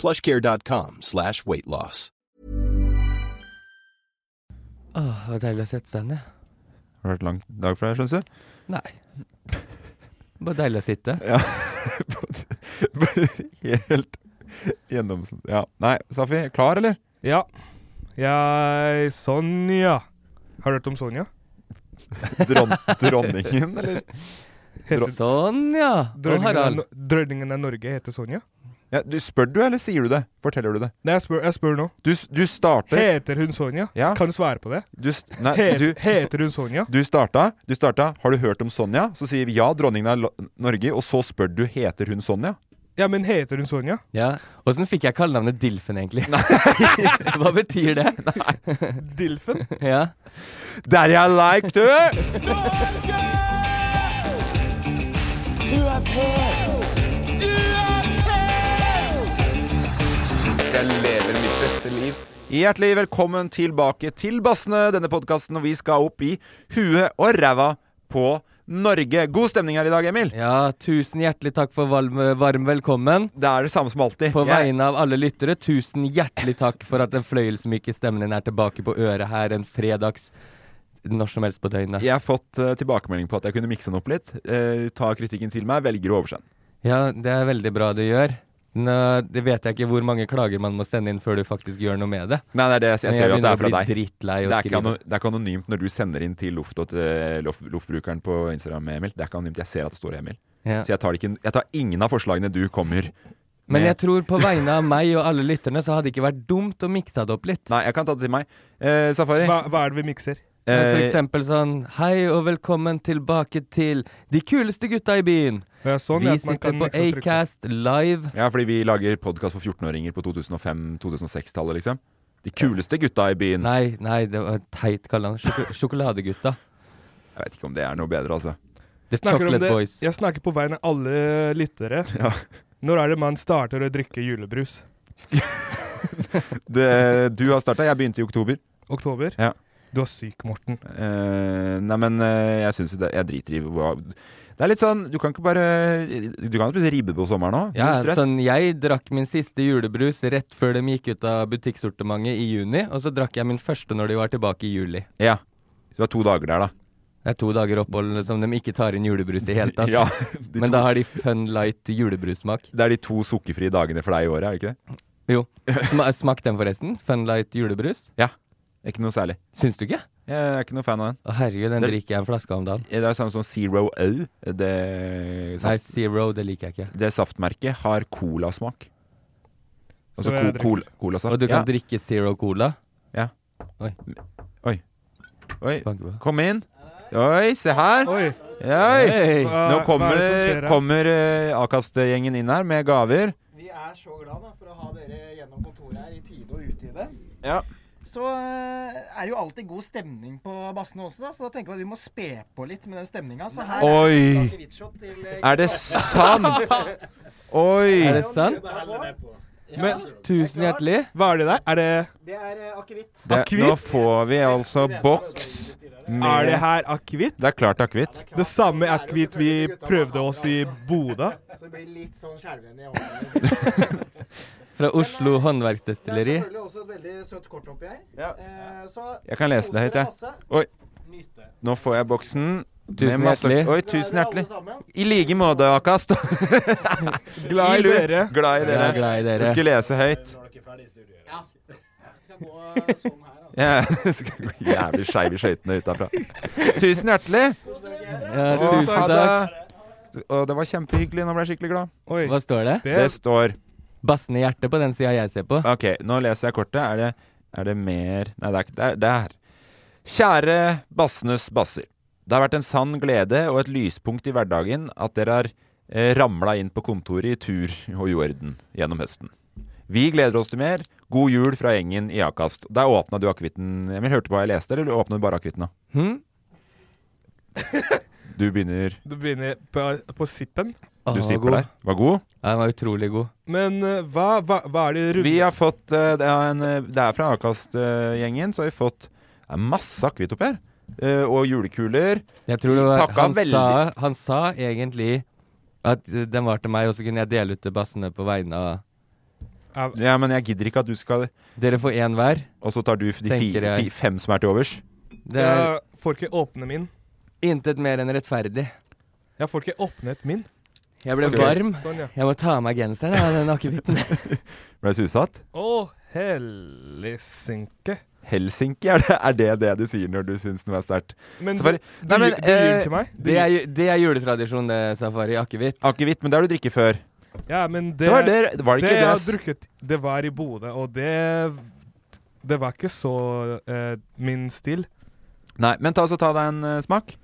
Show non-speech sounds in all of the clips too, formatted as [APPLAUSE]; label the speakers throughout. Speaker 1: plushcare.com slash weight loss.
Speaker 2: Åh, det var deilig å sette seg ned.
Speaker 3: Har det vært lang dag for deg, skjønner du?
Speaker 2: Nei. Bare deilig å sitte.
Speaker 3: [LAUGHS] Helt gjennom... Ja. Nei, Safi, klar, eller?
Speaker 4: Ja. Jeg Sonja. Har du hørt om Sonja?
Speaker 3: [LAUGHS] Dron dronningen, eller?
Speaker 4: Heter,
Speaker 2: Sånn, ja. Og
Speaker 4: dronningen, av,
Speaker 2: Harald.
Speaker 4: No- dronningen av Norge heter Sonja.
Speaker 3: Ja, du spør du, eller sier du det? Forteller du det?
Speaker 4: Nei, jeg spør, jeg spør nå.
Speaker 3: Du, s- du starter...
Speaker 4: Heter hun Sonja?
Speaker 3: Ja.
Speaker 4: Kan du svare på det?
Speaker 3: Du, s- nei,
Speaker 4: Het,
Speaker 3: du,
Speaker 4: heter hun Sonja?
Speaker 3: du, starta, du starta, har du hørt om Sonja? Så sier vi ja, dronningen av Lo- Norge, og så spør du, heter hun Sonja?
Speaker 4: Ja, men heter hun Sonja?
Speaker 2: Ja. Åssen fikk jeg kallenavnet Dilfen, egentlig? [LAUGHS] Hva betyr det?
Speaker 4: Dilfen?
Speaker 2: Ja.
Speaker 3: Der jeg like, du! Hjertelig velkommen tilbake til Bassene, denne podkasten, og vi skal opp i huet og ræva på Norge. God stemning her i dag, Emil.
Speaker 2: ja, tusen hjertelig takk for varm, varm velkommen.
Speaker 3: Det er det samme som alltid.
Speaker 2: På
Speaker 3: Jeg-
Speaker 2: vegne av alle lyttere, tusen hjertelig takk for at den fløyelsmyke stemmen din er tilbake på øret her en fredags når som helst på døgnet.
Speaker 3: Jeg har fått eh, tilbakemelding på at jeg kunne mikse den opp litt. eh, ta kritikken til meg, velger å overse den.
Speaker 2: Ja, det er veldig bra du gjør. Nå, det vet jeg ikke hvor mange klager man må sende inn før du faktisk gjør noe med det.
Speaker 3: Nei, nei, det, jeg, jeg
Speaker 2: Men
Speaker 3: ser jo at det
Speaker 2: begynner
Speaker 3: er fra
Speaker 2: å bli
Speaker 3: deg.
Speaker 2: Drittlei å
Speaker 3: Det er, ikke
Speaker 2: skrive.
Speaker 3: ano, det er ikke anonymt når du sender inn til Loft og til Lof- Loftbrukeren på Instagram, Emil. Det er ikke anonymt. Jeg ser at det står Emil.
Speaker 2: Ja.
Speaker 3: Så jeg tar, det ikke, jeg tar ingen av forslagene du kommer
Speaker 2: Men
Speaker 3: med.
Speaker 2: jeg tror på vegne av meg og alle lytterne, så hadde det ikke vært dumt å mikse det opp litt.
Speaker 3: Nei, jeg kan ta det til meg. Eh, Safari.
Speaker 4: Hva, hva er det vi mikser?
Speaker 2: Men For
Speaker 3: eh,
Speaker 2: eksempel sånn Hei og velkommen tilbake til de kuleste gutta i byen.
Speaker 4: Ja, sånn
Speaker 2: Vi
Speaker 4: er at man
Speaker 2: sitter
Speaker 4: kan
Speaker 2: på
Speaker 4: liksom trykke seg.
Speaker 2: Acast live.
Speaker 3: Ja, fordi vi lager podkast for 14-åringer på 2005-2006-tallet, liksom. De kuleste gutta i byen.
Speaker 2: Nei, nei, det var teit, kaller han. Sjoko
Speaker 3: [LAUGHS]
Speaker 2: sjokoladegutta.
Speaker 3: Jeg vet ikke om det er noe bedre, altså.
Speaker 2: The
Speaker 4: Snakker om
Speaker 2: Chocolate
Speaker 4: det-
Speaker 2: Boys.
Speaker 4: Jeg snakker på vegne av alle lyttere.
Speaker 3: [LAUGHS] Ja.
Speaker 4: Når er det man starter å drikke julebrus?
Speaker 3: Det, du har starta, jeg begynte i oktober.
Speaker 4: Oktober?
Speaker 3: Ja.
Speaker 4: Du er syk, Morten.
Speaker 3: Eh, nei, men eh, jeg syns det Jeg driter i hva Det er litt sånn Du kan ikke bare Du kan spise ribbe på sommeren òg.
Speaker 2: Ja, sånn, jeg drakk min siste julebrus rett før de gikk ut av butikksortimentet i juni, og så drakk jeg min første når de var tilbake i juli.
Speaker 3: ja. Så du har to dager der, da.
Speaker 2: Det er to dager opphold som de ikke tar inn julebrus i hele tatt.
Speaker 3: [LAUGHS] Ja, de
Speaker 2: Men
Speaker 3: to,
Speaker 2: da har de fun light julebrussmak.
Speaker 3: det er de to sukkerfrie dagene for deg i året, er det ikke det?
Speaker 2: Jo.
Speaker 3: [LAUGHS]
Speaker 2: Sma smak den, forresten. Fun light julebrus.
Speaker 3: Ikke noe særlig.
Speaker 2: Syns du ikke?
Speaker 3: Jeg er ikke noe fan av den.
Speaker 2: Å herregud, den
Speaker 3: Det-
Speaker 2: drikker jeg en flaske av om dagen.
Speaker 3: Det er samme som Zero O. Det,
Speaker 2: Nei,
Speaker 3: saft,
Speaker 2: Zero, det liker jeg ikke.
Speaker 3: det saftmerket har colasmak. Altså
Speaker 4: Så jeg
Speaker 3: ko,
Speaker 4: drikker-
Speaker 3: cola, colasaft.
Speaker 2: Og du kan
Speaker 3: ja.
Speaker 2: drikke Zero Cola.
Speaker 3: Oi,
Speaker 2: Banker på.
Speaker 3: kom inn. Oi, se her.
Speaker 4: Oi!
Speaker 3: Oi.
Speaker 2: Hey.
Speaker 4: hva-
Speaker 3: Nå
Speaker 4: hva
Speaker 3: kommer,
Speaker 4: er det som skjer her?
Speaker 3: kommer eh, Akast-gjengen inn her med gaver.
Speaker 5: Vi er så glad da, for å ha dere gjennom kontoret her i tide og utide.
Speaker 3: Ja.
Speaker 5: Så eh, er det jo alltid god stemning på bassene også, da, så da tenker vi at vi må spe på litt med den stemninga. Så her er
Speaker 3: Oi!
Speaker 5: akevittshot til eh,
Speaker 2: [LAUGHS]
Speaker 3: Er det sant? Oi!
Speaker 2: Er det sant?
Speaker 5: Knappe.
Speaker 4: Men
Speaker 2: Tusen hjertelig.
Speaker 4: hva er det der? Er det,
Speaker 5: Det er eh, akevitt.
Speaker 3: Det,
Speaker 4: Akevitt?
Speaker 3: nå får vi altså boks
Speaker 4: er
Speaker 3: med
Speaker 4: det her akevitt?
Speaker 3: Det er klart akevitt.
Speaker 4: Det samme akevitt vi prøvde oss i Bodø?
Speaker 5: Så det blir litt sånn skjelven i hånden.
Speaker 2: Fra Oslo
Speaker 5: Det er
Speaker 2: Håndverksdestilleri.
Speaker 5: selvfølgelig også et veldig søtt kort oppi her. Eh, så
Speaker 3: Jeg kan lese det høyt, jeg.
Speaker 5: Masse.
Speaker 3: Oi. Nå får jeg boksen. med
Speaker 2: Tusen
Speaker 3: masse-
Speaker 2: hjertelig.
Speaker 3: Oi,
Speaker 5: Dere er
Speaker 3: tusen
Speaker 5: alle
Speaker 3: hjertelig.
Speaker 5: sammen.
Speaker 3: I like måte,
Speaker 2: [LAUGHS]
Speaker 3: Akast.
Speaker 4: Glad i
Speaker 3: lur.
Speaker 4: dere.
Speaker 3: Glad i
Speaker 2: Jeg er
Speaker 3: dere.
Speaker 2: glad i
Speaker 3: Jeg
Speaker 2: dere.
Speaker 3: skulle lese høyt.
Speaker 5: Ja. Skal
Speaker 3: [LAUGHS]
Speaker 5: gå eh, sånn her, altså.
Speaker 3: Ja, [LAUGHS] skal gå Jævlig skeiv i
Speaker 2: [LAUGHS]
Speaker 3: skøytene utafra. Tusen hjertelig.
Speaker 2: Ja,
Speaker 3: Og
Speaker 2: tusen
Speaker 3: ha
Speaker 2: takk.
Speaker 3: det. Og det var kjempehyggelig. Nå ble jeg skikkelig glad.
Speaker 4: Oi.
Speaker 2: Hva står det?
Speaker 4: Det,
Speaker 3: Det står
Speaker 2: Bassene i hjertet på den sida jeg ser på.
Speaker 3: Ok, nå leser jeg kortet. Er det, er det mer Nei, det er ikke det. Er, det er. Kjære bassenes basser. Det har vært en sann glede og et lyspunkt i hverdagen at dere har eh, ramla inn på kontoret i tur og jorden gjennom høsten. Vi gleder oss til mer. God jul fra gjengen i Akast. Der åpna du akevitten Emil, hørte du hva jeg leste, eller åpna du bare akevitten nå?
Speaker 2: Hm?
Speaker 3: Du begynner
Speaker 4: du begynner på, på sippen.
Speaker 2: Å,
Speaker 3: Du
Speaker 2: god.
Speaker 3: sipper der. Var god?
Speaker 2: Ja, den var utrolig god.
Speaker 4: Men eh, hva, hva, hva er det runde
Speaker 3: Vi har fått eh, Det er, en, eh, det er fra Akast-gjengen, så har vi fått det er masse akevitt oppi her. Eh, og julekuler.
Speaker 2: Jeg tror det var,
Speaker 3: Pakka
Speaker 2: han,
Speaker 3: veldig.
Speaker 2: sa, han sa egentlig at eh, den var til meg, og så kunne jeg dele ut til bassene på vegne av
Speaker 3: Ja, men jeg gidder ikke at du skal
Speaker 2: Dere får én hver.
Speaker 3: Og så tar du de fi,
Speaker 2: Tenker jeg.
Speaker 3: fi, fem som er til overs.
Speaker 2: Det er
Speaker 4: Jeg får ikke åpne min.
Speaker 2: intet mer enn rettferdig.
Speaker 4: Jeg får ikke åpnet min.
Speaker 2: Jeg ble
Speaker 3: Ok.
Speaker 2: varm.
Speaker 4: Sånn, ja.
Speaker 2: Jeg må ta av meg genseren av den akevitten. [LAUGHS]
Speaker 3: Ble jeg så utsatt?
Speaker 4: Å, helsinke.
Speaker 3: Helsinki, er det, er det det du sier når du syns noe er sterkt?
Speaker 4: Men du,
Speaker 3: Safari.
Speaker 4: du,
Speaker 3: Nei, men,
Speaker 4: gir- du gir
Speaker 3: eh,
Speaker 4: til meg? Du,
Speaker 2: Det er, ju- det er juletradisjon, det, Safari. Akevitt.
Speaker 3: Akevitt, men det har du drikket før.
Speaker 4: ja, men det,
Speaker 3: Det var, det, var det
Speaker 4: det
Speaker 3: ikke
Speaker 4: jeg
Speaker 3: det?
Speaker 4: har
Speaker 3: ass?
Speaker 4: drukket, det var i Bodø, og det Det var ikke så eh, min stil.
Speaker 3: Nei, men ta, så ta deg en eh, smak.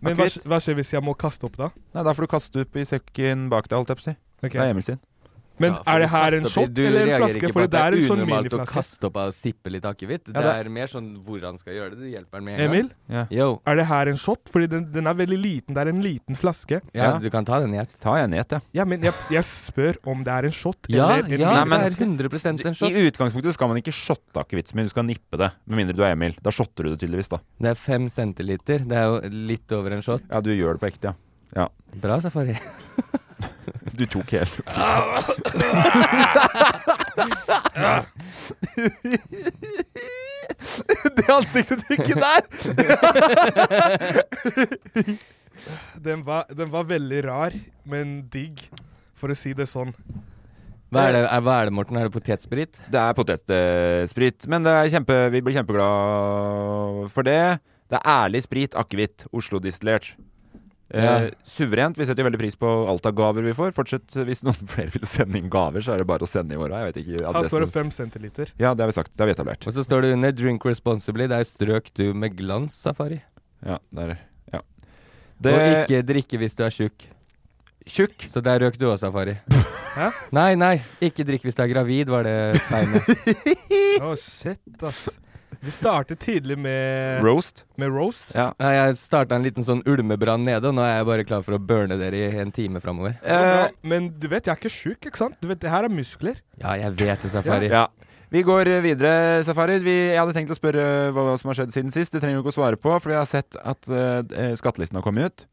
Speaker 4: Men hva,
Speaker 3: Akevitt.
Speaker 4: skj- hva skjer hvis jeg må kaste opp, da?
Speaker 3: Nei, Da får du kaste opp i sekken bak deg, holdt jeg på å si.
Speaker 4: Ok.
Speaker 3: Det er Emil sin.
Speaker 4: Men
Speaker 2: Ja, for
Speaker 4: er det
Speaker 2: du
Speaker 4: her
Speaker 2: kaster
Speaker 4: en
Speaker 2: opp i-
Speaker 4: shot
Speaker 2: du
Speaker 4: eller en
Speaker 2: reagerer
Speaker 4: flaske?
Speaker 2: ikke på
Speaker 4: For
Speaker 2: at
Speaker 4: det er en sånn
Speaker 2: unormalt å
Speaker 4: miniflaske.
Speaker 2: kaste opp av å sippe litt akevitt.
Speaker 3: Ja,
Speaker 2: det
Speaker 3: det-
Speaker 2: er mer sånn hvor han skal gjøre det. Du hjelper han med en gang.
Speaker 4: Emil,
Speaker 2: Yo.
Speaker 4: er det her en shot? Fordi den, den er veldig liten. Det er en liten flaske.
Speaker 2: Ja,
Speaker 3: Ja.
Speaker 2: du kan ta den, jeg.
Speaker 3: Ta en et, ja.
Speaker 4: Ja, men jeg, jeg spør om det er en shot
Speaker 2: Ja,
Speaker 4: eller en
Speaker 2: ja
Speaker 3: Nei,
Speaker 2: det
Speaker 3: men-
Speaker 2: er 100 en shot.
Speaker 3: I utgangspunktet skal man ikke shotte akevitt så mye, du skal nippe det. Med mindre du er Emil. Da shotter du det tydeligvis, da.
Speaker 2: Det er fem centiliter. Det er jo litt over en shot.
Speaker 3: Ja, du gjør det på ekte, ja.
Speaker 2: Bra,
Speaker 3: [LAUGHS]
Speaker 2: Safari.
Speaker 3: Du tok
Speaker 4: [LAUGHS]
Speaker 3: hele Det ansiktsuttrykket der!
Speaker 4: Den var, den var veldig rar, men digg, for å si det sånn.
Speaker 2: Hva er det, er, hva er det Morten? Er det potetsprit?
Speaker 3: Det er potetsprit, men det er kjempe, vi blir kjempeglad for det. Det er ærlig sprit, akevitt, Oslo-distillert. Eh,
Speaker 2: Ja.
Speaker 3: suverent. Vi setter veldig pris på alt av gaver vi får. Fortsett hvis noen [LAUGHS] flere vil sende inn gaver, så er det bare å sende i morgen. Jeg vet ikke
Speaker 4: Her står det
Speaker 3: adressen.
Speaker 4: fem centiliter.
Speaker 3: Ja, det har vi sagt. Det har vi etablert.
Speaker 2: Og så står det under 'drink responsibly'. Det er strøk du med glans, Safari.
Speaker 3: Ja, der. Ja.
Speaker 2: Og
Speaker 3: Det
Speaker 2: ikke drikke hvis du er tjukk.
Speaker 3: Tjukk.
Speaker 2: Så der røk du òg, Safari. [LAUGHS] Hæ? Nei, nei. Ikke drikk hvis du er gravid, var det
Speaker 3: [LAUGHS]
Speaker 2: tegnet.
Speaker 4: Å, shit, ass. Vi startet tidlig med,
Speaker 3: Roast.
Speaker 4: med roast.
Speaker 3: Ja.
Speaker 2: Nei, jeg starta en liten sånn ulmebrann nede, og nå er jeg bare klar for å burne dere i en time framover.
Speaker 4: Det var
Speaker 3: Eh,
Speaker 4: bra, Men du vet, jeg er ikke sjuk, ikke sant? Du vet, det her er muskler.
Speaker 2: Ja, jeg vet det, Safari.
Speaker 3: Ja. Vi går eh, videre, Safari. Vi, jeg hadde tenkt å spørre eh, hva som har skjedd siden sist. Det trenger du ikke å svare på, for jeg har sett at eh, d- eh, skattelisten har kommet ut.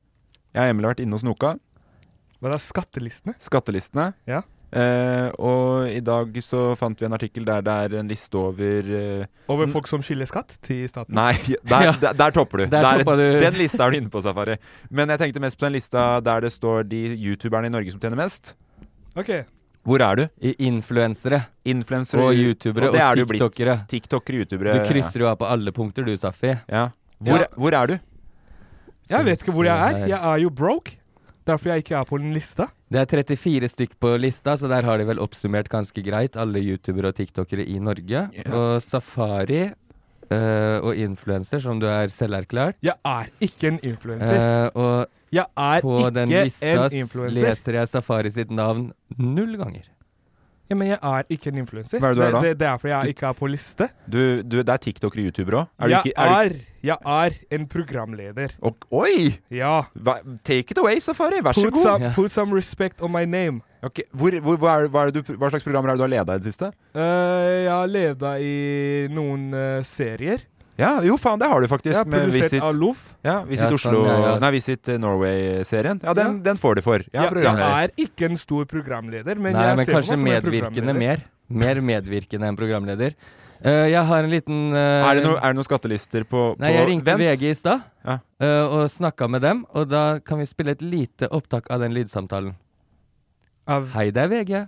Speaker 3: Jeg og Emil har vært inne og snoka.
Speaker 4: Hva er det, skattelistene?
Speaker 3: Skattelistene.
Speaker 4: Ja.
Speaker 3: Eh, og i dag så fant vi en artikkel der det er en liste over eh,
Speaker 4: Over
Speaker 3: Mm.
Speaker 4: folk som skylder skatt til staten?
Speaker 3: Nei, [LAUGHS] der,
Speaker 2: Ja.
Speaker 3: der, der topper du.
Speaker 2: Der toppa du.
Speaker 3: [LAUGHS] Den lista er du inne på, Safari. Men jeg tenkte mest på den lista der det står de youtuberne i Norge som tjener mest.
Speaker 4: Ok,
Speaker 3: Hvor er du?
Speaker 2: I influensere
Speaker 3: Influensere
Speaker 2: og youtubere
Speaker 3: og, det er
Speaker 2: og
Speaker 3: du blitt.
Speaker 2: tiktokere.
Speaker 3: TikTokere, youtubere
Speaker 2: Du krysser jo av på alle punkter, du, Safi.
Speaker 3: Ja. Hvor,
Speaker 4: Ja.
Speaker 3: hvor er du?
Speaker 4: jeg vet ikke hvor jeg er.
Speaker 2: Her.
Speaker 4: Jeg er jo broke. Derfor jeg ikke er på den lista.
Speaker 2: Det er 34 stykk på lista, så der har de vel oppsummert ganske greit alle youtubere og tiktokere i Norge. Og Safari eh, og influenser, som du er selverklært.
Speaker 4: Jeg er ikke en influenser.
Speaker 2: Eh, og
Speaker 4: jeg er
Speaker 2: på den
Speaker 4: ikke
Speaker 2: lista
Speaker 4: en
Speaker 2: s-
Speaker 4: influenser.
Speaker 2: leser jeg Safari sitt navn null ganger.
Speaker 4: Ja, men jeg er ikke en influenser.
Speaker 3: Hva er det du er da?
Speaker 4: Det, det er derfor jeg ikke er på liste.
Speaker 3: Du, du, det er TikToker og YouTuber òg?
Speaker 4: Er jeg, er, jeg er en programleder.
Speaker 3: og, Oi!
Speaker 4: Ja.
Speaker 3: Hva, take it away, Safari. Vær så
Speaker 4: Put
Speaker 3: god.
Speaker 4: some,
Speaker 2: Ja.
Speaker 4: put some respect on my name.
Speaker 3: Ok, Hvor, hvor, hva, er, hva, er det du, hva slags programmer er det du har leda i det siste?
Speaker 4: Eh, jeg har leda i noen eh, serier.
Speaker 3: Ja, jo faen, det har du faktisk.
Speaker 4: Jeg har
Speaker 3: med
Speaker 4: produsert
Speaker 3: Visit,
Speaker 4: av Loff.
Speaker 3: ja, Visit
Speaker 2: Ja, sånn,
Speaker 3: Oslo
Speaker 2: ja, ja.
Speaker 3: Nei, Visit eh, Norway-serien. Ja, den, den får du for. Ja,
Speaker 4: Ja, jeg
Speaker 3: programleder.
Speaker 4: er ikke en stor programleder, men
Speaker 2: Nei,
Speaker 4: jeg
Speaker 2: men
Speaker 4: ser på
Speaker 2: kanskje
Speaker 4: meg som en
Speaker 2: medvirkende
Speaker 4: programleder.
Speaker 2: mer. Mer medvirkende enn programleder. Eh, jeg har en liten eh,
Speaker 3: Er det, noe- er det noen skattelister på, på
Speaker 2: Nei, jeg ringte
Speaker 3: vent?
Speaker 2: VG i stad
Speaker 3: Ja.
Speaker 2: eh, og snakka med dem, og da kan vi spille et lite opptak av den lydsamtalen.
Speaker 4: Av,
Speaker 2: Hei, det er VG.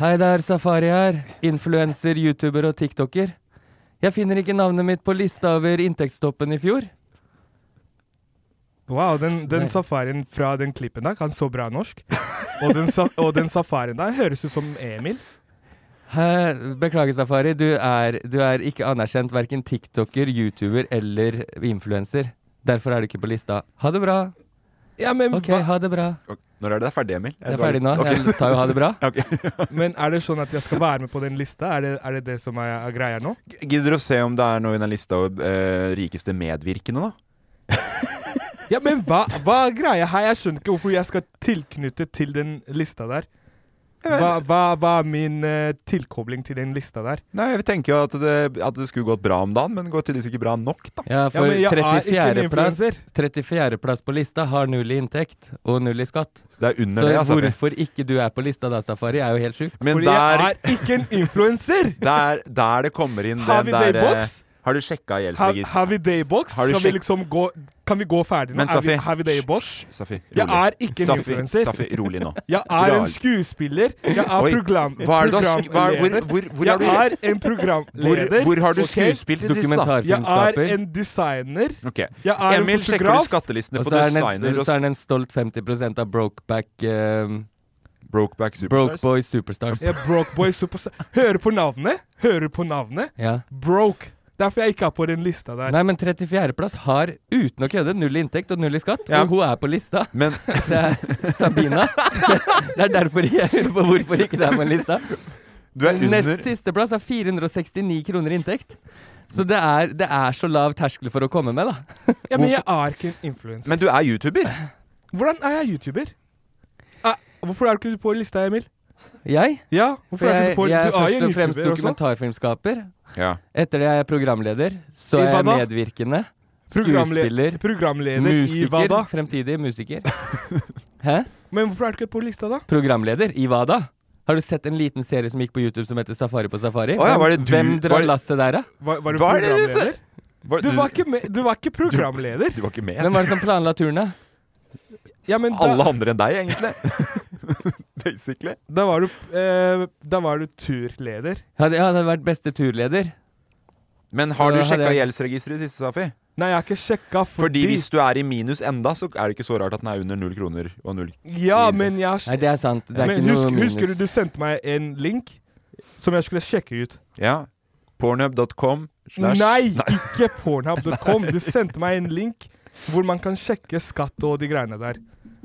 Speaker 2: Hei, det er Safari her. Influenser, YouTuber og TikToker. Jeg finner ikke navnet mitt på lista over inntektstoppen i fjor.
Speaker 4: wow, den,
Speaker 2: Nei.
Speaker 4: den safarien fra den klippen der kan så bra norsk. Og den, sa, og den safarien der høres ut som
Speaker 2: [LAUGHS]
Speaker 4: Emil.
Speaker 2: Hæ? Beklager, Safari. Du er, du er ikke anerkjent verken TikToker, YouTuber eller influenser. Derfor er du ikke på lista. Ha det bra.
Speaker 4: Ja, men,
Speaker 2: OK,
Speaker 4: hva-
Speaker 2: ha det bra.
Speaker 3: Ok, Når er det ferdig, Emil?
Speaker 2: Jeg er ferdig nå. Jeg sa jo ha det bra.
Speaker 4: men er det sånn at jeg skal være med på den lista? Er det er det, det som er, er greia nå?
Speaker 3: Gidder du å se om det er noe i den lista over eh, rikeste medvirkende, da?
Speaker 4: Ja, men hva, hva er greia her? Jeg skjønner ikke hvorfor jeg skal tilknytte til den lista der. Hva, hva, hva er min eh, tilkobling til den lista der?
Speaker 3: Nei, jeg tenker jo at det, at det skulle gått bra om dagen, men går tydeligvis ikke bra nok, da.
Speaker 2: Ja, for
Speaker 4: men jeg er ikke en
Speaker 2: 34. plass,
Speaker 4: influenser.
Speaker 2: 34. plass på lista har null i inntekt og null i skatt.
Speaker 3: Så det er under
Speaker 2: Så
Speaker 3: det, altså.
Speaker 2: hvorfor ikke du er på lista da, Safari, er jo helt sjukt.
Speaker 3: Men
Speaker 4: Fordi
Speaker 3: der,
Speaker 4: jeg er ikke en influenser!
Speaker 3: der, der [LAUGHS] det kommer inn
Speaker 4: Har
Speaker 3: den
Speaker 4: vi
Speaker 3: der eh,
Speaker 4: daybox?
Speaker 3: Har du sjekka
Speaker 4: Har,
Speaker 3: gjeldsregisteret?
Speaker 4: har vi daybox?
Speaker 3: Har du
Speaker 4: Skal vi
Speaker 3: sjekk-
Speaker 4: liksom gå Kan vi gå ferdig nå?
Speaker 3: Men
Speaker 4: Er vi-
Speaker 3: Safi,
Speaker 4: Har vi daybox?
Speaker 3: Safi, rolig.
Speaker 4: Jeg er ikke en
Speaker 3: Safi,
Speaker 4: influenser.
Speaker 3: Safi, rolig
Speaker 4: [LAUGHS]
Speaker 3: nå.
Speaker 4: Jeg er en
Speaker 3: Ral.
Speaker 4: skuespiller. Jeg er
Speaker 3: Oi,
Speaker 4: program,
Speaker 3: hva er det du har sk- hva er- hvor-
Speaker 4: programleder.
Speaker 3: hvor- hvor har
Speaker 4: jeg
Speaker 3: du-
Speaker 4: er en
Speaker 3: Hvor,
Speaker 4: programleder.
Speaker 3: hvor har du
Speaker 4: ok?
Speaker 3: skuespilt i det siste, da?
Speaker 4: Jeg er
Speaker 2: Dokumentarfilmskaper.
Speaker 4: en designer.
Speaker 3: Ok.
Speaker 4: Jeg er en
Speaker 3: Emil, sjekker du
Speaker 4: fotograf.
Speaker 3: skattelistene
Speaker 2: Og så
Speaker 3: på
Speaker 2: er, den
Speaker 3: designer
Speaker 2: en,
Speaker 3: og
Speaker 2: så er den en stolt 50 av Brokeback eh,
Speaker 3: s- Brokeback Superstars?
Speaker 2: Brokeboy Superstars.
Speaker 4: Jeg er broke boy superstar. Hører på navnet. Hører på navnet.
Speaker 2: Ja.
Speaker 4: Broke. Derfor jeg ikke er på den lista der.
Speaker 2: Nei, men 34.-plass har, uten å kødde, null i inntekt og null i skatt.
Speaker 3: Ja.
Speaker 2: Og hun er på lista.
Speaker 3: Men [LAUGHS]
Speaker 2: Det er Sabina. Det er derfor jeg lurer på hvorfor ikke det er på lista.
Speaker 3: du er under
Speaker 2: Nest siste plass er 469 kroner i inntekt. Så det er, det er så lav terskel for å komme med, da.
Speaker 4: ja, men jeg er ikke en influenser.
Speaker 3: Men du er YouTuber.
Speaker 4: Hvordan er jeg YouTuber? Ah, hvorfor er du ikke på lista, Emil?
Speaker 2: Jeg,
Speaker 4: Ja, hvorfor er du
Speaker 2: jeg,
Speaker 4: ikke på
Speaker 2: jeg er
Speaker 4: Du er
Speaker 2: først
Speaker 4: jo en
Speaker 2: og fremst
Speaker 4: YouTuber også.
Speaker 2: dokumentarfilmskaper.
Speaker 3: Ja.
Speaker 2: Etter det er jeg programleder. Så
Speaker 4: I
Speaker 2: er
Speaker 4: hva
Speaker 2: jeg
Speaker 4: da?
Speaker 2: medvirkende.
Speaker 4: Programle-
Speaker 2: Skuespiller.
Speaker 4: Programleder i hva da?
Speaker 2: Musiker. Fremtidig musiker. Hæ?
Speaker 4: Men hvorfor er du ikke på lista, da?
Speaker 2: Programleder i hva da? Har du sett en liten serie som gikk på YouTube som heter Safari på safari?
Speaker 3: Å ja, var det du-
Speaker 2: Hvem
Speaker 3: var
Speaker 2: drar
Speaker 3: det-
Speaker 2: lasset der, da?
Speaker 4: Var, var du
Speaker 3: Hva er det du
Speaker 4: programleder?
Speaker 3: sier? Var-
Speaker 4: Du var ikke, med, du var ikke programleder.
Speaker 3: Du var ikke med?
Speaker 2: Hvem var det som planla turen, da?
Speaker 4: Ja, men da,
Speaker 3: Alle andre enn
Speaker 2: [LAUGHS]
Speaker 3: deg, egentlig. Basically.
Speaker 4: da, var du, eh, da var du turleder.
Speaker 2: Hadde, hadde jeg vært beste turleder?
Speaker 3: Men har
Speaker 2: Så
Speaker 3: du
Speaker 2: hadde
Speaker 3: sjekka
Speaker 2: jeg-
Speaker 3: gjeldsregisteret i det siste, Safi?
Speaker 4: Nei, jeg har ikke sjekka fordi,
Speaker 3: Fordi hvis du er i minus enda, så er det ikke så rart at den er under null kroner og null
Speaker 4: Ja, men jeg har
Speaker 2: Nei, det er sant. Det er
Speaker 4: Men
Speaker 2: ikke
Speaker 4: husk,
Speaker 2: noe minus.
Speaker 4: husker du du sendte meg en link som jeg skulle sjekke ut?
Speaker 3: Ja. Pornhub.com slash
Speaker 4: Nei, ikke pornhub.com. Du sendte meg en link hvor man kan sjekke skatt og de greiene der.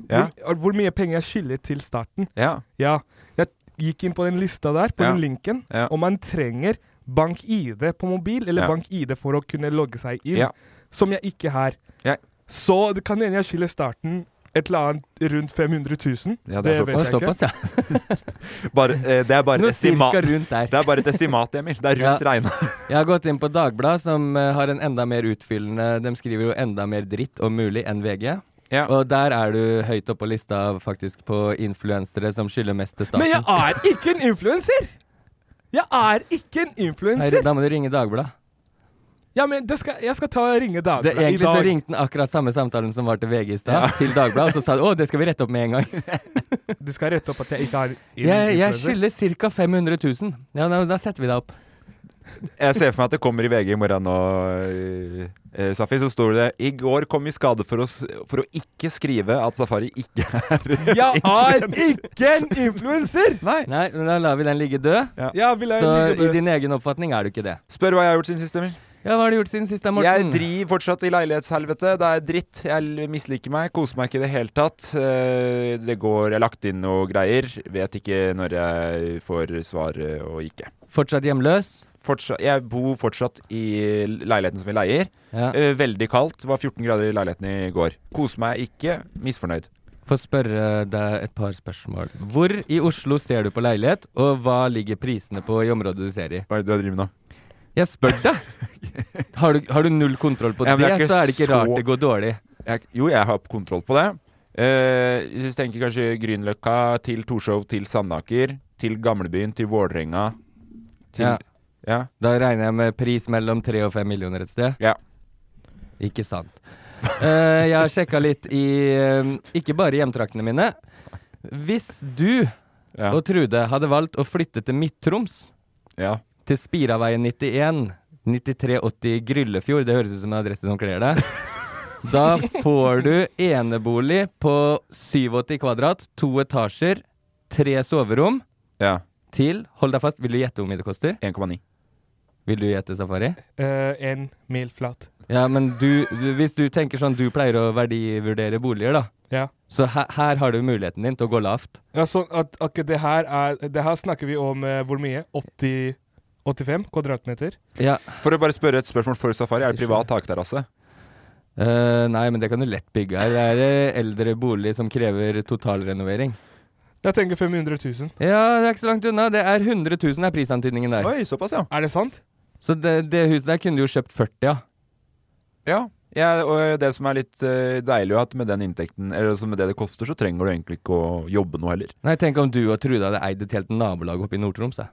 Speaker 3: Ja.
Speaker 4: Hvor, hvor mye penger jeg skylder til staten.
Speaker 3: Ja.
Speaker 4: Ja, jeg gikk inn på den lista der, på
Speaker 3: Ja.
Speaker 4: den linken,
Speaker 3: Ja.
Speaker 4: og man trenger bank-ID på mobil, eller
Speaker 3: Ja.
Speaker 4: bank-ID for å kunne logge seg inn,
Speaker 3: Ja.
Speaker 4: som jeg ikke har.
Speaker 3: Ja.
Speaker 4: Så det kan hende jeg skiller starten et eller annet rundt 500 000.
Speaker 3: Ja, det er
Speaker 2: Å,
Speaker 4: vet jeg ikke.
Speaker 2: såpass, ja.
Speaker 3: Bare, eh, det er bare
Speaker 2: Noe
Speaker 3: et estimat.
Speaker 2: cirka rundt der.
Speaker 3: [LAUGHS] Det er bare et estimat, Emil. Det er rundt
Speaker 2: Ja.
Speaker 3: regna.
Speaker 2: Jeg har gått inn på Dagbladet, som eh, har en enda mer utfyllende De skriver jo enda mer dritt om mulig enn VG.
Speaker 3: Ja.
Speaker 2: Og der er du høyt oppe på lista faktisk på influensere som skylder mest til staten.
Speaker 4: Men jeg er ikke en influenser! Jeg er ikke en
Speaker 2: Nei,
Speaker 4: influenser!
Speaker 2: da må du ringe Dagbladet.
Speaker 4: Ja, men det skal, jeg skal ta og ringe
Speaker 2: Det,
Speaker 4: Dagbladet i
Speaker 2: egentlig så
Speaker 4: dag.
Speaker 2: ringte den akkurat samme samtalen som var til VG i stad, til Dagbladet, og så sa de å, det skal vi rette opp med en
Speaker 4: [LAUGHS]
Speaker 2: gang.
Speaker 4: De skal rette opp at jeg ikke har en
Speaker 2: Jeg, jeg
Speaker 4: influenser.
Speaker 2: skylder ca. 500 000. Ja, da, da setter vi deg opp.
Speaker 3: Jeg ser for meg at det kommer i VG i morgen nå, eh, eh, Safi. Så står det 'I går kom i skade for å, s- for å ikke skrive at Safari ikke er
Speaker 4: [LAUGHS] Jeg [LAUGHS] er ikke en influenser!
Speaker 3: Nei.
Speaker 2: Nei, men da lar vi den ligge død.
Speaker 4: Ja, vil jeg
Speaker 2: Så
Speaker 4: ligge
Speaker 2: i
Speaker 4: død.
Speaker 2: din egen oppfatning er du ikke det.
Speaker 3: Spør hva jeg har gjort siden sist, Emil.
Speaker 2: Ja, hva har du gjort siden sist da,
Speaker 3: Jeg
Speaker 2: Morten?
Speaker 3: driver fortsatt i leilighetshelvete. Det er dritt. Jeg l- misliker meg. Koser meg ikke i det hele tatt. Eh, Det går Jeg har lagt inn noe greier. Vet ikke når jeg får svar eh, og ikke.
Speaker 2: Fortsatt hjemløs?
Speaker 3: Fortsatt, jeg bor fortsatt i leiligheten som vi leier.
Speaker 2: Ja.
Speaker 3: Eh, Veldig kaldt. Det var 14 grader i leiligheten i går. Koser meg ikke. Misfornøyd.
Speaker 2: Få spørre deg et par spørsmål. Hvor i Oslo ser du på leilighet, og hva ligger prisene på i området du ser i?
Speaker 3: Hva er det du driver med nå?
Speaker 2: Jeg spør
Speaker 3: [LAUGHS]
Speaker 2: deg! Har du, har du null kontroll på
Speaker 3: Ja, men
Speaker 2: det,
Speaker 3: det er ikke
Speaker 2: så er det ikke
Speaker 3: så-
Speaker 2: rart det går dårlig.
Speaker 3: Jeg, jo, jeg har kontroll på det. Eh, jeg tenker kanskje Grünerløkka til Torshov til Sandaker. Til Gamlebyen, til Vålerenga. Til
Speaker 2: Ja.
Speaker 3: ja.
Speaker 2: Da regner jeg med pris mellom tre og fem millioner et sted?
Speaker 3: Ja.
Speaker 2: Ikke sant. Eh, jeg har sjekka litt i eh, ikke bare hjemtraktene mine. Hvis du
Speaker 3: Ja.
Speaker 2: og Trude hadde valgt å flytte til Midt-Troms,
Speaker 3: ja.
Speaker 2: til Spiraveien 91, 9380 Gryllefjord, det høres ut som en adresse som kler deg. Da får du enebolig på 87 kvadrat, to etasjer, tre soverom
Speaker 3: ja.
Speaker 2: til Hold deg fast, vil du gjette hvor mye det koster?
Speaker 3: 1,9.
Speaker 2: Vil du gjette, Safari?
Speaker 4: Eh, en mil flat.
Speaker 2: Ja, men du, du- hvis du tenker sånn du pleier å verdivurdere boliger, da.
Speaker 4: Ja.
Speaker 2: Så her, her har du muligheten din til å gå lavt.
Speaker 4: Ja, sånn at, at det, her er, det her snakker vi om eh, hvor mye? 80, 85 kvadratmeter?
Speaker 2: Ja.
Speaker 3: For å bare spørre et spørsmål for Safari. Er det privat takterrasse?
Speaker 2: Eh, nei, men det kan du lett bygge her. Det er eh, eldre bolig som krever totalrenovering.
Speaker 4: Jeg tenker 500 000.
Speaker 2: Ja, det er ikke så langt unna. Det er 100 000 er prisantydningen der.
Speaker 3: Oi, såpass, ja.
Speaker 4: Er det sant?
Speaker 2: Så det, det huset der kunne du jo kjøpt 40 av.
Speaker 3: Ja, jeg- og det som er litt eh, deilig at med den inntekten, eller altså med det det koster, så trenger du egentlig ikke å jobbe noe heller.
Speaker 2: Nei, tenk om du og Trude hadde eid et helt nabolag oppe i Nord-Troms. da.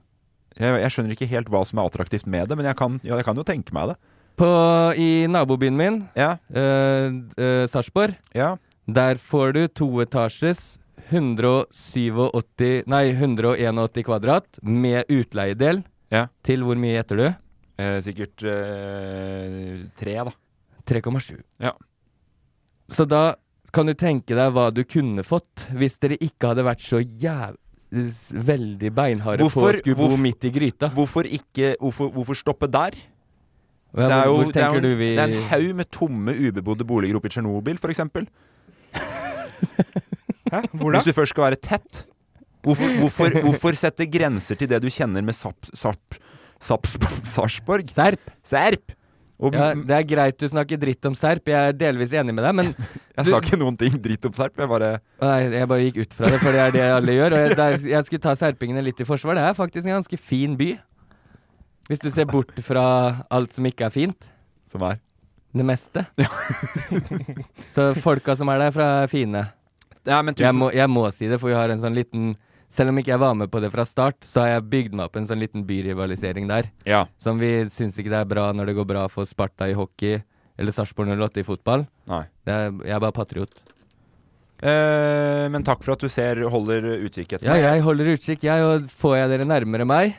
Speaker 3: Jeg, jeg skjønner ikke helt hva som er attraktivt med det, men jeg kan, ja, jeg kan jo tenke meg det.
Speaker 2: På- I nabobyen min,
Speaker 3: Ja,
Speaker 2: øh, øh, Sarpsborg,
Speaker 3: ja.
Speaker 2: der får du toetasjes 187 Nei, 181 kvadrat med utleiedel.
Speaker 3: Ja.
Speaker 2: Til hvor mye gjetter du?
Speaker 3: Eh, sikkert eh, tre, da.
Speaker 2: 3,7.
Speaker 3: Ja.
Speaker 2: Så da kan du tenke deg hva du kunne fått hvis dere ikke hadde vært så jæv... s- Veldig beinharde på å
Speaker 3: Hvorfor-
Speaker 2: skulle bo
Speaker 3: hvorf-
Speaker 2: midt i gryta.
Speaker 3: Hvorfor ikke Hvorfor, hvorfor stoppe der?
Speaker 2: Ja,
Speaker 3: det
Speaker 2: hvor-
Speaker 3: er jo
Speaker 2: hvor
Speaker 3: det er,
Speaker 2: tenker
Speaker 3: jo-
Speaker 2: du vi
Speaker 3: det er en haug med tomme, ubebodde boliger oppe i Tsjernobyl, f.eks.
Speaker 4: Hæ? Hvor da?
Speaker 3: Hvis du først skal være tett. Hvorfor,
Speaker 2: [LAUGHS]
Speaker 3: hvorfor, hvorfor sette grenser til det du kjenner med Sapp... Sapp... Sapp... Sarpsborg?
Speaker 2: Serp?
Speaker 3: Serp! Og,
Speaker 2: Ja, det er greit du snakker dritt om Serp, jeg er delvis enig med deg, men
Speaker 3: Jeg
Speaker 2: Du-
Speaker 3: sa ikke noen ting dritt om Serp. Jeg bare
Speaker 2: Nei, jeg bare gikk ut fra det, for det er det alle gjør. Og jeg, der, jeg skulle ta serpingene litt i forsvar. Det er faktisk en ganske fin by. Hvis du ser bort fra alt som ikke er fint.
Speaker 3: Som er.
Speaker 2: Det
Speaker 3: [LAUGHS]
Speaker 2: meste. Så folka som er derfra, er fine.
Speaker 3: Ja, men
Speaker 2: Jeg må, jeg må si det, for vi har en sånn liten Selv om ikke jeg var med på det fra start, så har jeg bygd meg opp en sånn liten byrivalisering der.
Speaker 3: Ja.
Speaker 2: Som vi syns ikke det er bra når det går bra for Sparta i hockey eller Sarpsborg 08 i fotball.
Speaker 3: Nei.
Speaker 2: Det er, jeg er bare patriot.
Speaker 3: Eh, men takk for at du ser holder utkikk etter
Speaker 2: Ja,
Speaker 3: meg.
Speaker 2: jeg holder utkikk, jeg, og får jeg dere nærmere meg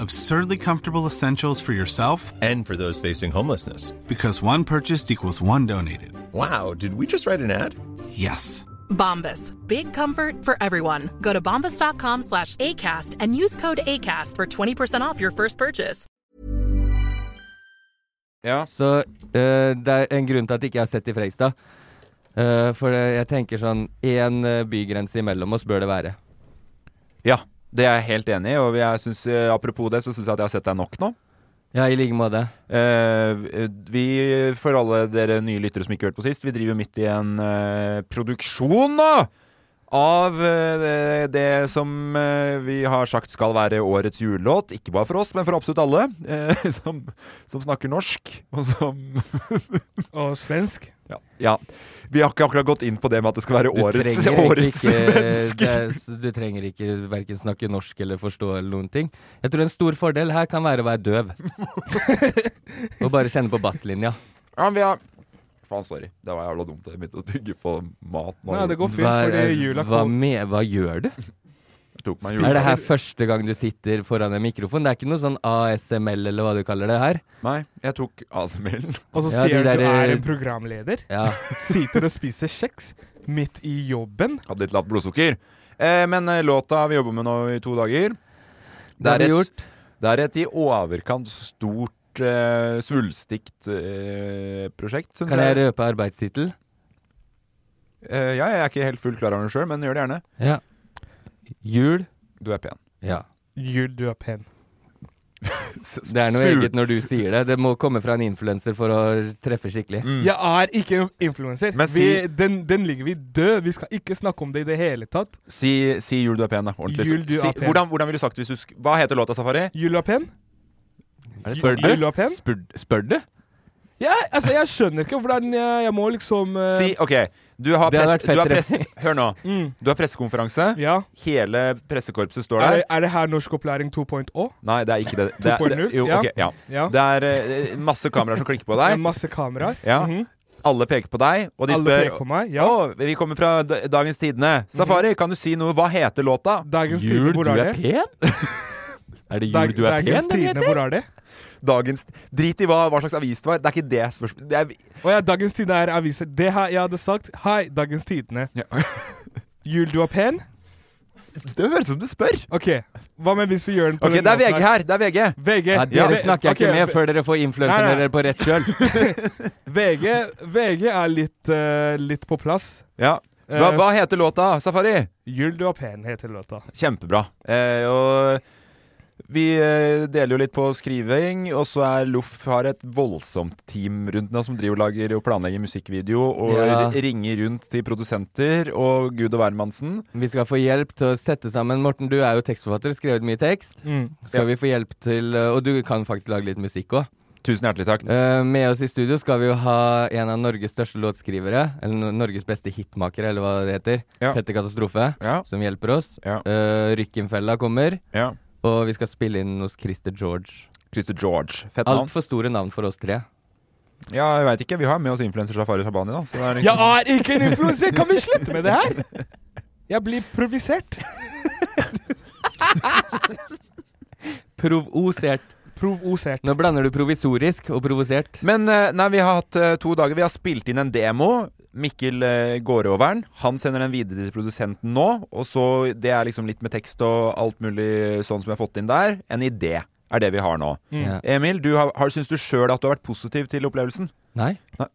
Speaker 6: Absurdly comfortable essentials for yourself
Speaker 7: And for those facing homelessness.
Speaker 6: because one purchased equals one donated.
Speaker 7: Wow, did we just write an ad?
Speaker 6: Yes.
Speaker 8: Bombas. Big comfort for everyone. Go to bombas.com slash ACAST and use code ACAST for 20% off your first purchase.
Speaker 2: Så eh, det er en grunn til at ikke jeg har sett i Fredrikstad. Eh, for eh, jeg tenker sånn Én eh, bygrense imellom oss bør det være.
Speaker 3: Ja, det er jeg helt enig i. Og jeg synes, eh, apropos det, så syns jeg at jeg har sett deg nok nå.
Speaker 2: Ja, i like måte.
Speaker 3: Eh, vi, for alle dere nye lyttere som ikke hørte på sist, vi driver midt i en eh, produksjon nå! Av eh, det, det som eh, vi har sagt skal være årets julelåt. Ikke bare for oss, men for absolutt alle eh, [LAUGHS] som, som snakker norsk. Og som
Speaker 4: Og svensk.
Speaker 3: Ja. ja. Vi har ikke akkurat gått inn på det med at det skal være
Speaker 2: Du
Speaker 3: årets,
Speaker 2: trenger egentlig
Speaker 3: årets svensk.
Speaker 2: det er- s- Du trenger ikke verken snakke norsk eller forstå eller noen ting. Jeg tror en stor fordel her kan være å være døv. og bare kjenne på basslinja.
Speaker 3: Ja, vi har Faen, sorry. Det var jævla dumt. Jeg begynte å tygge på mat nå.
Speaker 4: Nei, det går fint,
Speaker 2: Hva-
Speaker 4: fordi jula
Speaker 2: hva,
Speaker 4: kom.
Speaker 2: med, hva gjør du?
Speaker 3: tok meg
Speaker 2: Er det her
Speaker 3: juleferie.
Speaker 2: første gang du sitter foran en mikrofon? Det er ikke noe sånn ASML eller hva du kaller det her?
Speaker 3: Nei, jeg tok ASML.
Speaker 4: Og så
Speaker 2: Ja,
Speaker 4: sier
Speaker 2: de
Speaker 4: du
Speaker 2: der,
Speaker 4: du er
Speaker 2: eh,
Speaker 4: en programleder.
Speaker 2: Ja.
Speaker 4: Sitter og spiser kjeks midt i jobben.
Speaker 3: Hadde litt lavt blodsukker. Eh, men eh, låta vi jobber med nå i to dager
Speaker 2: Det har vi gjort.
Speaker 3: det er et i overkant stort eh, svulstigt eh, prosjekt, syns
Speaker 2: Kan jeg
Speaker 3: jeg.
Speaker 2: røpe arbeidstittel?
Speaker 3: Eh, ja, jeg er ikke helt fullt klar over det sjøl, men gjør det gjerne.
Speaker 2: Ja. Jul.
Speaker 3: Du er pen.
Speaker 2: Ja.
Speaker 4: Jul, du er pen.
Speaker 2: Det er noe
Speaker 4: Smul.
Speaker 2: eget når du sier det. Det må komme fra en influenser for å treffe skikkelig.
Speaker 3: Mm.
Speaker 4: Jeg er ikke en influenser.
Speaker 2: Men si-
Speaker 4: Vi- Den, den ligger vi død. Vi skal ikke snakke om det i det hele tatt.
Speaker 3: Si, si 'Jul, du er pen', da. Ordentlig.
Speaker 4: Jul, du
Speaker 3: si,
Speaker 4: er pen.
Speaker 3: Hvordan, hvordan ville du sagt det hvis du sk Hva heter låta, Safari?
Speaker 4: Jul er pen?
Speaker 2: Spør du?
Speaker 4: Jul er pen?
Speaker 2: Spør, spør du?
Speaker 3: Eh,
Speaker 4: Ja, altså, jeg skjønner ikke hvordan jeg, jeg må liksom eh,
Speaker 3: Si, OK. Du har,
Speaker 4: Det hadde
Speaker 3: press,
Speaker 4: vært fett,
Speaker 3: du har press,
Speaker 4: Remi.
Speaker 3: Hør nå.
Speaker 4: Mm.
Speaker 3: Du har pressekonferanse. Hele pressekorpset står
Speaker 4: er,
Speaker 3: der.
Speaker 4: er det her norskopplæring 2.0?
Speaker 3: Nei, det er ikke det. det, er,
Speaker 4: 2.0?
Speaker 3: det jo,
Speaker 4: Ja.
Speaker 3: ok, ja.
Speaker 4: Ja.
Speaker 3: Det er eh, masse kameraer som klikker på
Speaker 4: [LAUGHS]
Speaker 3: deg.
Speaker 4: Det er masse kameraer.
Speaker 3: Ja.
Speaker 4: Mhm.
Speaker 3: Alle peker på deg, og de
Speaker 4: Alle
Speaker 3: spør
Speaker 4: peker på meg, Mhm.
Speaker 3: «Å, Vi kommer fra D- Dagens Tidende. Safari, kan du si noe? Hva heter låta?
Speaker 4: Dagens Jul, Tidende, hvor du er er det? [LAUGHS]
Speaker 2: Er det
Speaker 4: Dag- Dagens Tidende, hvor er det?
Speaker 3: Dagens Drit i hva, hva slags avis det var. Det er ikke det spørsmålet. Det er,
Speaker 4: Å ja, Dagens Tidende er avisen. Det her jeg hadde sagt. Hei, Dagens Tidende.
Speaker 3: [LAUGHS]
Speaker 4: Jul, du er pen?
Speaker 3: Det høres ut som du spør.
Speaker 4: Ok, Hva med hvis vi gjør den på
Speaker 3: Ok,
Speaker 4: den
Speaker 3: det er
Speaker 4: måten
Speaker 3: VG her. Det er VG.
Speaker 4: VG.
Speaker 2: Ja, dere snakker jeg
Speaker 4: ok,
Speaker 2: ikke med
Speaker 4: v-
Speaker 2: før dere får influenseren
Speaker 4: Nei, nei.
Speaker 2: dere på rett kjøl.
Speaker 4: [LAUGHS] VG, VG er litt, eh, litt på plass. Eh,
Speaker 3: Ja. Hva, hva heter låta, Safari?
Speaker 4: Jul, du er pen, heter låta.
Speaker 3: Kjempebra. Eh, og vi eh, deler jo litt på skriving, og så er Loff har et voldsomt team rundt nå som driver og lager og planlegger musikkvideo og
Speaker 2: Ja.
Speaker 3: r- ringer rundt til produsenter og gud og hvermannsen.
Speaker 2: Vi skal få hjelp til å sette sammen Morten, du er jo tekstforfatter, skrevet mye tekst.
Speaker 4: Mm.
Speaker 2: Skal
Speaker 3: Ja.
Speaker 2: vi få hjelp til eh, Og du kan faktisk lage litt musikk òg.
Speaker 3: Tusen hjertelig takk.
Speaker 2: med oss i studio skal vi jo ha en av Norges største låtskrivere, eller no- Norges beste hitmakere, eller hva det heter.
Speaker 3: Ja.
Speaker 2: Petter Katastrofe, som hjelper oss. Eh, Rykkenfella kommer.
Speaker 3: Ja.
Speaker 2: Og vi skal spille inn hos Christer George.
Speaker 3: Christer George. Fett navn.
Speaker 2: Altfor store navn for oss tre.
Speaker 3: Ja, jeg veit ikke. Vi har med oss influenser Safari Shabani, da. Så det er
Speaker 4: Jeg er ikke en influenser! Kan vi slutte med det her? Jeg blir
Speaker 3: [LAUGHS]
Speaker 4: provisert.
Speaker 2: Provosert.
Speaker 4: Provosert.
Speaker 2: Nå blander du provisorisk og provosert.
Speaker 3: Men eh, nei, vi har hatt eh, to dager. Vi har spilt inn en demo. Mikkel eh, går over den. Han sender den videre til produsenten nå. Og så Det er liksom litt med tekst og alt mulig sånn som jeg har fått inn der. En idé er det vi har nå.
Speaker 2: Mm. Ja.
Speaker 3: Emil, du har, har, syns du sjøl at du har vært positiv til opplevelsen?
Speaker 2: Nei. [LAUGHS]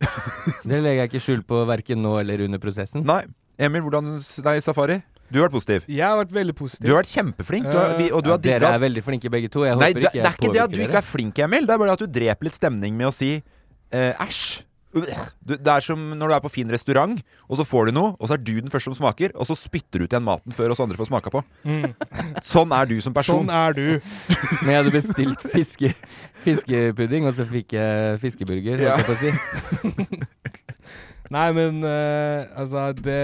Speaker 2: det legger jeg ikke skjul på verken nå eller under prosessen.
Speaker 3: Nei. Emil, hvordan syns- Nei, Safari. Du har vært positiv.
Speaker 4: Jeg har vært veldig positiv.
Speaker 3: Du har vært kjempeflink. Du har, vi, og du har
Speaker 2: Dere
Speaker 3: digga
Speaker 2: er veldig flinke begge to. Jeg
Speaker 3: Nei,
Speaker 2: håper
Speaker 3: det,
Speaker 2: ikke
Speaker 3: det
Speaker 2: jeg
Speaker 3: er ikke det at
Speaker 2: påvirker
Speaker 3: du ikke
Speaker 2: dere.
Speaker 3: er flink, Emil. Det er bare at du dreper litt stemning med å si eh, æsj. Du, det er som når du er på fin restaurant, og så får du noe, og så er du den første som smaker, og så spytter du ut igjen maten før oss andre får smaka på. [LAUGHS] Sånn er du som person.
Speaker 4: Sånn er du.
Speaker 2: Men jeg hadde bestilt fiske, [LAUGHS] fiskepudding, og så fikk jeg fiskeburger,
Speaker 4: Ja.
Speaker 2: holdt jeg på å si.
Speaker 4: Nei, men eh, altså det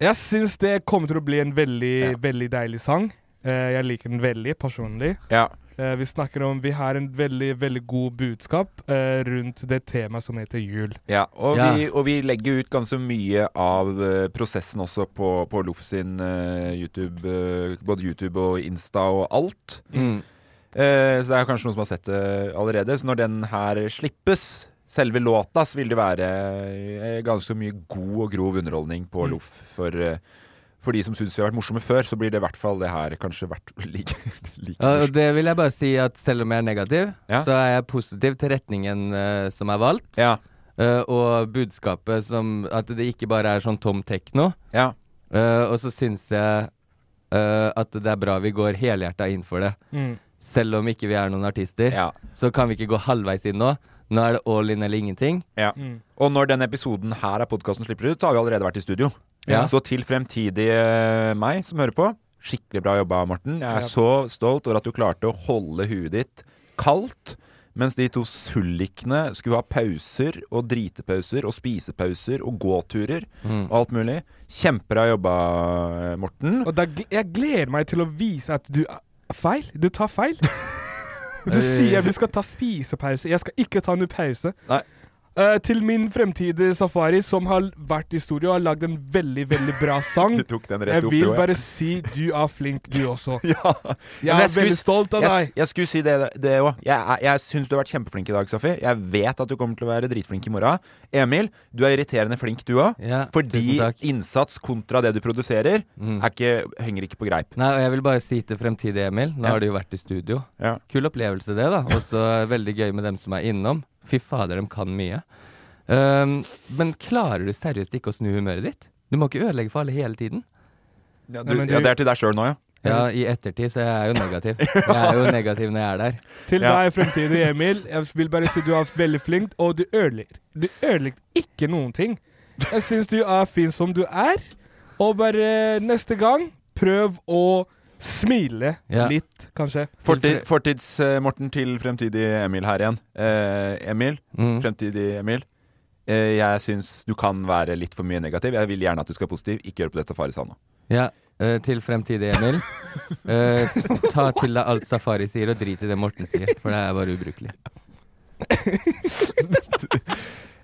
Speaker 4: Jeg syns det kommer til å bli en veldig, veldig deilig sang. Eh, jeg liker den veldig personlig.
Speaker 3: Ja.
Speaker 4: Eh, vi snakker om Vi har en veldig, veldig god budskap eh, rundt det temaet som heter jul.
Speaker 3: Ja, og,
Speaker 4: Ja.
Speaker 3: Vi, og vi legger ut ganske mye av eh, prosessen også på, på Loff sin eh, YouTube, eh, både YouTube og Insta og alt.
Speaker 2: Mm.
Speaker 3: Eh, så det er kanskje noen som har sett det allerede. Så når den her slippes, selve låta så vil det være eh, ganske mye god og grov underholdning på
Speaker 4: Mm.
Speaker 3: loff. For, eh, for de som syns vi har vært morsomme før, så blir det i hvert fall det her kanskje vært like, [LAUGHS] like
Speaker 2: Ja,
Speaker 3: morsomt.
Speaker 2: og det vil jeg bare si at selv om jeg er negativ,
Speaker 3: Ja.
Speaker 2: så er jeg positiv til retningen eh, som er valgt. Eh, og budskapet som At det ikke bare er sånn tom tekno. Eh, og så syns jeg eh, at det er bra vi går helhjerta inn for det.
Speaker 4: Mm.
Speaker 2: Selv om ikke vi er noen artister, så kan vi ikke gå halvveis inn nå. Nå er det all in eller ingenting.
Speaker 3: Ja.
Speaker 2: Mm.
Speaker 3: Og når denne episoden her av podkasten slipper ut, så har vi allerede vært i studio.
Speaker 2: Ja.
Speaker 3: Så til fremtidige eh, meg som hører på, skikkelig bra jobba, Morten. Jeg
Speaker 2: Ja.
Speaker 3: er så stolt over at du klarte å holde huet ditt kaldt. Mens de to sullikene skulle ha pauser og dritepauser og spisepauser og gåturer
Speaker 4: Mm.
Speaker 3: og alt mulig. Kjempebra jobba, Morten.
Speaker 4: Og da, gl- jeg gleder meg til å vise at du er feil. Du tar
Speaker 3: [LAUGHS]
Speaker 4: feil. Du sier vi skal ta spisepause. Jeg skal ikke ta noen pause. Eh, til min fremtidige Safari, som har vært i studio og har lagd en veldig veldig bra sang.
Speaker 3: [LAUGHS] Du tok den rett i
Speaker 4: jeg vil
Speaker 3: oppdraget.
Speaker 4: bare si du er flink, du
Speaker 3: [LAUGHS]
Speaker 4: også. Jeg
Speaker 3: Men
Speaker 4: er
Speaker 3: skulle-
Speaker 4: veldig stolt av
Speaker 3: jeg,
Speaker 4: deg.
Speaker 3: Jeg skulle si det det òg. Jeg, er- jeg syns du har vært kjempeflink i dag, Safi. Jeg vet at du kommer til å være dritflink i morgen. Emil, du er irriterende flink du òg.
Speaker 2: Ja, tusen
Speaker 3: fordi
Speaker 2: takk.
Speaker 3: innsats kontra det du produserer,
Speaker 2: Mm.
Speaker 3: er ikke, henger ikke på greip.
Speaker 2: Nei, og jeg vil bare si til fremtidig Emil, nå
Speaker 3: Ja.
Speaker 2: har du jo vært i studio.
Speaker 3: Ja.
Speaker 2: Kul opplevelse det, da. Også [LAUGHS] veldig gøy med dem som er innom. Fy fader, de kan mye. Ehm, men klarer du seriøst ikke å snu humøret ditt? Du må ikke ødelegge for alle hele tiden.
Speaker 3: Ja, du, ja, det er til deg sjøl nå, ja.
Speaker 2: Ja, i ettertid, så jeg er jo negativ. Jeg er jo negativ når jeg er der.
Speaker 4: Til deg, fremtidig Emil. Jeg vil bare si du er veldig flink, og du ødelegger. Du ødelegger ikke noen ting. Jeg syns du er fin som du er, og bare neste gang, prøv å smile
Speaker 3: Ja.
Speaker 4: litt, kanskje.
Speaker 3: Fortid, Fortids-Morten til fremtidig Emil her igjen. Eh, Emil,
Speaker 2: Mm.
Speaker 3: fremtidig Emil. Eh, jeg syns du kan være litt for mye negativ. Jeg vil gjerne at du skal være positiv. Ikke gjør på det Safari sa nå.
Speaker 2: Ja, eh, til fremtidig Emil. Eh, ta til deg alt Safari sier, og drit i det Morten sier, for det er bare ubrukelig.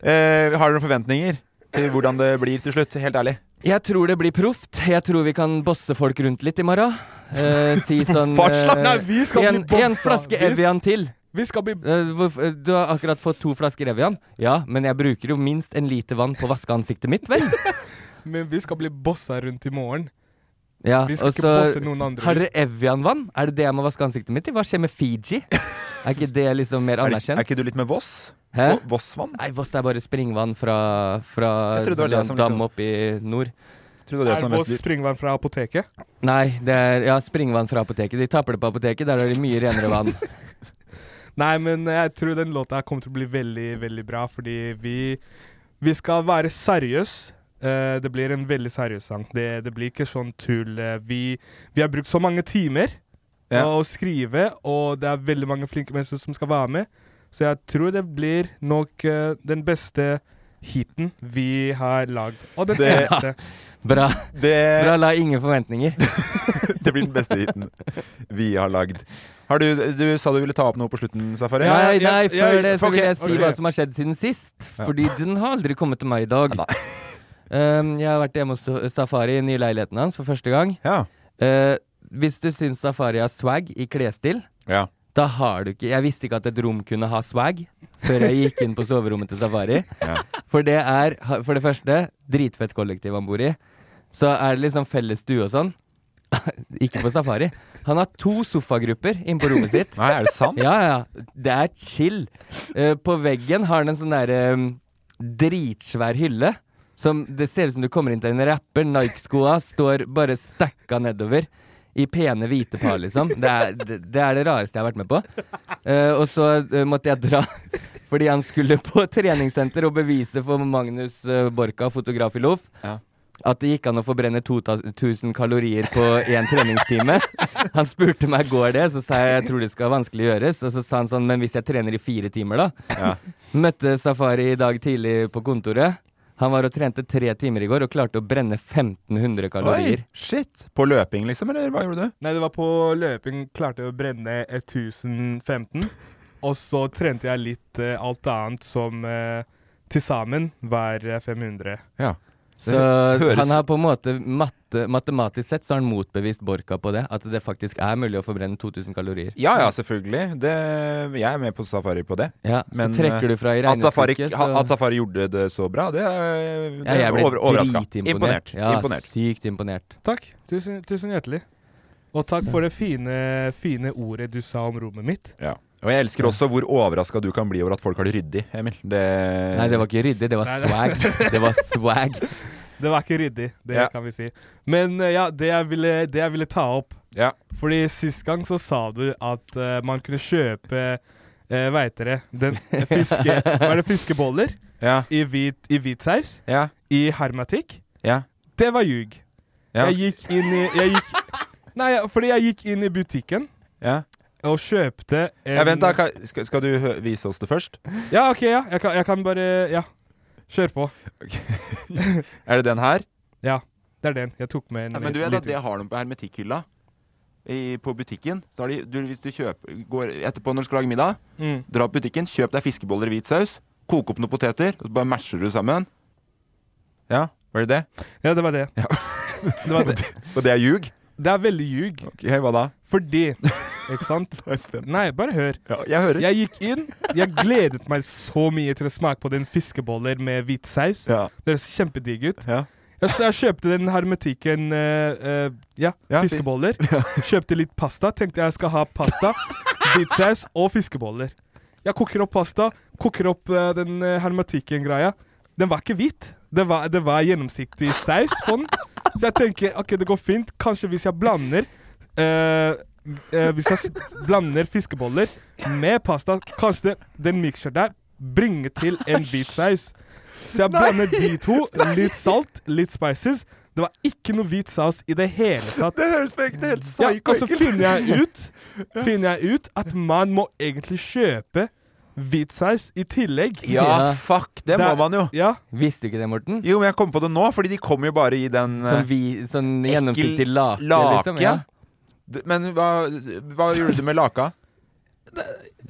Speaker 3: Eh, har du noen forventninger til hvordan det blir til slutt? Helt ærlig.
Speaker 2: Jeg tror det blir proft. Jeg tror vi kan bosse folk rundt litt i morgen. Eh, [LAUGHS] si sånn
Speaker 4: Hva slags-
Speaker 2: eh,
Speaker 4: Nei, vi skal
Speaker 2: en,
Speaker 4: bli bossa.
Speaker 2: en flaske
Speaker 4: Vi-
Speaker 2: Evian til. Eh,
Speaker 4: Vi skal bli
Speaker 2: Du har akkurat fått to flasker Evian. Ja, men jeg bruker jo minst en liter vann på å vaske ansiktet mitt, vel?
Speaker 4: Men vi skal bli bossa rundt i morgen.
Speaker 2: Ja, altså,
Speaker 4: vi skal
Speaker 2: og
Speaker 4: ikke
Speaker 2: så
Speaker 4: bosse noen andre.
Speaker 2: Har dere Evian-vann? Er det det jeg må vaske ansiktet mitt i? Hva skjer med Fiji? Er ikke det liksom mer
Speaker 3: Er det-
Speaker 2: anerkjent?
Speaker 3: er ikke du litt med Voss?
Speaker 2: Hæ?
Speaker 3: Vossvann?
Speaker 2: Nei, Voss er bare springvann fra, fra
Speaker 3: Jeg trodde det var det som
Speaker 2: dam
Speaker 3: liksom-
Speaker 2: opp i nord.
Speaker 4: er vårt springvann fra apoteket?
Speaker 2: Nei, det er ja, springvann fra apoteket. De tapper det på apoteket. Der har de mye renere vann.
Speaker 4: Nei, men jeg tror den låta her kommer til å bli veldig, veldig bra, fordi vi, vi skal være seriøse. det blir en veldig seriøs sang. Det, det blir ikke sånn tull. Eh, Vi, vi har brukt så mange timer
Speaker 3: Ja.
Speaker 4: å skrive, og det er veldig mange flinke mennesker som skal være med. Så jeg tror det blir nok eh, den beste heaten vi har lagd. Og den
Speaker 3: Det-
Speaker 4: eneste.
Speaker 2: Bra.
Speaker 3: Det-
Speaker 2: Bra, la ingen forventninger.
Speaker 3: [LAUGHS] Det blir den beste hiten vi har lagd. Har du, du sa du ville ta opp noe på slutten, Safari?
Speaker 2: Nei, nei, før det så
Speaker 3: Ok,
Speaker 2: vil jeg si
Speaker 3: ok.
Speaker 2: hva som har skjedd siden sist.
Speaker 3: Ja.
Speaker 2: Fordi den har aldri kommet til meg i dag. Um, jeg har vært hjemme hos Sa- Safari i den nye leiligheten hans for første gang. Uh, hvis du syns Safari har swag i klesstil,
Speaker 3: Ja.
Speaker 2: da har du ikke Jeg visste ikke at et rom kunne ha swag før jeg gikk inn på soverommet til Safari.
Speaker 3: Ja.
Speaker 2: For det er, ha- for det første, dritfett kollektiv han bor i. Så er det liksom felles stue og sånn. [LAUGHS] Ikke på safari. Han har to sofagrupper inne på rommet sitt.
Speaker 3: Nei, er det
Speaker 2: [LAUGHS]
Speaker 3: sant?
Speaker 2: Ja, ja. Det er chill. Eh, på veggen har han en sånn derre um, dritsvær hylle. Som Det ser ut som du kommer inn til en rapper. Nike-skoa står bare stacka nedover. I pene hvite par, liksom. Det er det, det er det rareste jeg har vært med på. Eh, og så eh, måtte jeg dra [LAUGHS] fordi han skulle på treningssenter og bevise for Magnus eh, Borka, fotograf i Loff,
Speaker 3: Ja.
Speaker 2: at det gikk an å forbrenne 2000 kalorier på én treningstime. Han spurte meg går det, så sa jeg jeg tror det skal vanskelig gjøres. Og så sa han sånn, men hvis jeg trener i fire timer, da?
Speaker 3: Ja.
Speaker 2: Møtte Safari i dag tidlig på kontoret. Han var og trente tre timer i går og klarte å brenne 1500 kalorier.
Speaker 3: Oi, shit. På løping, liksom, eller hva gjorde du?
Speaker 4: Nei, det var på løping. Klarte jeg å brenne 1015. Og så trente jeg litt eh, alt annet som eh, til sammen var eh, 500.
Speaker 3: Ja.
Speaker 2: Så
Speaker 3: Det høres-
Speaker 2: han har på en måte matte, matematisk sett så har han motbevist Borka på det. At det faktisk er mulig å forbrenne 2000 kalorier.
Speaker 3: Ja, ja, selvfølgelig. Det, jeg er med på safari på det.
Speaker 2: Ja, så trekker du fra i
Speaker 3: eh, at safari,
Speaker 2: regnestykket,
Speaker 3: ha-
Speaker 2: så-
Speaker 3: at safari gjorde det så bra, det er, det
Speaker 2: Ja, jeg
Speaker 3: er
Speaker 2: ble
Speaker 3: over, overraska.
Speaker 2: dritimponert. Ja,
Speaker 3: imponert.
Speaker 2: sykt imponert.
Speaker 4: Takk. Tusen, tusen hjertelig. Og takk for det fine, fine ordet du sa om rommet mitt.
Speaker 3: Ja. Og jeg elsker også hvor overraska du kan bli over at folk har det ryddig, Emil. Det... Eh.
Speaker 2: Nei, det var ikke ryddig, det var
Speaker 4: Nei,
Speaker 2: swag. Det var swag.
Speaker 4: Det var ikke ryddig, det
Speaker 3: Ja.
Speaker 4: kan vi si. Men eh, ja, det jeg ville, det jeg ville ta opp Fordi sist gang så sa du at eh, man kunne kjøpe uh, Veit dere den fiske, Hva er det, fiskeboller?
Speaker 3: Ja.
Speaker 4: I, hvit, I hvit saus?
Speaker 3: Ja.
Speaker 4: I hermetikk?
Speaker 3: Ja.
Speaker 4: Det var ljug.
Speaker 3: Ja.
Speaker 4: Jeg gikk inn i jeg gikk, Nei, ja, fordi jeg gikk inn i butikken
Speaker 3: Ja.
Speaker 4: og kjøpte en
Speaker 3: Ja, vent, da. ka- Skal, skal du hø- vise oss det først?
Speaker 4: Ja, OK, ja. Jeg kan, jeg kan bare Ja. Kjør på.
Speaker 3: Er det den her?
Speaker 4: Ja, det er den. Jeg tok med en
Speaker 3: Ja, men du vet
Speaker 4: liten-
Speaker 3: at det har de på hermetikkhylla i, på butikken. Så har de, du, hvis du kjøper, går etterpå når du skal lage middag,
Speaker 4: Mm.
Speaker 3: dra på butikken, kjøp deg fiskeboller i hvit saus, koke opp noen poteter, og så bare masher du sammen. Ja, var det det?
Speaker 4: Ja, det var det. [LAUGHS] Det var det.
Speaker 3: Og det er ljug?
Speaker 4: Det er veldig ljug.
Speaker 3: Ok, hva da?
Speaker 4: Fordi
Speaker 3: [LAUGHS]
Speaker 4: Ikke sant? Nei, bare hør.
Speaker 3: jeg hører.
Speaker 4: gikk inn. Jeg gledet meg så mye til å smake på den fiskeboller med hvit saus. Det høres kjempedigg ut. Jeg, så jeg kjøpte den hermetikken eh, eh, ja, fiskeboller. Kjøpte litt pasta. Tenkte jeg skal ha pasta, hvit saus og fiskeboller. Jeg koker opp pasta, koker opp eh, den eh, hermetikken-greia. Den var ikke hvit. Det var, det var gjennomsiktig saus på den. Så jeg tenker ok, det går fint. Kanskje hvis jeg blander eh, eh, Hvis jeg s- blander fiskeboller med pasta, kanskje det, den mixer der bringer til en hvit saus. Så jeg blander de to. Litt salt, litt spices. Det var ikke noe hvit saus i det hele tatt.
Speaker 3: Det høres på ekte helt
Speaker 4: Ja, og så
Speaker 3: psyko-ekkelt.
Speaker 4: finner jeg ut Finner jeg ut at man må egentlig kjøpe hvit saus i tillegg.
Speaker 3: [LAUGHS] Ja, fuck, det må man jo.
Speaker 4: Ja.
Speaker 2: Visste du ikke det, Morten?
Speaker 3: Jo, men jeg kom på det nå, fordi de kom jo bare i den eh,
Speaker 2: Sånn, vi, sånn gjennomsiktig
Speaker 3: ekkel
Speaker 2: lake, liksom. Ja.
Speaker 3: D- Men hva, hva gjorde du med laka?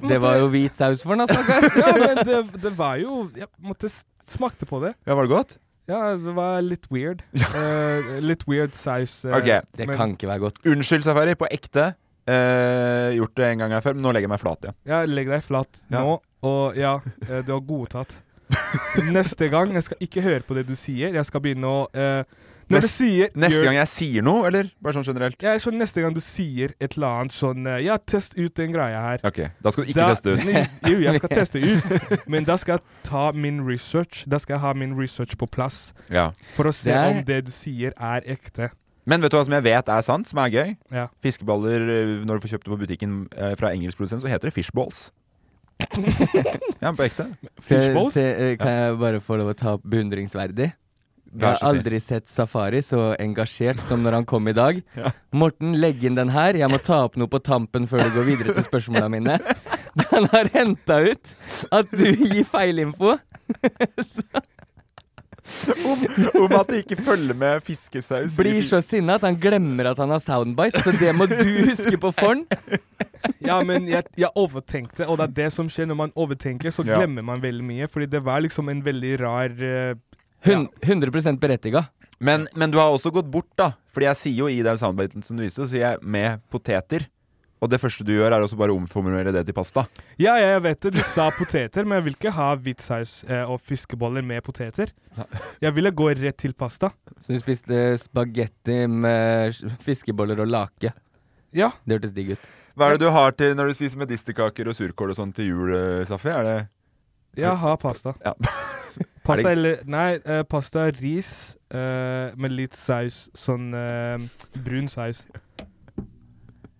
Speaker 2: Det var jo hvit saus for den, altså.
Speaker 4: ja, men det, det var jo Jeg måtte s- smakte på det.
Speaker 3: [LAUGHS] Ja, Var det godt?
Speaker 4: Ja, det var litt weird. Eh, litt weird saus. eh,
Speaker 3: Ok.
Speaker 4: men-
Speaker 2: ikke være godt.
Speaker 3: Unnskyld, Safari. På ekte. Eh, gjort det en gang her før, men nå legger jeg meg flat igjen.
Speaker 4: Ja, legg deg flat
Speaker 3: Ja.
Speaker 4: nå, og ja, eh, du har
Speaker 3: [LAUGHS]
Speaker 4: godtatt. Neste gang, jeg skal ikke høre på det du sier, jeg skal begynne å eh, Når du
Speaker 3: Nest-
Speaker 4: sier
Speaker 3: Neste
Speaker 4: gjør-
Speaker 3: gang jeg sier noe, eller bare sånn generelt?
Speaker 4: ja, så Neste gang du sier et eller annet sånn eh, Ja, test ut den greia her.
Speaker 3: Ok, da skal du ikke
Speaker 4: Da-
Speaker 3: teste ut.
Speaker 4: [LAUGHS] Nei, Jo, jeg
Speaker 3: [LAUGHS]
Speaker 4: skal teste ut, men da skal jeg ta min research. Da skal jeg ha min research på plass
Speaker 3: Ja.
Speaker 4: for å se
Speaker 3: Det er-
Speaker 4: om det du sier, er ekte.
Speaker 3: Men vet du hva som jeg vet er sant, som er gøy?
Speaker 4: Ja.
Speaker 3: Fiskeballer eh, når du får kjøpt det på butikken eh, fra engelsk produsent, så heter det [LAUGHS] fishballs. ja, på ekte.
Speaker 2: Se- se, eh, Kan jeg bare få lov å ta opp beundringsverdig? Jeg
Speaker 3: Vær
Speaker 2: har
Speaker 3: så snill.
Speaker 2: aldri sett Safari så engasjert som når han kom i
Speaker 3: [LAUGHS]
Speaker 2: dag. Morten, legg inn den her. Jeg må ta opp noe på tampen før du går videre til spørsmåla mine. [LAUGHS] Han har henta ut at du gir feilinfo.
Speaker 3: om, om at det ikke følger med fiskesaus.
Speaker 2: Blir så sinna at han glemmer at han har soundbite, så det må du huske på for'n.
Speaker 4: Ja, men jeg, jeg overtenkte, og det er det som skjer når man overtenker, så
Speaker 2: Ja.
Speaker 4: glemmer man veldig mye. Fordi det var liksom en veldig rar eh,
Speaker 2: Hun- 100 berettiga.
Speaker 3: Men, men du har også gått bort, da. Fordi jeg sier jo i den soundbiten som du viste, så sier jeg 'med poteter'. Og det første du gjør, er også bare å omformulere det til pasta.
Speaker 4: Ja, ja, jeg vet det. Du sa poteter, men jeg vil ikke ha hvit saus eh, og fiskeboller med poteter. Jeg ville gå rett til pasta.
Speaker 2: Så hun spiste spagetti med [LAUGHS] fiskeboller og lake.
Speaker 4: Ja.
Speaker 2: Det hørtes digg ut.
Speaker 3: Hva er det du har til når du spiser medisterkaker og surkål og sånn til jul, eh, Safi? Er det [LAUGHS]
Speaker 4: Jeg har pasta.
Speaker 3: Ja. [LAUGHS] Er
Speaker 4: Pasta
Speaker 3: det-
Speaker 4: eller Nei, eh, pasta ris eh, med litt saus. Sånn eh, brun saus.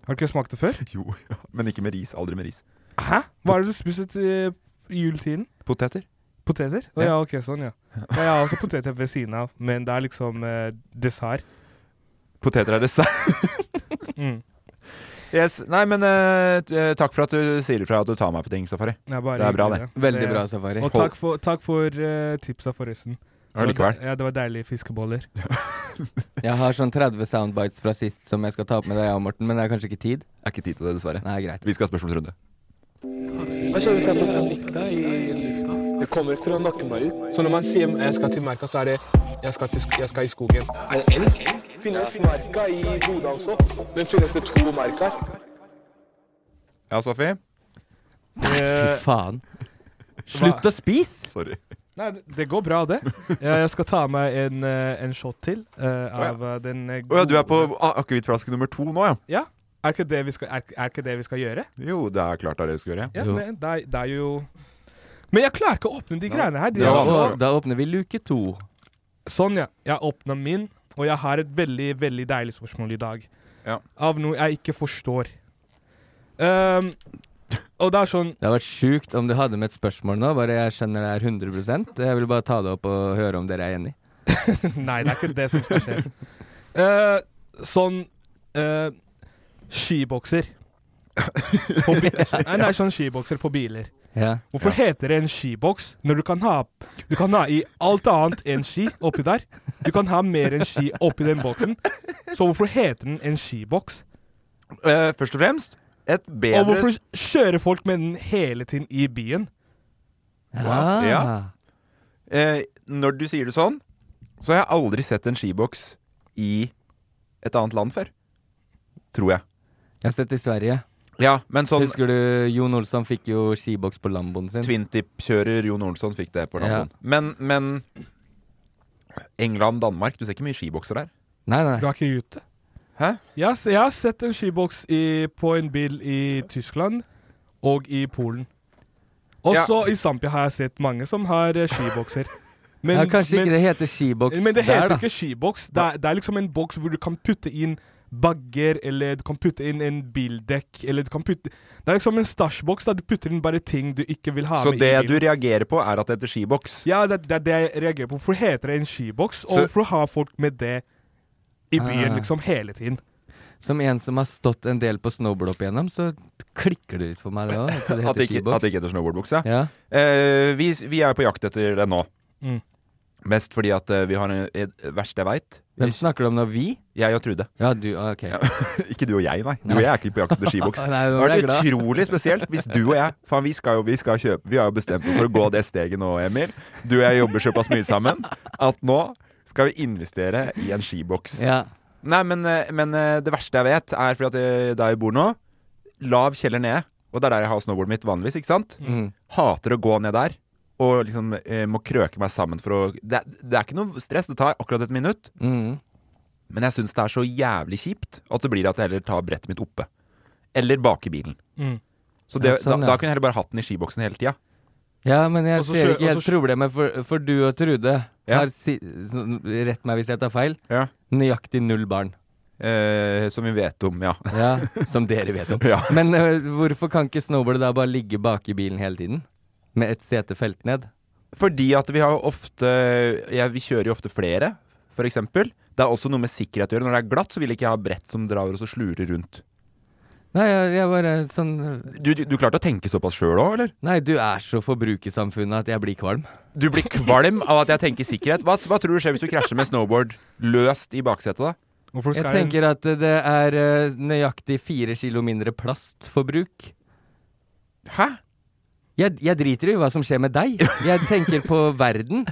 Speaker 4: Har du ikke smakt det før?
Speaker 3: Jo, ja. men ikke med ris. Aldri med ris.
Speaker 4: Hæ? Hva er det du spiser til eh, juletiden?
Speaker 3: Poteter.
Speaker 4: Poteter? Å ja.
Speaker 3: Ja.
Speaker 4: ok, sånn, ja. ja. Jeg har også poteter ved siden av, men det er liksom eh, dessert.
Speaker 3: Poteter er dessert.
Speaker 4: Mm.
Speaker 3: [LAUGHS] yes. Nei, men eh, t- eh, takk for at du sier ifra at du tar meg på ting, Safari.
Speaker 4: Ja, bare
Speaker 3: det er bra, det.
Speaker 4: hyggelig, Det- Og takk for, takk for eh, tipsa, forresten.
Speaker 2: Ja,
Speaker 4: Det var
Speaker 2: likevel.
Speaker 4: de- Ja, det var deilige fiskeboller.
Speaker 2: Jeg har sånn 30 soundbites fra sist som jeg skal ta opp med deg, ja, Morten, men det er kanskje ikke tid?
Speaker 3: Er ikke tid til det, dessverre.
Speaker 2: Nei, greit.
Speaker 3: Vi skal ha spørsmålsrunde.
Speaker 9: Hva skjer hvis jeg får en mikk da i lufta? Det Du kommer ikke til å nakke meg ut. Så når man sier jeg skal til merka, så er det jeg skal, til, sk- jeg skal i skogen. Er det elg? Finnes merka i Bodø også? Men finnes det to merker?
Speaker 3: Ja, Safi?
Speaker 2: Nei, fy faen. Slutt å spise!
Speaker 3: Sorry.
Speaker 4: Nei, det- det går bra, det. Jeg, jeg skal ta meg en, eh, en shot til eh, av eh, den eh,
Speaker 3: Å ja, du er på a- akevittflaske nummer to nå, ja?
Speaker 4: Ja. Er ikke det vi skal, er, er ikke det vi skal gjøre?
Speaker 3: Jo, det er klart det er det du skal gjøre.
Speaker 4: Ja, men det, er- det er jo Men jeg klarer ikke å åpne de greiene her. De
Speaker 2: Da,
Speaker 4: er så-
Speaker 2: da åpner vi luke to.
Speaker 4: Sånn, ja. Jeg åpna min, og jeg har et veldig veldig deilig spørsmål i dag. Av noe jeg ikke forstår. Ehm, og det er sånn
Speaker 2: Det hadde vært sjukt om du hadde med et spørsmål nå. Bare jeg skjønner det er 100 Jeg vil bare ta det opp og høre om dere er enig.
Speaker 4: Nei, det er ikke det som skal skje. Eh, sånn eh, skibokser. På bi [LAUGHS] nei, nei, sånn skibokser på biler.
Speaker 2: Ja.
Speaker 4: Hvorfor heter det en skiboks når du kan ha Du kan ha i alt annet enn ski oppi der? Du kan ha mer enn ski oppi den boksen. Så hvorfor heter den en skiboks?
Speaker 3: Eh, først og fremst et bedre
Speaker 4: Og hvorfor kjører folk med den hele tiden i byen?
Speaker 3: Wow. Ja.
Speaker 2: Ah.
Speaker 3: Eh, når du sier det sånn, så har jeg aldri sett en skiboks i et annet land før. Tror jeg.
Speaker 2: Jeg har sett i Sverige.
Speaker 3: Ja, men sånn
Speaker 2: Husker du Jon Olsson fikk jo skiboks på lamboen sin?
Speaker 3: Twintip-kjører Jon Olsson fikk det på
Speaker 2: Ja.
Speaker 3: navnet. Men, men England, Danmark Du ser ikke mye skibokser der.
Speaker 2: Nei, nei.
Speaker 4: Du er ikke ute?
Speaker 3: Hæ?
Speaker 4: Jeg, har- jeg har sett en skiboks i, på en bil i Tyskland og i Polen. Også i Zampia har jeg sett mange som har eh,
Speaker 2: [LAUGHS]
Speaker 4: skibokser.
Speaker 2: ja, kanskje ikke det heter skiboks
Speaker 4: men det
Speaker 2: der,
Speaker 4: heter
Speaker 2: da.
Speaker 4: ikke skiboks. Det er, det er liksom en boks hvor du kan putte inn bagger, eller du kan putte inn en bildekk, eller du kan putte Det er liksom en stæsjboks der du putter inn bare ting du ikke vil ha
Speaker 3: Så
Speaker 4: med
Speaker 3: det
Speaker 4: i
Speaker 3: du
Speaker 4: bilen.
Speaker 3: reagerer på, er at det heter skiboks.
Speaker 4: Ja, det det er det jeg reagerer på. Hvorfor heter det en skiboks, og
Speaker 3: Så-
Speaker 4: hvorfor har folk med det i byen
Speaker 2: Ah.
Speaker 4: liksom hele tiden?
Speaker 2: Som en som har stått en del på snowboard opp igjennom, så klikker det litt for meg det òg. At det
Speaker 3: At
Speaker 2: heter
Speaker 3: det ikke,
Speaker 2: skiboks.
Speaker 3: at det ikke heter snowboardbukse.
Speaker 2: Ja.
Speaker 3: Eh, vi, vi er på jakt etter det nå.
Speaker 4: Mm.
Speaker 3: Mest fordi at eh, vi har en, et verste jeg veit.
Speaker 2: Hvem snakker du om nå? Vi?
Speaker 3: Jeg og Trude.
Speaker 2: Ja, du, ah, ok.
Speaker 3: ikke du og jeg, nei. Du og jeg er ikke på jakt etter skiboks.
Speaker 2: [LAUGHS] Nei,
Speaker 3: det
Speaker 2: nå
Speaker 3: hadde
Speaker 2: ble jeg
Speaker 3: vært
Speaker 2: glad.
Speaker 3: utrolig spesielt hvis du og jeg Faen, vi skal jo vi skal kjøpe Vi har jo bestemt oss for å gå det steget nå, Emil. Du og jeg jobber såpass mye sammen at nå skal vi investere i en skiboks.
Speaker 2: Ja.
Speaker 3: Nei, men, eh, men eh, det verste jeg vet, er fordi at eh, der jeg bor nå, lav kjeller nede. Og det er der jeg har snowboardet mitt vanligvis, ikke sant?
Speaker 2: Mm.
Speaker 3: Hater å gå ned der. Og liksom eh, må krøke meg sammen for å det, er- det er ikke noe stress, det tar akkurat et minutt.
Speaker 2: Mm.
Speaker 3: Men jeg syns det er så jævlig kjipt at det blir at jeg heller tar brettet mitt oppe. Eller bak i bilen.
Speaker 4: Mm.
Speaker 3: Så
Speaker 2: Ja,
Speaker 3: det,
Speaker 2: sånn, ja.
Speaker 3: da, da kunne jeg heller bare hatt den i skiboksen hele tida.
Speaker 2: Ja, men jeg
Speaker 3: Og så
Speaker 2: ser
Speaker 3: kjø-
Speaker 2: ikke
Speaker 3: og
Speaker 2: helt
Speaker 3: så kjø-
Speaker 2: problemet, for, for du og Trude
Speaker 3: Ja.
Speaker 2: har si, sånn, Rett meg hvis jeg tar feil.
Speaker 3: Ja.
Speaker 2: Nøyaktig null barn.
Speaker 3: Eh, som vi vet om, ja.
Speaker 2: Ja, Som dere vet om.
Speaker 3: [LAUGHS] Ja.
Speaker 2: Men ø, hvorfor kan ikke snowboardet da bare ligge bak i bilen hele tiden? Med et sete felt ned?
Speaker 3: Fordi at vi har jo ofte ja, Vi kjører jo ofte flere, for eksempel. Det er også noe med sikkerhet å gjøre. Når det er glatt, så vil ikke jeg ha brett som drar og så slurer rundt.
Speaker 2: Nei, jeg, jeg bare sånn
Speaker 3: Du, du, du klarte å tenke såpass sjøl òg, eller?
Speaker 2: Nei, du er så forbrukersamfunnet at jeg blir kvalm.
Speaker 3: Du blir kvalm av at jeg tenker sikkerhet. Hva, hva tror du skjer hvis du krasjer med snowboard løst i baksetet, da?
Speaker 4: Hvorfor
Speaker 2: Jeg tenker at ø, det er ø, nøyaktig fire kilo mindre plastforbruk.
Speaker 3: Hæ?
Speaker 2: Jeg, jeg driter i hva som skjer med
Speaker 3: [LAUGHS]
Speaker 2: deg. Jeg tenker på verden.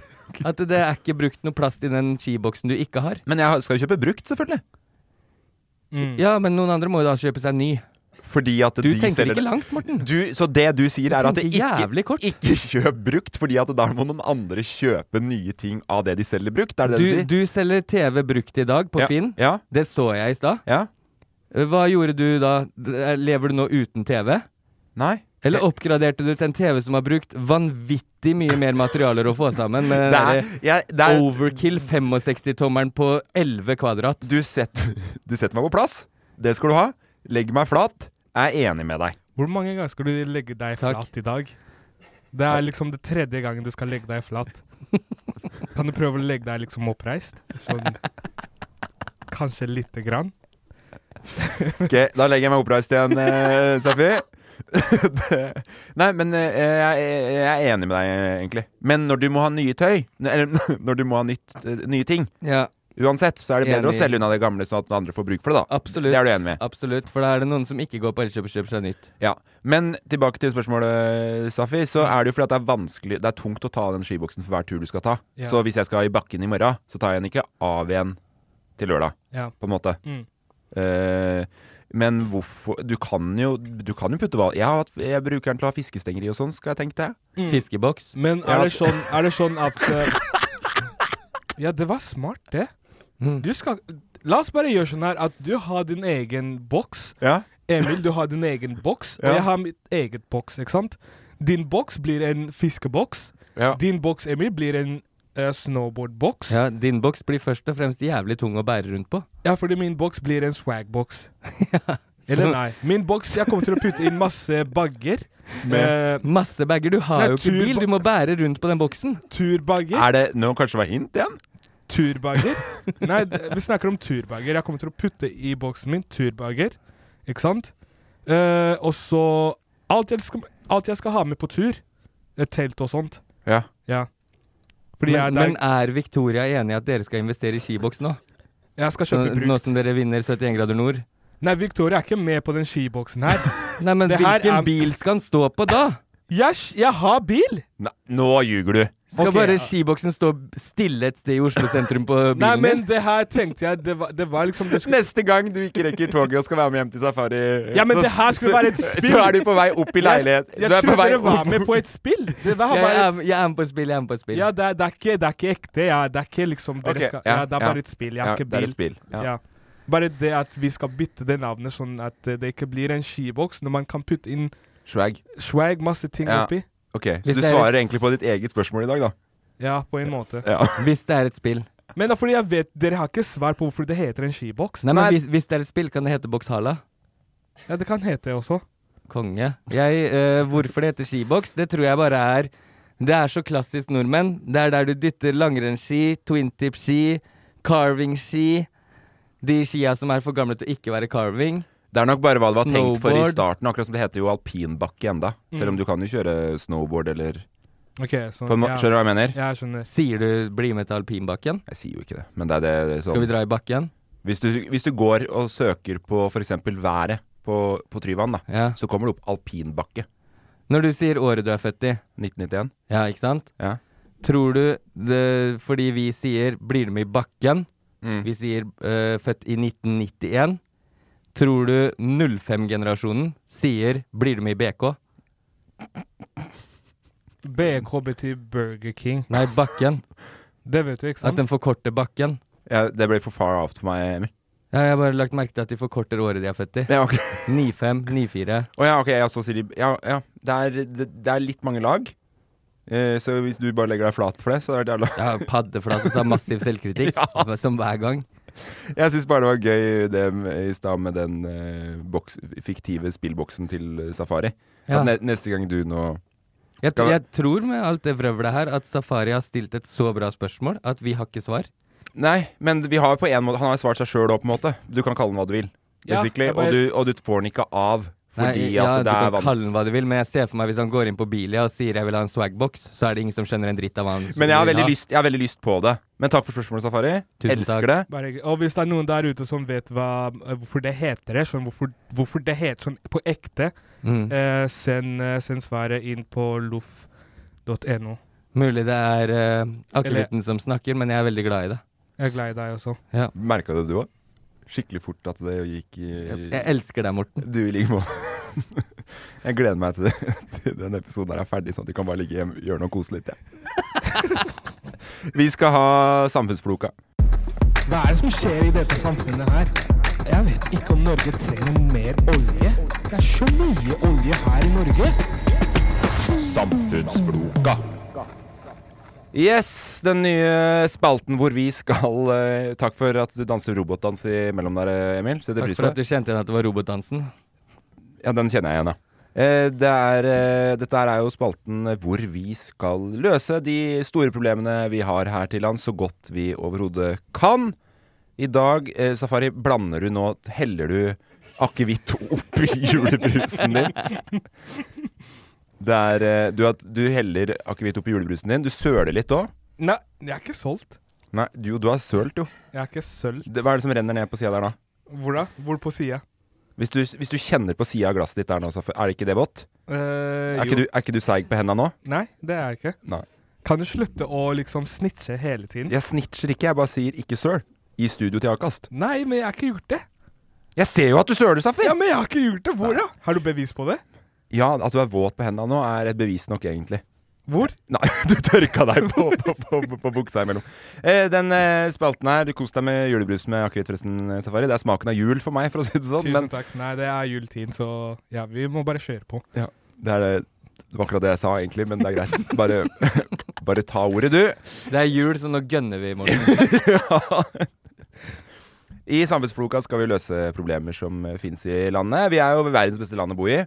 Speaker 2: At det er ikke brukt noe plast i den skiboksen du ikke har.
Speaker 3: Men jeg skal jo kjøpe brukt, selvfølgelig.
Speaker 2: Ja, men noen andre må jo da kjøpe seg ny.
Speaker 3: Fordi at
Speaker 2: Du
Speaker 3: Mm. de
Speaker 2: tenker
Speaker 3: selger
Speaker 2: ikke
Speaker 3: det.
Speaker 2: langt, Morten.
Speaker 3: Du, så det du sier, er at det
Speaker 2: tenker jævlig
Speaker 3: ikke, ikke kjøp brukt, fordi at da må noen andre kjøpe nye ting av det de selger brukt. Er det
Speaker 2: Du,
Speaker 3: det du sier?
Speaker 2: du selger TV brukt i dag på
Speaker 3: Ja,
Speaker 2: Finn.
Speaker 3: ja.
Speaker 2: Det så jeg i stad. Hva gjorde du da? eh, Lever du nå uten TV?
Speaker 3: Nei.
Speaker 2: Eller oppgraderte du til en TV som har brukt vanvittig mye mer materialer å få sammen? Med
Speaker 3: Det er-
Speaker 2: den der
Speaker 3: jeg- det er-
Speaker 2: Overkill 65-tommeren på 11 kvadrat.
Speaker 3: Du, setter- du setter meg på plass. Det skal du ha. Legg meg flat. Jeg er enig med deg.
Speaker 4: Hvor mange ganger skal du legge deg flat i dag? Det er liksom det tredje gangen du skal legge deg flat. Kan du prøve å legge deg liksom oppreist? Sånn Kanskje lite grann?
Speaker 3: Ok, Da legger jeg meg oppreist igjen, eh, Safi. [LAUGHS] Det- Nei, men eh, jeg, jeg jeg er [LAUGHS] enig med deg, eh, egentlig. Men når du må ha nye tøy, eller når du må ha nytt, eh, nye ting,
Speaker 2: Ja.
Speaker 3: Uansett så er det bedre
Speaker 2: Enig.
Speaker 3: å selge unna det gamle, sånn at andre får bruk for det. da
Speaker 2: Absolutt.
Speaker 3: Det er du enig med?
Speaker 2: Absolutt, for da er det noen som ikke går på Elkjøp og kjøper seg nytt.
Speaker 3: Ja. Men tilbake til spørsmålet, Safi. Så er det jo fordi at det er vanskelig Det er tungt å ta den skiboksen for hver tur du skal ta.
Speaker 4: Ja.
Speaker 3: Så hvis jeg skal i bakken i morgen, så tar jeg den ikke av igjen til lørdag,
Speaker 4: Ja.
Speaker 3: på en måte.
Speaker 4: Mm.
Speaker 3: Eh, men hvorfor Du kan jo, du kan jo putte hva jeg, har hatt- jeg bruker den til å ha fiskestenger i og sånn, skal jeg tenke det.
Speaker 4: Mm.
Speaker 2: Fiskeboks.
Speaker 4: Men
Speaker 3: Jeg har
Speaker 4: er det
Speaker 3: hatt-
Speaker 4: sånn, er det sånn at eh, [LAUGHS] Ja, det var smart, det. Du skal La oss bare gjøre sånn her at du har din egen boks.
Speaker 3: Ja.
Speaker 4: Emil, du har din egen boks,
Speaker 3: Ja.
Speaker 4: og jeg har mitt eget boks, ikke sant? Din boks blir en fiskeboks.
Speaker 3: Ja.
Speaker 4: Din boks, Emil, blir en eh, snowboardboks.
Speaker 2: Ja, din boks blir først og fremst jævlig tung å bære rundt på.
Speaker 4: Ja, fordi min boks blir
Speaker 2: [LAUGHS]
Speaker 4: en swagboks. Eller
Speaker 2: Så-
Speaker 4: nei. Min boks Jeg kommer til å putte inn masse bagger. Eh,
Speaker 2: Med masse bager. Du har
Speaker 4: nei,
Speaker 2: jo ikke
Speaker 4: turba-
Speaker 2: bil, du må bære rundt på den boksen.
Speaker 4: Turbager.
Speaker 3: Er det Nå kanskje det var hint igjen?
Speaker 2: [LAUGHS]
Speaker 4: Turbager? Nei, d- vi snakker om turbager. Jeg kommer til å putte i boksen min turbager. Ikke sant? Eh, og så alt jeg, skal, alt jeg skal ha med på tur. Et telt og sånt.
Speaker 3: Ja.
Speaker 4: Ja. Fordi
Speaker 2: Men,
Speaker 4: jeg, det er-
Speaker 2: men er Victoria enig i at dere skal investere i skiboks nå?
Speaker 4: Jeg skal kjøpe
Speaker 2: Så
Speaker 4: brukt.
Speaker 2: Nå som dere vinner 71 grader nord?
Speaker 4: Nei, Victoria er ikke med på den skiboksen
Speaker 2: [LAUGHS]
Speaker 4: her.
Speaker 2: Nei, men
Speaker 4: Det her
Speaker 2: hvilken
Speaker 4: er-
Speaker 2: bil skal han stå på da?
Speaker 4: Jeg, jeg har bil!
Speaker 3: Nei, nå ljuger du.
Speaker 2: Skal
Speaker 4: Ok,
Speaker 2: bare
Speaker 4: ja.
Speaker 2: skiboksen stå stille et sted i Oslo sentrum på bilen
Speaker 4: Nei, men
Speaker 2: din?
Speaker 4: det her tenkte jeg Det var, det var liksom det skulle,
Speaker 3: [LAUGHS] Neste gang du ikke rekker toget og skal være med hjem til safari,
Speaker 4: Ja, men
Speaker 3: så-
Speaker 4: det her skulle
Speaker 3: så-
Speaker 4: være et spill.
Speaker 3: Så er du på vei opp i leilighet.
Speaker 4: Jeg, jeg
Speaker 3: du er
Speaker 4: trodde
Speaker 3: på vei
Speaker 4: dere var
Speaker 3: opp.
Speaker 4: med på
Speaker 3: [LAUGHS]
Speaker 4: et spill! Det var
Speaker 2: Jeg,
Speaker 4: bare et
Speaker 2: er, jeg er med på et spill, jeg er med på et spill.
Speaker 4: Ja, det er, det, er ikke, det er ikke ekte. Ja. Det er ikke liksom dere
Speaker 3: Ok,
Speaker 4: skal,
Speaker 3: ja,
Speaker 4: ja, Det er
Speaker 3: ja.
Speaker 4: bare et spill. Jeg har
Speaker 3: Ja,
Speaker 4: ikke
Speaker 3: det er
Speaker 4: bil.
Speaker 3: et spill, ja.
Speaker 4: Ja. Bare det at vi skal bytte det navnet, sånn at eh, det ikke blir en skiboks, når man kan putte inn
Speaker 3: Swag.
Speaker 4: swag, masse ting
Speaker 3: Ja.
Speaker 4: oppi.
Speaker 3: Ok, så
Speaker 2: Hvis
Speaker 3: du
Speaker 2: det er
Speaker 3: svarer
Speaker 2: et-
Speaker 3: egentlig på ditt eget spørsmål i dag, da?
Speaker 4: Ja, på en måte.
Speaker 3: Ja.
Speaker 2: Hvis det er et spill.
Speaker 4: Men da, fordi jeg vet, dere har ikke svar på hvorfor det heter en skiboks.
Speaker 2: Nei, men
Speaker 3: Nei.
Speaker 2: Hvis, hvis det er et spill, kan det hete Bokshala?
Speaker 4: Ja, det kan hete det også.
Speaker 2: Konge. Jeg, eh, hvorfor det heter skiboks, det tror jeg bare er Det er så klassisk nordmenn. Det er der du dytter langrennsski, twintip-ski, carving-ski De skia som er for gamle til å ikke være carving.
Speaker 3: Det er nok bare hva det var tenkt for i
Speaker 2: Snowboard.
Speaker 3: starten, akkurat som det heter jo alpinbakke enda. Selv om du kan jo kjøre snowboard eller
Speaker 4: Ok, så,
Speaker 3: på en må-
Speaker 4: Mm. ja.
Speaker 3: Skjønner du hva jeg mener?
Speaker 4: Ja, jeg skjønner.
Speaker 2: Sier du 'bli med til alpinbakken'?
Speaker 3: Jeg sier jo ikke det, men det er det, det er
Speaker 2: Skal vi
Speaker 3: sånn.
Speaker 2: dra i bakken?
Speaker 3: Hvis du, hvis du går og søker på f.eks. været på, på Tryvann, da,
Speaker 2: Ja.
Speaker 3: så kommer det opp alpinbakke.
Speaker 2: Når du sier året du er født i,
Speaker 3: 1991.
Speaker 2: ja, ikke sant?
Speaker 3: Ja.
Speaker 2: Tror du det Fordi vi sier 'blir du med i bakken',
Speaker 3: Mm.
Speaker 2: vi sier eh, 'født i 1991'. Tror du 05-generasjonen sier 'blir du med i BK'?
Speaker 4: BK betyr Burger King.
Speaker 2: Nei,
Speaker 3: [LAUGHS]
Speaker 2: bakken.
Speaker 4: Det vet du, ikke
Speaker 2: At
Speaker 4: sant?
Speaker 2: den forkorter bakken.
Speaker 3: Ja, det ble for far out for meg, Emil.
Speaker 2: Ja, jeg har bare lagt merke til at de forkorter året de er født i.
Speaker 3: Ja, ok.
Speaker 2: 95, 94.
Speaker 3: Å ja, ok, ja, så sier de Ja, ja. Det er, det, det er litt mange lag. Eh, så hvis du bare legger deg flat for det, så er det jævla [LAUGHS]
Speaker 2: Ja, paddeflate tar massiv selvkritikk, som hver gang.
Speaker 3: Jeg syns bare det var gøy det med- i stad med den eh, boks, fiktive spillboksen til eh, Safari.
Speaker 2: Ja.
Speaker 3: At ne neste gang du nå
Speaker 2: Jeg,
Speaker 3: Skal vi-
Speaker 2: jeg tror med alt det vrøvlet her at Safari har stilt et så bra spørsmål at vi har ikke svar.
Speaker 3: Nei, men vi har på en måte Han har jo svart seg sjøl òg, på en måte. Du kan kalle den hva du vil,
Speaker 4: Ja,
Speaker 3: basically.
Speaker 4: jeg bare-
Speaker 3: og, du, og du får den ikke av fordi
Speaker 2: Nei,
Speaker 3: at
Speaker 2: ja,
Speaker 3: det er
Speaker 2: Du kan kalle
Speaker 3: vanskelig.
Speaker 2: den hva du vil, men jeg ser for meg hvis han går inn på Bilia og sier 'jeg vil ha en swagbox', så er det ingen som skjønner en dritt av hva han
Speaker 3: Men jeg har,
Speaker 2: vil
Speaker 3: veldig
Speaker 2: ha.
Speaker 3: lyst, jeg har veldig lyst på det. Men takk for spørsmålet, Safari.
Speaker 2: Tusen
Speaker 3: Elsker
Speaker 2: takk.
Speaker 3: det.
Speaker 4: Bare, ikke- og hvis det er noen der ute som vet hva, eh, hvorfor det heter det, sånn, hvorfor, hvorfor det heter sånn på ekte,
Speaker 2: Mm.
Speaker 4: Eh, send, eh, send svaret inn på loff.no.
Speaker 2: Mulig det er uh,
Speaker 4: Eller-
Speaker 2: akevitten som snakker, men jeg er veldig glad i det.
Speaker 4: Jeg er glad i deg også.
Speaker 3: Merka det du òg? Skikkelig fort at det gikk i
Speaker 2: Jeg, jeg elsker deg, Morten.
Speaker 3: Du i like måte. Jeg gleder meg til, det, til den episoden her er ferdig, sånn at du kan bare ligge hjemme, gjøre noe koselig.
Speaker 2: [LAUGHS]
Speaker 3: Ja. Vi skal ha Samfunnsfloka.
Speaker 9: Hva er det som skjer i dette samfunnet her? Jeg vet ikke om Norge trenger mer olje. Det er så mye olje her i Norge.
Speaker 3: Samfunnsfloka. Yes, den nye spalten hvor vi skal eh, Takk for at du danser robotdans imellom der, eh, Emil. Setter
Speaker 2: Takk
Speaker 3: pris
Speaker 2: for
Speaker 3: på
Speaker 2: at
Speaker 3: det.
Speaker 2: du kjente igjen at det var robotdansen.
Speaker 3: Ja, den kjenner jeg igjen, ja. Eh, Det er, eh, dette her er jo spalten eh, hvor vi skal løse de store problemene vi har her til lands, så godt vi overhodet kan. I dag, eh, Safari, blander du nå Heller du akevitt oppi julebrusen din? Det er, eh, du, at du heller akevitt oppi julebrusen din. Du søler litt òg.
Speaker 4: Nei, jeg er ikke solgt.
Speaker 3: Nei, du, du har sølt, jo.
Speaker 4: Jeg har ikke sølt.
Speaker 3: Det- Hva er det som renner ned på sida der, da?
Speaker 4: Hvor da? Hvor på sida?
Speaker 3: Hvis du, hvis du kjenner på sida av glasset ditt der nå, så er det ikke det vått?
Speaker 4: Eh,
Speaker 3: er,
Speaker 4: jo.
Speaker 3: ikke du- er ikke du seig på henda nå?
Speaker 4: Nei, det er jeg ikke.
Speaker 3: Nei.
Speaker 4: Kan du slutte å liksom snitche hele tiden?
Speaker 3: Jeg snitcher ikke, jeg bare sier 'ikke søl' i studio til Akast.
Speaker 4: Nei, men jeg har ikke gjort det.
Speaker 3: Jeg ser jo at du søler, Safi!
Speaker 4: Ja, Men jeg har ikke gjort det! Hvor da? Har du bevis på det?
Speaker 3: Ja, at du er våt på henda nå, er et bevis nok, egentlig.
Speaker 4: Hvor?
Speaker 3: Nei, [LAUGHS] du tørka deg på, på, på, på, på buksa imellom. Eh, den eh, spalten her, du kos deg med julebrus med akevitt, forresten, eh, Safari. Det er smaken av jul for meg, for å si det sånn.
Speaker 4: Tusen
Speaker 3: men-
Speaker 4: takk. Nei, det er juletid, så ja, vi må bare kjøre på.
Speaker 3: Ja, det er det. Det var akkurat det jeg sa, egentlig, men det er greit. Bare, [LAUGHS] bare ta ordet, du.
Speaker 2: Det er jul, så nå gønner vi i
Speaker 3: [LAUGHS]
Speaker 2: morgen.
Speaker 3: I Samfunnsfloka skal vi løse problemer som fins i landet. Vi er jo verdens beste land å bo i.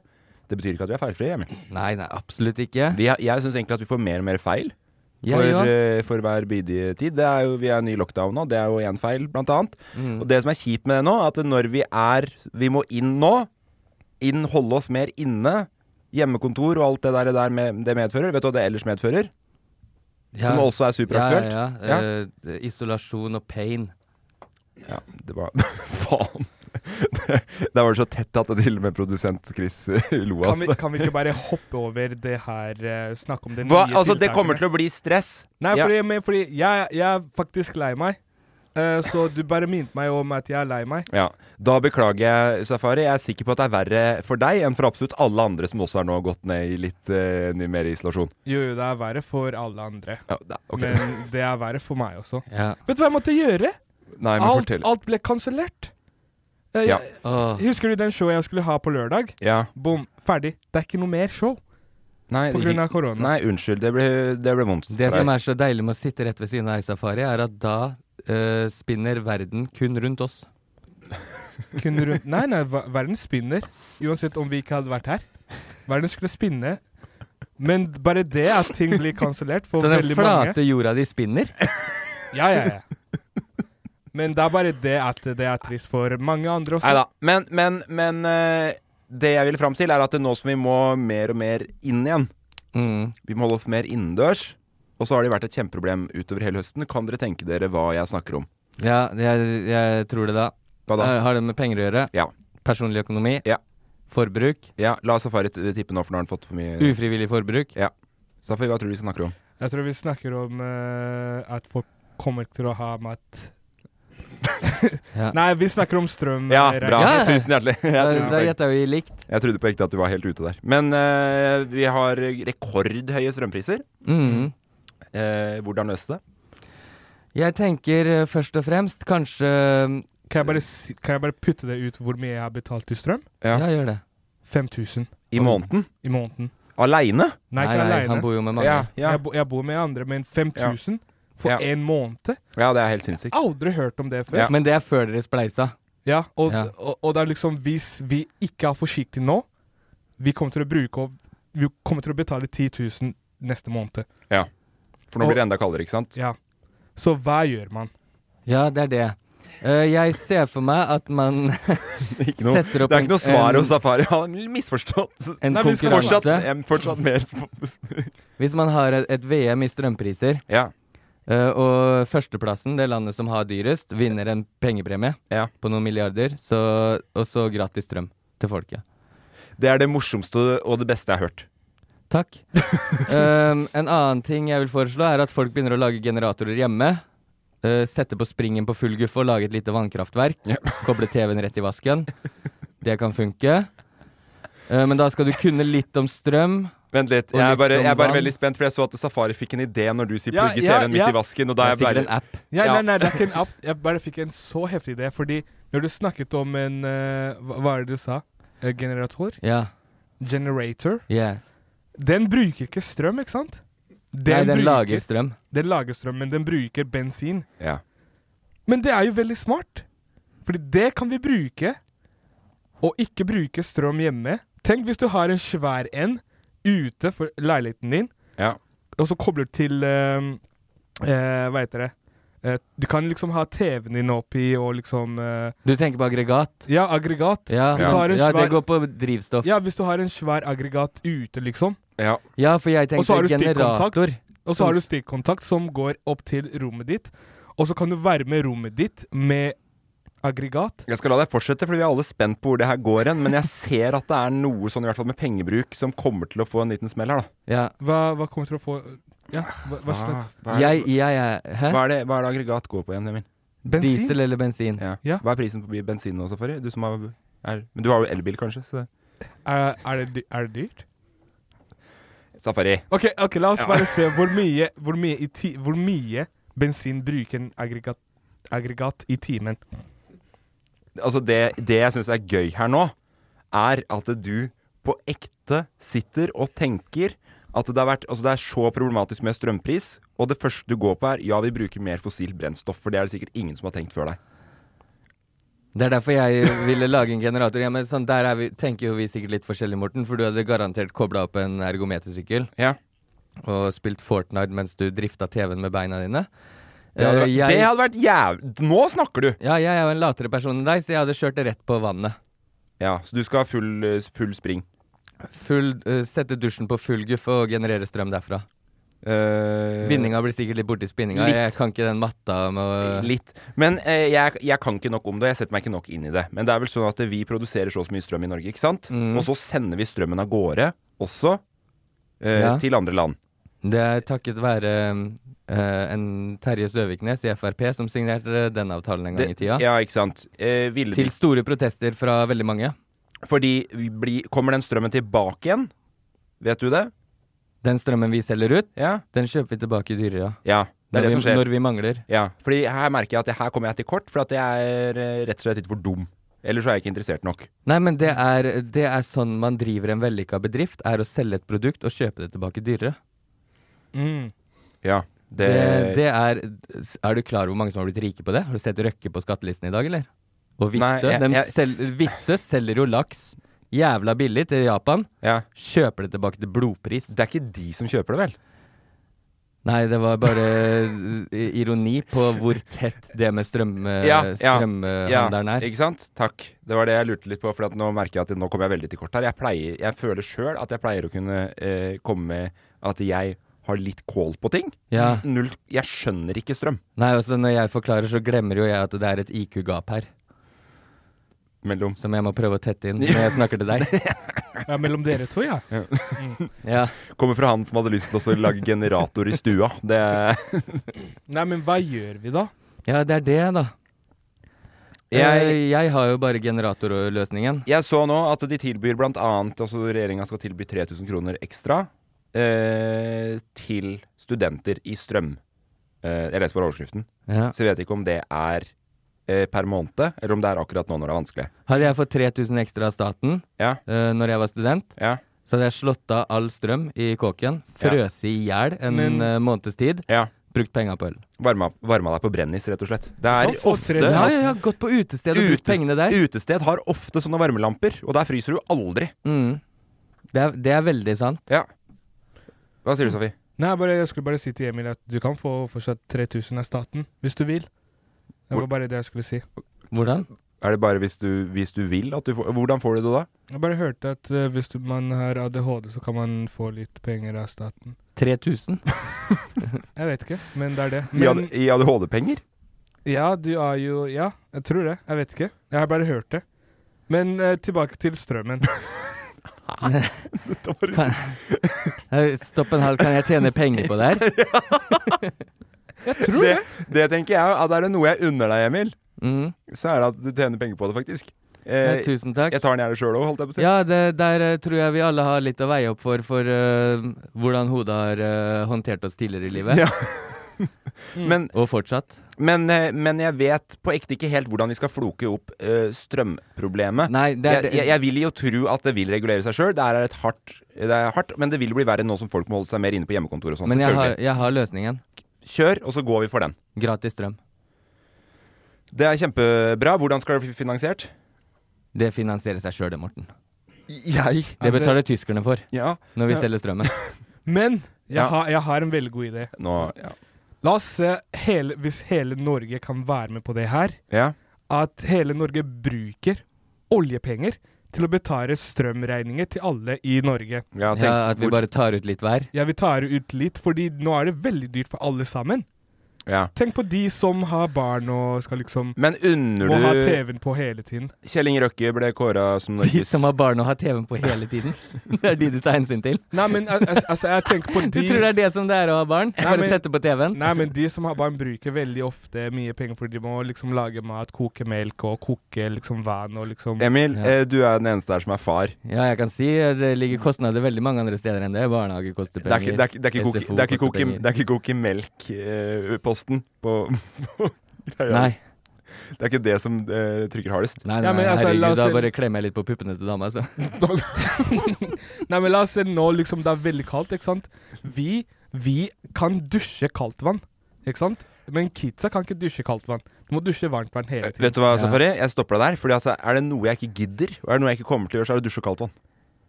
Speaker 3: Det betyr ikke at vi er feilfrie. Emil.
Speaker 2: Nei, nei, absolutt ikke.
Speaker 3: Vi er, jeg syns egentlig at vi får mer og mer feil
Speaker 2: Jeg
Speaker 3: for,
Speaker 2: òg.
Speaker 3: eh, for hver bidige tid. Det er jo, vi er i ny lockdown nå, det er jo én feil, blant annet.
Speaker 2: Mm.
Speaker 3: Og det som er kjipt med det nå, er at når vi er Vi må inn nå. Inn, holde oss mer inne. Hjemmekontor og alt det der, der med, det medfører. Vet du hva det ellers medfører?
Speaker 2: Ja.
Speaker 3: Som også er superaktuelt.
Speaker 2: Ja, ja, ja. Eh, isolasjon og pain.
Speaker 3: Ja, det var [LAUGHS] Faen! Det, der var det så tett at det til og med produsent Chris eh, lo av.
Speaker 4: Kan vi, kan vi ikke bare hoppe over det her eh, Snakke om det nye
Speaker 3: Hva? Altså, det kommer til å bli stress.
Speaker 4: Nei,
Speaker 3: Ja.
Speaker 4: fordi, men, fordi jeg, jeg er faktisk lei meg. Eh, så du bare minte meg om at jeg er lei meg.
Speaker 3: Ja. Da beklager jeg, Safari. Jeg er sikker på at det er verre for deg enn for absolutt alle andre som også har nå gått ned i litt eh, ny- mer isolasjon.
Speaker 4: Jo, jo, det er verre for alle andre.
Speaker 3: Ja, da, ok.
Speaker 4: Men det er verre for meg også.
Speaker 2: Ja.
Speaker 4: Vet du hva jeg måtte gjøre?
Speaker 3: Nei, men
Speaker 4: alt,
Speaker 3: fortell.
Speaker 4: alt ble kansellert. Eh,
Speaker 3: Ja.
Speaker 4: jeg-
Speaker 2: Åh.
Speaker 4: Husker du den showet jeg skulle ha på lørdag?
Speaker 3: Ja.
Speaker 4: Bom, ferdig. Det er ikke noe mer show.
Speaker 3: Nei,
Speaker 4: På grunn av korona.
Speaker 3: Nei, unnskyld. Det ble, det ble vondt.
Speaker 2: Det som er så deilig med å sitte rett ved siden av Safari, er at da eh, spinner verden kun rundt oss.
Speaker 4: Kun rundt Nei, nei, ver- verden spinner. Uansett om vi ikke hadde vært her. Verden skulle spinne. Men bare det at ting blir kansellert for
Speaker 2: Så den
Speaker 4: veldig mange
Speaker 2: flate jorda di
Speaker 3: [LAUGHS]
Speaker 2: spinner?
Speaker 4: Ja, ja, ja. Men det er bare det at det er trist for mange andre også.
Speaker 3: Nei da. Men, men, men eh, det jeg vil fram til, er at nå som vi må mer og mer inn igjen
Speaker 2: Mm.
Speaker 3: Vi må holde oss mer innendørs. Og så har det vært et kjempeproblem utover hele høsten. Kan dere tenke dere hva jeg snakker om?
Speaker 2: Ja, jeg, jeg tror det da.
Speaker 3: Hva da?
Speaker 2: Eh, Har det med penger å gjøre?
Speaker 3: Ja.
Speaker 2: Personlig økonomi?
Speaker 3: Ja.
Speaker 2: Forbruk?
Speaker 3: Ja, La Safari t- tippe nå, for nå har han fått for mye
Speaker 2: Ufrivillig forbruk?
Speaker 3: Ja. Safari, hva tror du vi snakker om?
Speaker 4: Jeg tror vi snakker om eh, at folk kommer til å ha mat
Speaker 2: Ja.
Speaker 4: [LAUGHS] Nei, vi snakker om strøm.
Speaker 3: Ja,
Speaker 4: eh,
Speaker 3: bra.
Speaker 4: regning.
Speaker 3: Tusen hjertelig.
Speaker 2: [LAUGHS]
Speaker 3: Jeg
Speaker 2: Da
Speaker 3: trodde
Speaker 2: da
Speaker 3: på-
Speaker 2: gjetter vi likt.
Speaker 3: Jeg trodde på ekte at du var helt ute der. Men eh, vi har rekordhøye strømpriser. Mm.
Speaker 2: Mhm.
Speaker 3: Eh, hvordan løse det?
Speaker 2: Jeg tenker eh, først og fremst kanskje
Speaker 4: Kan, jeg bare, si- kan jeg bare putte det ut hvor mye jeg har betalt i strøm?
Speaker 2: Ja, gjør det.
Speaker 4: 5000
Speaker 3: I måneden?
Speaker 4: i måneden.
Speaker 3: Aleine?
Speaker 4: Nei, ikke
Speaker 2: Nei, nei,
Speaker 4: alene.
Speaker 2: han bor jo med mange.
Speaker 3: Ja, ja.
Speaker 4: Jeg, bo, jeg bor med andre, men 5000 for
Speaker 3: Ja.
Speaker 4: én måned?
Speaker 3: Ja, det er helt sinnssykt.
Speaker 4: Aldri hørt om det før.
Speaker 2: Men det er før dere spleisa.
Speaker 4: Ja, og,
Speaker 2: Ja.
Speaker 4: Og, og det er liksom Hvis vi ikke er forsiktige nå, vi kommer til å bruke opp Vi kommer til å betale 10 000 neste måned.
Speaker 3: Ja. For nå blir det enda kaldere, ikke sant?
Speaker 4: Ja. Så hva gjør man?
Speaker 2: Ja, det er det. Eh, jeg ser for meg at man [LAUGHS]
Speaker 3: Ikke noe, det
Speaker 2: setter opp
Speaker 3: er ikke noe svar
Speaker 2: en,
Speaker 3: hos Safari. Han har
Speaker 2: [LAUGHS]
Speaker 3: misforstått.
Speaker 2: en
Speaker 3: Nei, vi skal
Speaker 2: konkurranse.
Speaker 3: Fortsatt, jeg er fortsatt mer sp-
Speaker 2: Hvis man har et, et VM i strømpriser,
Speaker 3: Ja.
Speaker 2: eh, og førsteplassen, det landet som har dyrest, vinner en pengepremie
Speaker 3: Ja.
Speaker 2: på noen milliarder, så, og så gratis strøm til folket.
Speaker 3: Det er det morsomste og det beste jeg har hørt. [LAUGHS]
Speaker 2: Takk. um, en annen ting jeg vil foreslå, er at folk begynner å lage generatorer hjemme. eh, sette på springen på full guffe og lage et lite vannkraftverk. Koble TV-en rett i vasken. Det kan funke. Eh, men da skal du kunne litt om strøm.
Speaker 3: Vent litt,
Speaker 2: Og
Speaker 3: jeg er
Speaker 2: litt
Speaker 3: bare,
Speaker 2: om
Speaker 3: jeg er bare
Speaker 2: vann.
Speaker 3: veldig spent, for jeg så at Safari fikk en idé når du sier
Speaker 4: Ja,
Speaker 3: 'plugge
Speaker 4: ja,
Speaker 3: TV-en midt
Speaker 4: ja.
Speaker 3: i vasken', og da er jeg
Speaker 2: det er sikkert
Speaker 3: bare
Speaker 2: en app.
Speaker 4: Ja,
Speaker 3: Ja.
Speaker 4: Nei, nei, det er ikke en app. Jeg bare fikk en så heftig idé, fordi når du snakket om en eh, hva, hva er det du sa? Eh, generator?
Speaker 2: Ja.
Speaker 4: Generator?
Speaker 2: Yeah.
Speaker 4: Den bruker ikke strøm, ikke sant?
Speaker 2: Nei, den
Speaker 4: bruker-
Speaker 2: lager strøm.
Speaker 4: Den lager strøm, men den bruker bensin.
Speaker 3: Ja.
Speaker 4: Men det er jo veldig smart. Fordi det kan vi bruke, og ikke bruke strøm hjemme. Tenk hvis du har en svær en ute for leiligheten din,
Speaker 3: Ja.
Speaker 4: og så kobler du til eh, eh, Hva heter det? Eh, du kan liksom ha TV-en din oppi og liksom eh,
Speaker 2: Du tenker på aggregat?
Speaker 4: Ja, aggregat.
Speaker 2: Ja,
Speaker 4: Hvis du har en
Speaker 2: ja det
Speaker 4: svær-
Speaker 2: går på drivstoff.
Speaker 4: Ja, hvis du har en svær aggregat ute, liksom.
Speaker 3: ja.
Speaker 2: Ja, for jeg
Speaker 4: Og
Speaker 2: tenkte
Speaker 4: så har du stikkontakt.
Speaker 2: generator.
Speaker 4: Og så
Speaker 2: som-
Speaker 4: har du stikkontakt som går opp til rommet ditt. Og så kan du varme rommet ditt med aggregat.
Speaker 3: Jeg skal la deg fortsette, for vi er alle spent på hvor det her går hen. Men jeg ser at det er noe sånn, i hvert fall med pengebruk, som kommer til å få en liten smell her, da.
Speaker 4: Hva, hva kommer til å få Ja, hva, hva slags
Speaker 3: Ah, Hva er det- Hva er, det, hva er det aggregat går på igjen, Emil?
Speaker 4: Bensin? Diesel
Speaker 2: eller bensin.
Speaker 3: Ja. Hva er prisen på bi- bensin nå også, Farry? Du som har er, Men du har jo elbil, kanskje? Så.
Speaker 4: Er, er, det, dy- er det dyrt?
Speaker 3: Safari.
Speaker 4: Ok, ok, la oss
Speaker 3: Ja.
Speaker 4: bare
Speaker 2: [LAUGHS]
Speaker 4: se hvor mye, hvor mye, i ti, hvor mye bensin bruker en aggregat, aggregat i timen.
Speaker 3: Altså, det, det jeg syns er gøy her nå, er at du på ekte sitter og tenker at det, har vært, altså det er så problematisk med strømpris, og det første du går på er ja, vi bruker mer fossilt brennstoff, for det er det sikkert ingen som har tenkt før deg.
Speaker 2: Det er derfor jeg ville lage en generator. Ja, men sånn, der er vi, tenker jo vi sikkert litt forskjellig, Morten, for du hadde garantert kobla opp en ergometersykkel og spilt Fortnite mens du drifta TV-en med beina dine.
Speaker 3: Det hadde
Speaker 2: Eh,
Speaker 3: vært- det hadde vært jæv... Nå snakker du!
Speaker 2: Ja, jeg er jo en latere person enn deg, så jeg hadde kjørt det rett på vannet.
Speaker 3: Ja, Så du skal ha full, eh, full spring?
Speaker 2: Full, eh, sette dusjen på full guff og generere strøm derfra.
Speaker 3: Eh,
Speaker 2: Bindinga blir sikkert litt borti spinninga.
Speaker 3: litt.
Speaker 2: Jeg kan ikke den matta med å
Speaker 3: Litt. Men eh, jeg, jeg kan ikke nok om det, jeg setter meg ikke nok inn i det. Men det er vel sånn at vi produserer så og så mye strøm i Norge, ikke sant?
Speaker 2: Mm.
Speaker 3: Og så sender vi strømmen av gårde, også eh,
Speaker 2: Ja.
Speaker 3: til andre land.
Speaker 2: Det er takket være eh, en Terje Søviknes i Frp som signerte den avtalen en gang
Speaker 3: Det-
Speaker 2: i tida.
Speaker 3: Ja, ikke sant. Eh, ville
Speaker 2: Til store protester fra veldig mange.
Speaker 3: Fordi vi blir- kommer den strømmen tilbake igjen? Vet du det?
Speaker 2: Den strømmen vi selger ut,
Speaker 3: den
Speaker 2: kjøper vi tilbake i dyrere.
Speaker 3: Ja, det
Speaker 2: når
Speaker 3: er det
Speaker 2: vi,
Speaker 3: som skjer.
Speaker 2: Når vi mangler.
Speaker 3: Ja, fordi her merker jeg at jeg- her kommer jeg til kort, for at jeg er eh, rett og slett litt for dum. Ellers er jeg ikke interessert nok.
Speaker 2: Nei, men det er, det er sånn man driver en vellykka bedrift, er å selge et produkt og kjøpe det tilbake dyrere.
Speaker 3: Mm. Ja,
Speaker 2: Det,
Speaker 3: det,
Speaker 2: det er Er du klar over hvor mange som har blitt rike på det? Har du sett Røkke på skattelisten i dag, eller? Og
Speaker 3: Nei,
Speaker 2: Witzøe.
Speaker 3: jeg-
Speaker 2: dem
Speaker 3: jeg-
Speaker 2: sel- Witzøe selger jo laks jævla billig til Japan. Kjøper det tilbake til blodpris.
Speaker 3: Det er ikke de som kjøper det, vel?
Speaker 2: Nei, det var bare eh, i- ironi på hvor tett det med strøm, strømhandelen er.
Speaker 3: Ikke sant? Takk. Det var det jeg lurte litt på, for at nå merker jeg at nå kommer jeg veldig til kort her. Jeg, pleier, jeg føler sjøl at jeg pleier å kunne eh, komme med at jeg har litt kål på ting.
Speaker 2: Ja.
Speaker 3: Null, jeg skjønner ikke strøm.
Speaker 2: Nei, altså når jeg forklarer, så glemmer jo jeg at det er et IQ-gap her.
Speaker 3: Mellom.
Speaker 2: Som jeg må prøve å tette inn når jeg snakker til deg.
Speaker 3: [LAUGHS]
Speaker 4: Ja, mellom dere to, ja.
Speaker 3: Ja.
Speaker 4: Mm.
Speaker 3: Kommer fra han som hadde lyst til også å lage generator i stua. Det
Speaker 4: Nei, men hva gjør vi da?
Speaker 2: Ja, det er det, da.
Speaker 4: Eh,
Speaker 2: Jeg,
Speaker 3: Jeg-
Speaker 2: jeg har jo bare generatorløsningen.
Speaker 3: [LAUGHS] Jeg så nå at de tilbyr blant annet Altså regjeringa skal tilby 3000 kroner ekstra eh, til studenter i strøm. Eh, jeg leser bare overskriften,
Speaker 2: Ja.
Speaker 3: så jeg vet ikke om det er eh, per måned, eller om det er akkurat nå når det er vanskelig.
Speaker 2: Hadde jeg fått 3000 ekstra av staten eh, når jeg var student, så hadde jeg slått av all strøm i kåken,
Speaker 3: Ja.
Speaker 2: frøst i hjel en
Speaker 3: Men-
Speaker 2: eh, måneds tid, brukt penga på øl.
Speaker 3: Varma, varma deg på brennis, rett og slett. Det
Speaker 2: Ja,
Speaker 3: er
Speaker 2: for
Speaker 3: ofte
Speaker 2: trennis. Ja, ja, ja, gått på utested og brukt
Speaker 3: Utest-
Speaker 2: pengene der.
Speaker 3: Utested har ofte sånne varmelamper, og der fryser du aldri.
Speaker 2: Mm. Det, er, det er veldig sant.
Speaker 3: Ja. Hva sier du, Safi?
Speaker 4: Nei, bare, jeg skulle bare si til Emil at du kan få fortsatt 3000 av staten, hvis du vil. Det var
Speaker 3: Hvor-
Speaker 4: bare det jeg skulle si.
Speaker 2: Hvordan?
Speaker 3: Er det bare hvis du, hvis du vil at du får Hvordan får du det da?
Speaker 4: Jeg bare hørte at eh, hvis du, man har ADHD, så kan man få litt penger av staten.
Speaker 3: [LAUGHS]
Speaker 2: 3000?
Speaker 4: jeg vet ikke, men det er det.
Speaker 3: I,
Speaker 4: Men,
Speaker 3: ad- i ADHD-penger?
Speaker 4: ja, du er jo Ja, jeg tror det. Jeg vet ikke. Jeg har bare hørt det. Men eh, tilbake til [LAUGHS] strømmen.
Speaker 2: Kan, Nei, stopp en halv, kan jeg tjene penger på det her?
Speaker 4: tror
Speaker 3: det. Det tenker jeg. At er det noe jeg unner deg, Emil,
Speaker 2: Mhm.
Speaker 3: så er det at du tjener penger på det, faktisk. Eh,
Speaker 2: Ja, tusen takk.
Speaker 3: Jeg tar den gjerne sjøl òg, holdt jeg på å si.
Speaker 2: Ja, det, der eh, tror jeg vi alle har litt å veie opp for, for eh, hvordan hodet har eh, håndtert oss tidligere i livet.
Speaker 3: Men,
Speaker 2: og fortsatt.
Speaker 3: Men, eh, men jeg vet på ekte ikke helt hvordan vi skal floke opp eh, strømproblemet.
Speaker 2: Nei, det er-
Speaker 3: jeg, jeg, jeg vil jo tro at det vil regulere seg sjøl. Det, er et hardt- det er hardt, men det vil bli verre nå som folk må holde seg mer inne på hjemmekontor og sånn.
Speaker 2: Men jeg har,
Speaker 3: selvfølgelig.
Speaker 2: jeg har løsningen.
Speaker 3: Kjør, og så går vi for den.
Speaker 2: Gratis strøm.
Speaker 3: Det er kjempebra. Hvordan skal det bli finansiert?
Speaker 2: Det finansierer seg sjøl, det, Morten.
Speaker 3: Jeg?
Speaker 2: Det betaler tyskerne for
Speaker 3: Ja.
Speaker 2: når vi
Speaker 4: Ja.
Speaker 2: selger strømmen.
Speaker 4: Men jeg,
Speaker 2: Ja.
Speaker 4: har, jeg har en veldig god idé.
Speaker 3: Nå, ja.
Speaker 4: La oss se hele, hvis hele Norge kan være med på det her.
Speaker 3: Ja.
Speaker 4: At hele Norge bruker oljepenger til å betale strømregninger til alle i Norge.
Speaker 3: Ja, tenk-
Speaker 2: Ja, at vi bare tar ut litt hver.
Speaker 4: Ja, vi tar ut litt, fordi nå er det veldig dyrt for alle sammen.
Speaker 3: Ja.
Speaker 4: Tenk på de som har barn og skal liksom
Speaker 3: Men unner
Speaker 4: Må ha
Speaker 3: du-
Speaker 4: TV-en på hele tiden.
Speaker 3: Kjell Inge Røkke ble kåra
Speaker 2: [LAUGHS]
Speaker 3: som
Speaker 2: De
Speaker 3: Norges
Speaker 2: som har barn og har TV-en på hele
Speaker 3: [LAUGHS]
Speaker 2: tiden. Det er de du tar hensyn til.
Speaker 4: Nei, men al- al- altså, jeg tenker [LAUGHS] på de
Speaker 2: Du tror det er det som det er å ha barn?
Speaker 4: Nei,
Speaker 2: Bare
Speaker 4: men-
Speaker 2: sette på TV-en?
Speaker 4: Nei, men de som har barn, bruker veldig ofte mye penger fordi de må liksom lage mat, koke melk og koke liksom vann og liksom
Speaker 3: Emil,
Speaker 4: Ja.
Speaker 3: eh, du er den eneste der som er far.
Speaker 2: Ja, jeg kan si eh, det ligger kostnader veldig mange andre steder enn det. Barnehage koster
Speaker 3: Det er
Speaker 2: penger.
Speaker 3: ikke- det er ikke- det er ikke koke-
Speaker 2: SFO
Speaker 3: det er ikke
Speaker 2: koster
Speaker 3: koke-
Speaker 2: penger.
Speaker 3: det er ikke koke melk-posten på, på greia.
Speaker 2: Nei.
Speaker 3: Det er ikke det som eh, trykker hardest.
Speaker 2: Nei, nei,
Speaker 4: Ja, men altså, la
Speaker 2: herregud,
Speaker 4: oss
Speaker 2: da
Speaker 4: se-
Speaker 2: bare klemmer jeg litt på puppene til dama, så. [LAUGHS]
Speaker 4: Nei, men la oss se nå, liksom, det er veldig kaldt, ikke sant? Vi, vi kan dusje kaldt vann, ikke sant? Men kidsa kan ikke dusje kaldt vann. Du må dusje varmt vann hele tiden.
Speaker 3: Eh, Vet du hva, Safari? Jeg stopper deg der. Fordi altså, Er det noe jeg ikke gidder, og er det noe jeg ikke kommer til å gjøre, så er det dusje kaldt vann.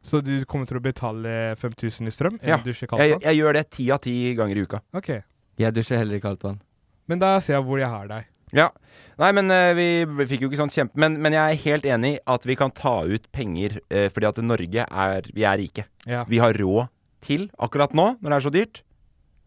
Speaker 4: Så du kommer til å betale 5000 i strøm?
Speaker 3: Ja.
Speaker 4: Ja. Dusje kaldt
Speaker 3: Jeg,
Speaker 4: vann?
Speaker 3: jeg gjør det ti av ti ganger i uka.
Speaker 4: Ok.
Speaker 2: Jeg dusjer heller i kaldt vann.
Speaker 4: Men da ser jeg hvor jeg har deg.
Speaker 3: Ja. Nei, men eh, vi, vi fikk jo ikke sånn kjempe... Men, men jeg er helt enig i at vi kan ta ut penger, eh, fordi at Norge er Vi er rike.
Speaker 4: Ja.
Speaker 3: Vi har råd til, akkurat nå, når det er så dyrt,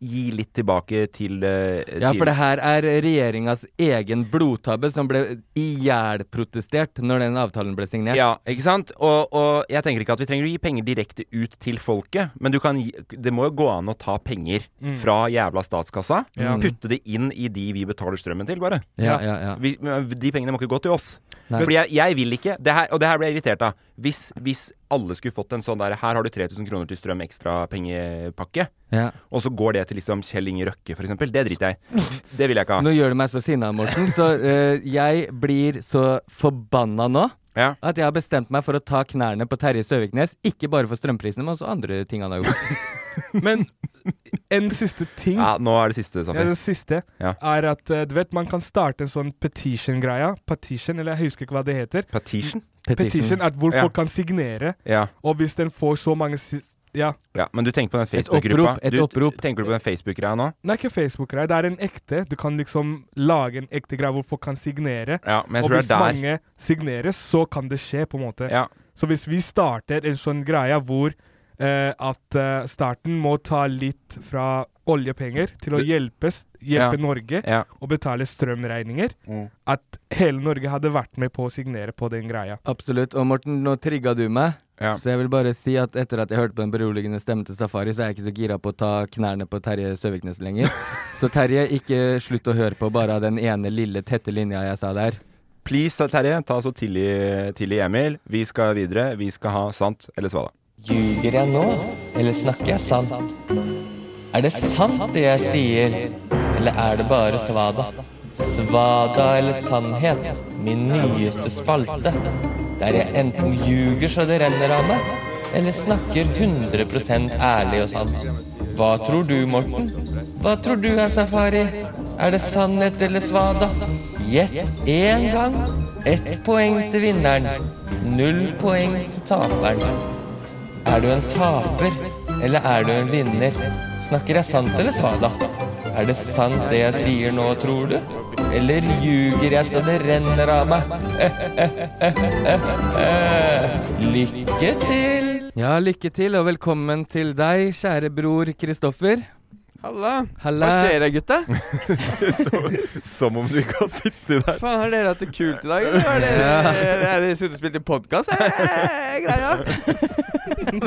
Speaker 3: gi litt tilbake til eh,
Speaker 2: Ja,
Speaker 3: til-
Speaker 2: for det her er regjeringas egen blodtabbe som ble ihjelprotestert når den avtalen ble signert.
Speaker 3: Ja, ikke sant? Og, og jeg tenker ikke at vi trenger å gi penger direkte ut til folket, men du kan gi, det må jo gå an å ta penger
Speaker 2: Mm.
Speaker 3: fra jævla statskassa, Mm.
Speaker 2: Ja.
Speaker 3: putte det inn i de vi betaler strømmen til, bare.
Speaker 2: Ja, ja, ja.
Speaker 3: Vi, men de pengene må ikke gå til oss.
Speaker 2: Nei.
Speaker 3: Fordi jeg, jeg vil ikke, det her, og det her ble jeg irritert av, hvis, hvis alle skulle fått en sånn der, her har du 3000 kroner til strøm ekstra pengepakke,
Speaker 2: Ja.
Speaker 3: og så går det til liksom Kjell Inge Røkke, for eksempel, det driter jeg.
Speaker 2: [LAUGHS]
Speaker 3: i. Det vil jeg ikke ha.
Speaker 2: Nå gjør du meg så sinna, Morten, så eh, jeg blir så forbanna nå.
Speaker 3: Ja.
Speaker 2: At jeg har bestemt meg for å ta knærne på Terje Søviknes, ikke bare for strømprisene, men også andre ting han har gjort.
Speaker 4: Men en siste ting
Speaker 3: [LAUGHS] Ja, nå er det siste,
Speaker 4: Ja,
Speaker 3: Safi.
Speaker 4: den siste
Speaker 3: Ja.
Speaker 4: er at eh, du vet, man kan starte en sånn petition-greia. Petition, eller jeg husker ikke hva det heter.
Speaker 3: Petition?
Speaker 4: Petition,
Speaker 3: Petition.
Speaker 4: at Hvor
Speaker 3: Ja.
Speaker 4: folk kan signere.
Speaker 3: Ja.
Speaker 4: Og hvis den får så mange si Ja.
Speaker 3: Ja, men du tenker på den
Speaker 4: Et
Speaker 3: Facebook-gruppa.
Speaker 4: opprop, et
Speaker 3: Du- Tenker du på den Facebook-greia nå?
Speaker 4: Det er ikke Facebook-greia, det er en ekte. Du kan liksom lage en ekte greie hvor folk kan signere.
Speaker 3: Ja, men jeg tror
Speaker 4: og
Speaker 3: det er
Speaker 4: hvis
Speaker 3: der.
Speaker 4: mange signerer, så kan det skje, på en måte.
Speaker 3: Ja.
Speaker 4: Så hvis vi starter en sånn greie hvor eh, at eh, staten må ta litt fra oljepenger til å
Speaker 3: Du-
Speaker 4: hjelpes, hjelpe
Speaker 3: Ja.
Speaker 4: Norge
Speaker 3: Ja.
Speaker 4: og betale strømregninger,
Speaker 3: Mm.
Speaker 4: at hele Norge hadde vært med på å signere på den greia.
Speaker 2: Absolutt. Og Morten, nå trigga du meg.
Speaker 3: Ja.
Speaker 2: Så jeg vil bare si at etter at jeg hørte på den beroligende stemmen til Safari, så er jeg ikke så gira på å ta knærne på Terje Søviknes lenger. så Terje, ikke slutt å høre på bare den ene lille tette linja jeg sa der.
Speaker 3: Please, Terje, ta så tidlig, tidlig Emil. Vi skal videre. Vi skal ha sant eller svada.
Speaker 2: Ljuger jeg nå, eller snakker jeg sant? Er det sant det jeg sier, eller er det bare svada? Svada eller sannhet, min nyeste spalte. Der jeg enten ljuger så det renner av meg, eller snakker 100 ærlig og sant. Hva tror du, Morten? Hva tror du er safari? Er det sannhet eller svada? Gjett én gang. Ett poeng til vinneren. Null poeng til taperen. Er du en taper, eller er du en vinner? Snakker jeg sant eller svada? Er det sant det jeg sier nå, tror du? Eller ljuger jeg så det renner av meg? [LAUGHS] Lykke til! Ja, lykke til, og velkommen til deg, kjære bror Kristoffer.
Speaker 10: Halla.
Speaker 2: Halla.
Speaker 10: Hva skjer da, gutta?
Speaker 2: [LAUGHS]
Speaker 3: Som om du ikke har sittet der.
Speaker 10: Faen, har dere hatt det kult i dag? eller? [LAUGHS] Har dere, Er dere sittet og spilt i podkast? [LAUGHS] Greia.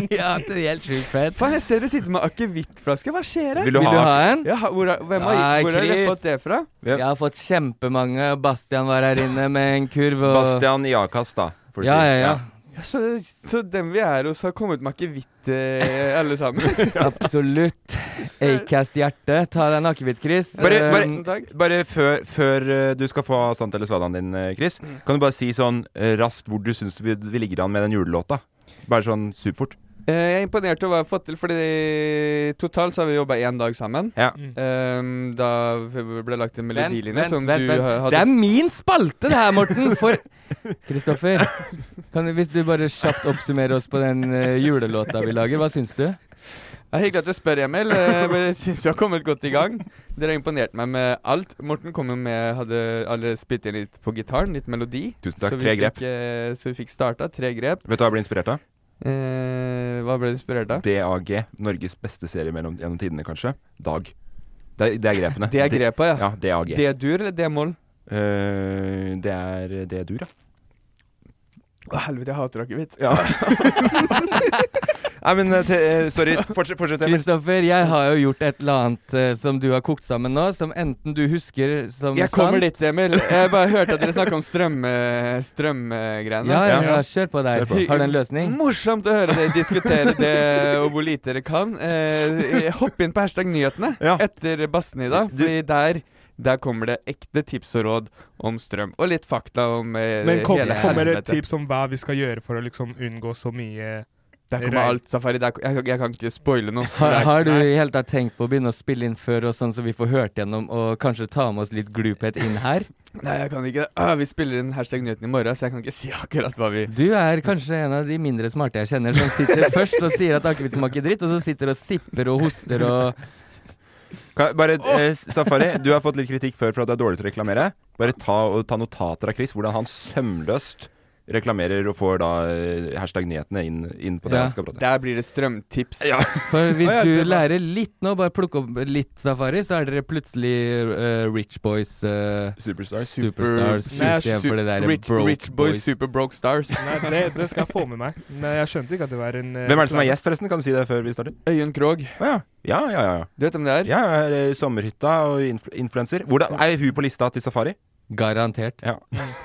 Speaker 2: ja, det er helt sjukt fett.
Speaker 10: Faen, jeg ser dere sitter med akevittflaske. Hva skjer her?
Speaker 2: Vil du Vil du ha- ha en?
Speaker 10: Ja, ha- hvor, har- hvem har,
Speaker 2: Nei,
Speaker 10: hvor har dere
Speaker 2: Chris.
Speaker 10: fått det fra?
Speaker 2: Jeg har fått kjempemange. Bastian var her inne med en kurv. Og...
Speaker 3: Bastian i A-kast, da. Får du
Speaker 2: Ja,
Speaker 3: si.
Speaker 2: ja, ja.
Speaker 10: Ja, Så, så dem vi er hos, har kommet med akevitt, eh, alle sammen? [LAUGHS]
Speaker 2: Absolutt. Acast-hjerte. Ta deg en akevitt, Chris.
Speaker 3: Bare,
Speaker 10: Eh,
Speaker 2: Um,
Speaker 3: bare, bare før, før eh, du skal få sant eller svadaen din, eh, Chris,
Speaker 10: Mm.
Speaker 3: kan du bare si sånn eh, raskt hvor du syns vi, vi ligger an med den julelåta? Bare sånn superfort.
Speaker 10: Eh, Jeg er imponert over hva jeg har fått til, fordi totalt så har vi jobba én dag sammen.
Speaker 3: Ja.
Speaker 10: Eh, da ble det lagt en melodilinje
Speaker 2: vent,
Speaker 10: som
Speaker 2: vent,
Speaker 10: du
Speaker 2: vent.
Speaker 10: ha- hadde
Speaker 2: Det er min spalte, det her, Morten!
Speaker 10: [LAUGHS]
Speaker 2: For Kristoffer, kan du, hvis du bare kjapt oppsummerer oss på den eh, julelåta vi lager, hva syns du?
Speaker 10: Det er Hyggelig at du spør, Emil. Eh, men Jeg syns vi har kommet godt i gang. Dere har imponert meg med alt. Morten kom jo med, hadde allerede spilt inn litt på gitaren, litt melodi.
Speaker 3: Tusen takk.
Speaker 10: Så vi
Speaker 3: Tre grep.
Speaker 10: fikk, eh, så vi fikk starta. Tre grep.
Speaker 3: Vet du hva jeg ble inspirert av?
Speaker 10: Eh, hva ble du inspirert av?
Speaker 3: DAG. Norges beste serie mellom, gjennom tidene, kanskje. Dag. Det, er- det er grepene.
Speaker 10: [LAUGHS] Det er grepa, ja.
Speaker 3: Ja, DAG.
Speaker 10: D-dur eller D-moll?
Speaker 3: Eh, det er D-dur, ja.
Speaker 10: Å, helvete, jeg hater akevitt. [LAUGHS]
Speaker 3: Ja. Nei, men eh, te, eh, sorry. Fortsett, fortsett Emil.
Speaker 2: Kristoffer, jeg har jo gjort et eller annet eh, som du har kokt sammen nå, som enten du husker som
Speaker 10: Jeg kommer
Speaker 2: sant
Speaker 10: dit, Emil. Jeg bare hørte at dere snakka om strøm, eh, strømgreiene.
Speaker 2: Ja, ja, ja, kjør på der.
Speaker 10: Hy-
Speaker 2: Har du en løsning?
Speaker 10: Morsomt å høre dere diskutere det, og hvor lite dere kan. Eh, hopp inn på hashtag nyhetene etter bassene i dag, fordi der der kommer det ekte tips og råd om strøm, og litt fakta om eh,
Speaker 4: Men kom,
Speaker 10: hele
Speaker 4: kommer det
Speaker 10: helvete.
Speaker 4: tips om hva vi skal gjøre for å liksom unngå så mye
Speaker 10: Der kommer
Speaker 4: røyk?
Speaker 10: alt, Safari. Der, jeg, jeg kan ikke spoile noe.
Speaker 2: Har,
Speaker 10: Der-
Speaker 2: har du i hele tatt tenkt på å begynne å spille inn før, og sånn så vi får hørt gjennom, og kanskje ta med oss litt gluphet inn her?
Speaker 10: Nei, jeg kan ikke det. Ah, vi spiller inn hashtag nyheten i morgen, så jeg kan ikke si akkurat hva vi
Speaker 2: Du er kanskje en av de mindre smarte jeg kjenner, som
Speaker 10: [LAUGHS]
Speaker 2: sitter først og sier at akevitt smaker dritt, og så sitter og sipper og hoster og
Speaker 3: Kan, bare, eh, Safari, du har fått litt kritikk før for at du er dårlig til å reklamere. Bare ta, og ta notater av Chris, hvordan han sømløst reklamerer og får da eh, hashtag nyhetene inn, inn på det
Speaker 2: Ja.
Speaker 3: han skal prate
Speaker 10: Der blir det strømtips.
Speaker 2: For hvis
Speaker 10: Å, ja,
Speaker 2: du
Speaker 10: det var-
Speaker 2: lærer litt nå, bare plukke opp litt safari, så er dere plutselig eh, rich boys eh,
Speaker 3: Superstars.
Speaker 2: Superstars
Speaker 10: Nei,
Speaker 2: istedenfor det der
Speaker 10: rich,
Speaker 2: broke
Speaker 10: rich boys, super broke stars.
Speaker 4: Nei, det, det skal jeg få med meg. Men jeg skjønte ikke at det var en eh,
Speaker 3: Hvem er det som er
Speaker 4: reklame.
Speaker 3: gjest, forresten? Kan du si det før vi starter?
Speaker 10: Øyunn Krogh.
Speaker 3: ja. Ja, ja, ja.
Speaker 10: Du vet hvem det er?
Speaker 3: Ja, jeg er eh, sommerhytta og influ influenser. Hvordan- Er hun på lista til Safari?
Speaker 2: Garantert.
Speaker 3: Ja.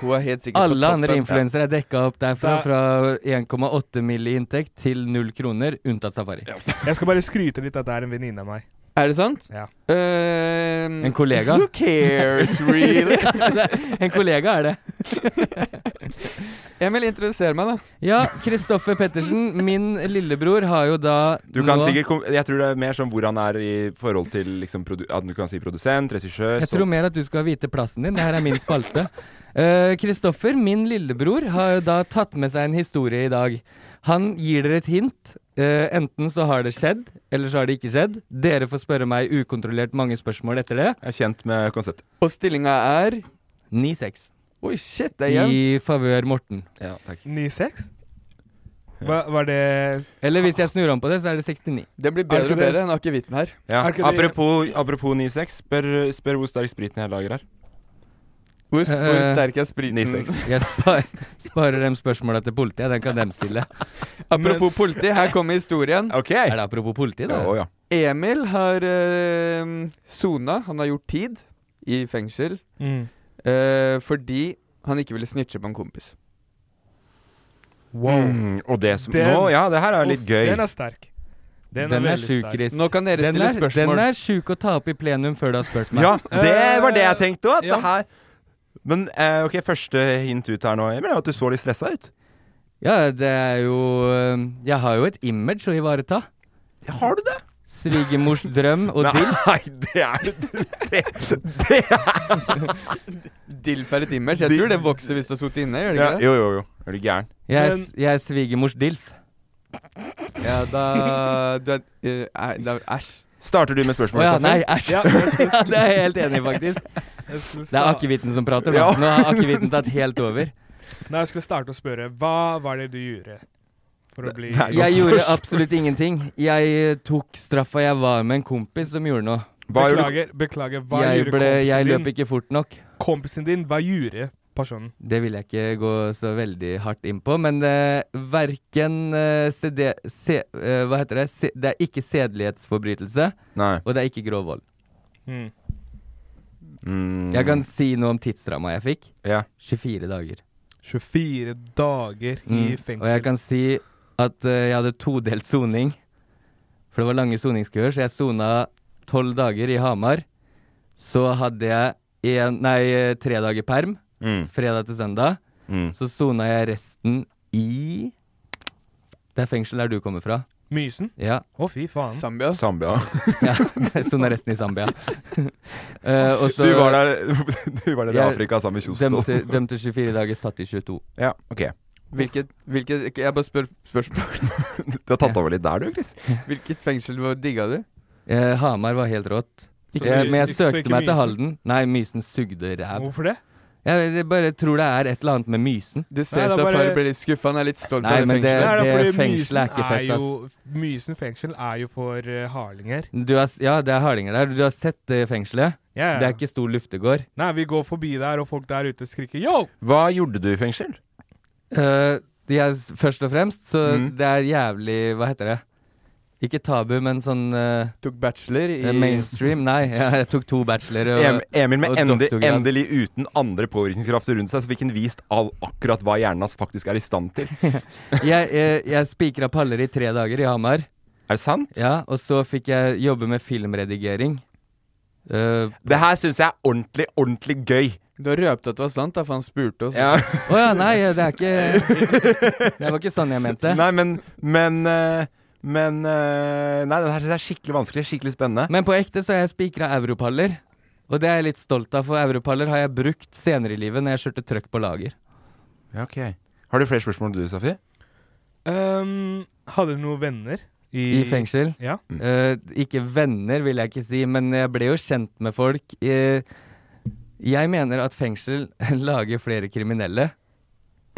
Speaker 10: Hun er helt sikkert
Speaker 2: Alle
Speaker 10: på
Speaker 2: andre
Speaker 10: toppen.
Speaker 2: influensere er dekka opp derfra,
Speaker 4: Da-
Speaker 2: fra 1,8 mill. i inntekt til null kroner, unntatt safari.
Speaker 4: Jeg skal bare skryte litt at det er en venninne av meg.
Speaker 10: Er det sant?
Speaker 4: Ja.
Speaker 10: Ehm,
Speaker 2: En kollega.
Speaker 10: Who cares, really?
Speaker 2: [LAUGHS] Ja, det er- en kollega er det.
Speaker 10: [LAUGHS] Emil, introduser meg, da.
Speaker 2: Ja, Kristoffer Pettersen, min lillebror, har jo da
Speaker 3: Du kan
Speaker 2: nå-
Speaker 3: sikkert kom Jeg tror det er mer som hvor han er i forhold til liksom, produ at du kan si produsent, regissør
Speaker 2: Jeg tror mer at du skal vite plassen din. Det her er min spalte.
Speaker 3: [LAUGHS]
Speaker 2: Eh, Kristoffer, min lillebror, har jo da tatt med seg en historie i dag. Han gir dere et hint. Eh, enten så har det skjedd, eller så har det ikke skjedd. Dere får spørre meg ukontrollert mange spørsmål etter det.
Speaker 3: Jeg er kjent med konseptet.
Speaker 10: Og stillinga er
Speaker 2: 9-6.
Speaker 10: Oi, shit, det er jevnt.
Speaker 2: I favør Morten.
Speaker 3: Ja, takk.
Speaker 4: 9-6? Hva, var det
Speaker 2: Eller hvis jeg snur om på det, så er det 69.
Speaker 10: Det blir
Speaker 4: Er
Speaker 10: bedre
Speaker 4: det ikke
Speaker 10: og
Speaker 4: det-
Speaker 10: bedre enn akevitten her.
Speaker 3: Ja.
Speaker 4: Er ikke det-
Speaker 3: Apropos, apropos 9-6, spør, spør hvor sterk spriten jeg lager her.
Speaker 10: Hvor, hvor
Speaker 2: Eh,
Speaker 10: sterk er spriten?
Speaker 3: 9-6.
Speaker 2: Jeg spar, sparer dem spørsmåla til politiet. Den kan dem stille.
Speaker 10: Apropos politi, her kommer historien.
Speaker 3: OK!
Speaker 2: Er det apropos politi, da?
Speaker 3: Å, ja.
Speaker 10: Emil har eh, sona. Han har gjort tid i fengsel
Speaker 4: Mm.
Speaker 10: eh, fordi han ikke ville snitche på en kompis.
Speaker 4: Wow.
Speaker 3: Mm, og det som
Speaker 4: Den-
Speaker 3: Nå, ja, det her er litt
Speaker 4: Uff,
Speaker 3: gøy.
Speaker 4: Den er sterk. Den,
Speaker 2: Den er
Speaker 4: veldig
Speaker 2: sjuk,
Speaker 4: sterk.
Speaker 2: Chris.
Speaker 10: Nå kan dere
Speaker 2: Den
Speaker 10: stille
Speaker 2: er,
Speaker 10: spørsmål.
Speaker 2: den er sjuk å ta opp i plenum før du har spurt meg.
Speaker 3: Ja,
Speaker 10: Eh,
Speaker 3: det var det jeg tenkte òg.
Speaker 4: ja.
Speaker 3: Men eh, ok, første hint ut her nå, Emil, er at du så litt stressa ut.
Speaker 2: Ja, det er jo øhm, Jeg har jo et image å ivareta.
Speaker 3: Ja, har du det?
Speaker 2: Svigermors drøm og
Speaker 3: [LAUGHS] Nei,
Speaker 2: dill.
Speaker 3: det er det, det er
Speaker 10: Dilf er et image. Jeg
Speaker 3: Dilf-
Speaker 10: tror det vokser hvis du har sittet inne. gjør [LAUGHS] det
Speaker 3: ja,
Speaker 10: ikke det?
Speaker 3: Jo, jo, jo. Er du gæren?
Speaker 2: Jeg, er
Speaker 4: Men-
Speaker 2: s- jeg er svigermors dilf.
Speaker 10: Ja, da du er, eh, nei, da, Æsj.
Speaker 3: Starter du med
Speaker 2: Å
Speaker 3: spørsmål?
Speaker 2: ja,
Speaker 3: Safi?
Speaker 2: nei, æsj.
Speaker 4: Ja, jeg skulle,
Speaker 2: [LAUGHS] Ja, det er jeg helt enig i, faktisk.
Speaker 4: jeg skulle
Speaker 2: Det er
Speaker 4: sta-
Speaker 2: akevitten som prater.
Speaker 3: Ja.
Speaker 2: Nå, nå har akevitten tatt helt over.
Speaker 4: Nei, jeg skulle starte å spørre. Hva var det du gjorde for å bli
Speaker 3: det er godt.
Speaker 2: Jeg gjorde absolutt ingenting. Jeg eh, tok straffa. Jeg var med en kompis som gjorde noe.
Speaker 3: Hva gjør du?
Speaker 4: Beklager, beklager. Hva
Speaker 2: jeg,
Speaker 4: gjorde
Speaker 2: ble,
Speaker 4: kompisen
Speaker 2: jeg
Speaker 4: din?
Speaker 2: løp ikke fort nok.
Speaker 4: Kompisen din, hva gjorde personen?
Speaker 2: Det vil jeg ikke gå så veldig hardt inn på, men eh, verken eh, CD... C, eh, hva heter det? Se- det er ikke sedelighetsforbrytelse,
Speaker 3: Nei.
Speaker 2: og det er ikke grov vold.
Speaker 4: Mm.
Speaker 3: Mm.
Speaker 2: Jeg kan si noe om tidsramma jeg fikk.
Speaker 3: Ja.
Speaker 2: 24 dager.
Speaker 4: 24 dager i
Speaker 2: Mm.
Speaker 4: fengsel.
Speaker 2: Og jeg kan si at eh, jeg hadde todelt soning. For det var lange soningskøer, så jeg sona tolv dager i Hamar. Så hadde jeg en, nei, eh, tre dager perm,
Speaker 3: Mm.
Speaker 2: fredag til søndag.
Speaker 3: Mm.
Speaker 2: Så sona jeg resten i Det er fengsel der du kommer fra.
Speaker 4: Mysen?
Speaker 2: Ja.
Speaker 4: Å, fy faen.
Speaker 10: Zambia.
Speaker 3: Zambia.
Speaker 2: ja. Jeg sona resten i Zambia. [LAUGHS] Eh, og så
Speaker 3: du var der, [LAUGHS] du var der i
Speaker 2: Jeg
Speaker 3: Afrika sammen med Kjostol.
Speaker 2: dømte, dømte 24 dager, satt i 22.
Speaker 3: Ja, ok.
Speaker 10: Hvilket, hvilket ikke- Jeg bare spør spørsmål.
Speaker 3: [LAUGHS] Du har tatt over litt der, du, Chris.
Speaker 10: Hvilket fengsel var- digga du?
Speaker 2: Eh, Hamar var helt rått.
Speaker 4: Ikke
Speaker 2: Eh,
Speaker 4: Mysen-
Speaker 2: men jeg
Speaker 4: ikke- så
Speaker 2: søkte
Speaker 4: ikke
Speaker 2: meg til
Speaker 4: Mysen?
Speaker 2: Halden. Nei, Mysen sugde ræv.
Speaker 4: Hvorfor det?
Speaker 2: Jeg, jeg bare tror det er et eller annet med mysen.
Speaker 10: Du ser Nei, det er bare- Safari blir litt skuffa. Han er litt stolt
Speaker 2: Nei,
Speaker 10: av det
Speaker 2: men det,
Speaker 10: fengselet.
Speaker 2: det,
Speaker 4: Nei, da, fordi
Speaker 2: fengselet er ikke
Speaker 4: Mysen
Speaker 2: fett,
Speaker 4: er
Speaker 2: ass.
Speaker 4: jo- Mysen fengsel er jo for eh, harlinger.
Speaker 2: Du har, s- ja, det er hardinger der. Du har sett det fengselet?
Speaker 4: Ja, ja.
Speaker 2: Det er ikke stor luftegård.
Speaker 4: Nei, vi går forbi der, og folk der ute skriker yo!
Speaker 3: Hva gjorde du i fengsel?
Speaker 2: Eh, de er s- først og fremst, så
Speaker 4: Mm.
Speaker 2: det er jævlig Hva heter det? Ikke tabu, men sånn eh,
Speaker 10: Tok bachelor i
Speaker 2: eh, Mainstream? Nei, [LAUGHS] ja, jeg tok to bachelorer.
Speaker 3: Em- Emil med ende,
Speaker 2: doktorgrad.
Speaker 3: endelig uten andre påvirkningskrafter rundt seg, så fikk han vist all, akkurat hva hjernen hans faktisk er i stand til.
Speaker 2: jeg, jeg, jeg spikra paller i tre dager i Hamar.
Speaker 3: Er det sant?
Speaker 2: Ja, og så fikk jeg jobbe med filmredigering. Eh,
Speaker 3: det her syns jeg er ordentlig, ordentlig gøy.
Speaker 10: Du har røpt at det var sant, da, for han spurte oss.
Speaker 3: Ja.
Speaker 2: Å ja, nei, eh, det er ikke Det var ikke sånn jeg mente.
Speaker 3: Nei, men Men, eh, men eh, Nei, det her syns jeg er skikkelig vanskelig. Skikkelig spennende.
Speaker 2: Men på ekte så har jeg spikra europaller. Og det er jeg litt stolt av, for europaller har jeg brukt senere i livet når jeg kjørte trøkk på lager.
Speaker 3: Ja, ok. Har du flere spørsmål du, Safi?
Speaker 4: Ehm, hadde du noen venner?
Speaker 2: I, fengsel?
Speaker 4: Ja.
Speaker 2: Eh, ikke venner, vil jeg ikke si, men jeg ble jo kjent med folk. Eh, jeg mener at fengsel [LAUGHS] lager flere kriminelle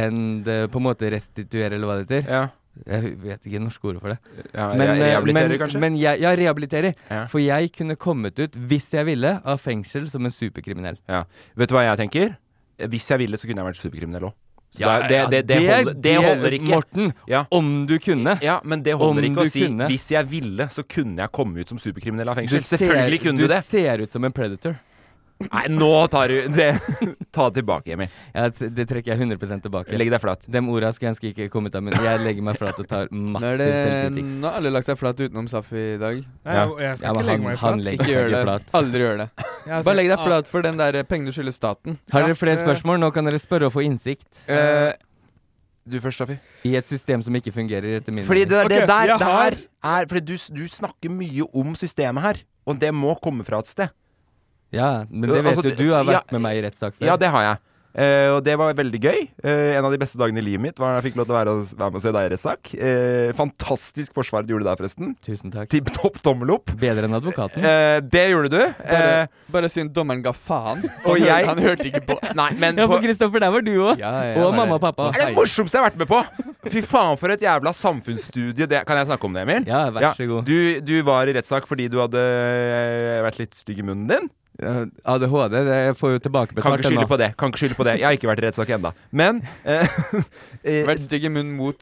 Speaker 2: enn det på en måte restituerer, eller hva det heter. Jeg vet ikke det norske ordet for det.
Speaker 3: Ja,
Speaker 2: men,
Speaker 3: re-
Speaker 2: eh,
Speaker 3: rehabiliterer,
Speaker 2: men,
Speaker 3: kanskje?
Speaker 2: Men jeg, ja, rehabiliterer.
Speaker 3: Ja.
Speaker 2: For jeg kunne kommet ut, hvis jeg ville, av fengsel som en superkriminell.
Speaker 3: Ja. Vet du hva jeg tenker? Hvis jeg ville, så kunne jeg vært superkriminell òg. Så
Speaker 2: Ja,
Speaker 3: det, er- det, det, det,
Speaker 2: ja,
Speaker 3: holder, det holder ikke.
Speaker 2: Morten, om du kunne. [LAUGHS]
Speaker 3: Ja, men det holder
Speaker 2: Om
Speaker 3: ikke
Speaker 2: du
Speaker 3: å si
Speaker 2: kunne.
Speaker 3: 'hvis jeg ville, så kunne jeg komme ut som superkriminell av fengsel'.
Speaker 2: ser-
Speaker 3: Selvfølgelig kunne du, det.
Speaker 2: Du ser ut som en predator.
Speaker 3: Nei, nå tar du det. [LAUGHS] Ta det tilbake, Emil.
Speaker 2: Ja, t- det trekker jeg 100 tilbake.
Speaker 3: Legg deg flat.
Speaker 2: De orda skulle jeg ønske ikke kom ut av munnen. Jeg legger meg flat og tar
Speaker 10: Nå, er
Speaker 2: massiv
Speaker 10: det,
Speaker 2: selvkritikk.
Speaker 10: nå har alle lagt seg flat utenom Safi i dag.
Speaker 4: Nei, Ja. jeg- jeg skal ikke
Speaker 10: men
Speaker 4: legge meg
Speaker 10: han,
Speaker 4: flat.
Speaker 10: Han
Speaker 2: Ikke
Speaker 10: legger
Speaker 2: gjør
Speaker 10: seg ikke
Speaker 2: det.
Speaker 10: flat. Aldri gjør det.
Speaker 4: Jeg
Speaker 10: Bare
Speaker 4: skal-
Speaker 10: legg deg
Speaker 4: ah.
Speaker 10: flat for den der eh, pengene du skylder staten.
Speaker 2: Har dere flere
Speaker 10: Ja, eh,
Speaker 2: spørsmål? Nå kan dere spørre og få innsikt.
Speaker 3: Eh, du først, Safi.
Speaker 2: I et system som ikke fungerer, etter min
Speaker 3: Fordi det,
Speaker 2: mening.
Speaker 3: det der, det her er Fordi du, s- du snakker mye om systemet her, og det må komme fra et sted.
Speaker 2: Ja, men det vet
Speaker 3: Altså,
Speaker 2: jo du. Du har vært
Speaker 3: ja,
Speaker 2: med meg i rettssak før.
Speaker 3: Ja, det har jeg. Eh, og det var veldig gøy. Eh, en av de beste dagene i livet mitt var da jeg fikk lov til å være, være med og se deg i rettssak. Eh, fantastisk forsvar du gjorde der, forresten.
Speaker 2: Tusen takk.
Speaker 3: Tipp topp tommel opp.
Speaker 2: Bedre enn advokaten.
Speaker 3: Eh, det gjorde du.
Speaker 10: Bare,
Speaker 3: Eh,
Speaker 10: bare synd dommeren ga faen.
Speaker 3: Og
Speaker 10: han,
Speaker 3: jeg-
Speaker 10: hørte, han hørte ikke på.
Speaker 3: Nei, men
Speaker 2: Ja,
Speaker 3: på-
Speaker 2: for Kristoffer, der var du òg.
Speaker 10: ja, bare-
Speaker 2: og mamma og pappa.
Speaker 3: Det er det morsomste jeg har vært med på! Fy faen, for et jævla samfunnsstudie. Det, kan jeg snakke om det, Emil?
Speaker 2: Ja, vær så god.
Speaker 3: Du, du var i rettssak fordi du hadde eh, vært litt stygg i munnen din.
Speaker 2: Ja, ADHD, det jeg får jo
Speaker 3: Kan
Speaker 2: tilbakebetalt
Speaker 3: ikke skylde på det. Kan ikke skylde på det. Jeg har ikke vært i rettssak ennå. Men eh, [LAUGHS] eh,
Speaker 10: Vært stygg i munnen mot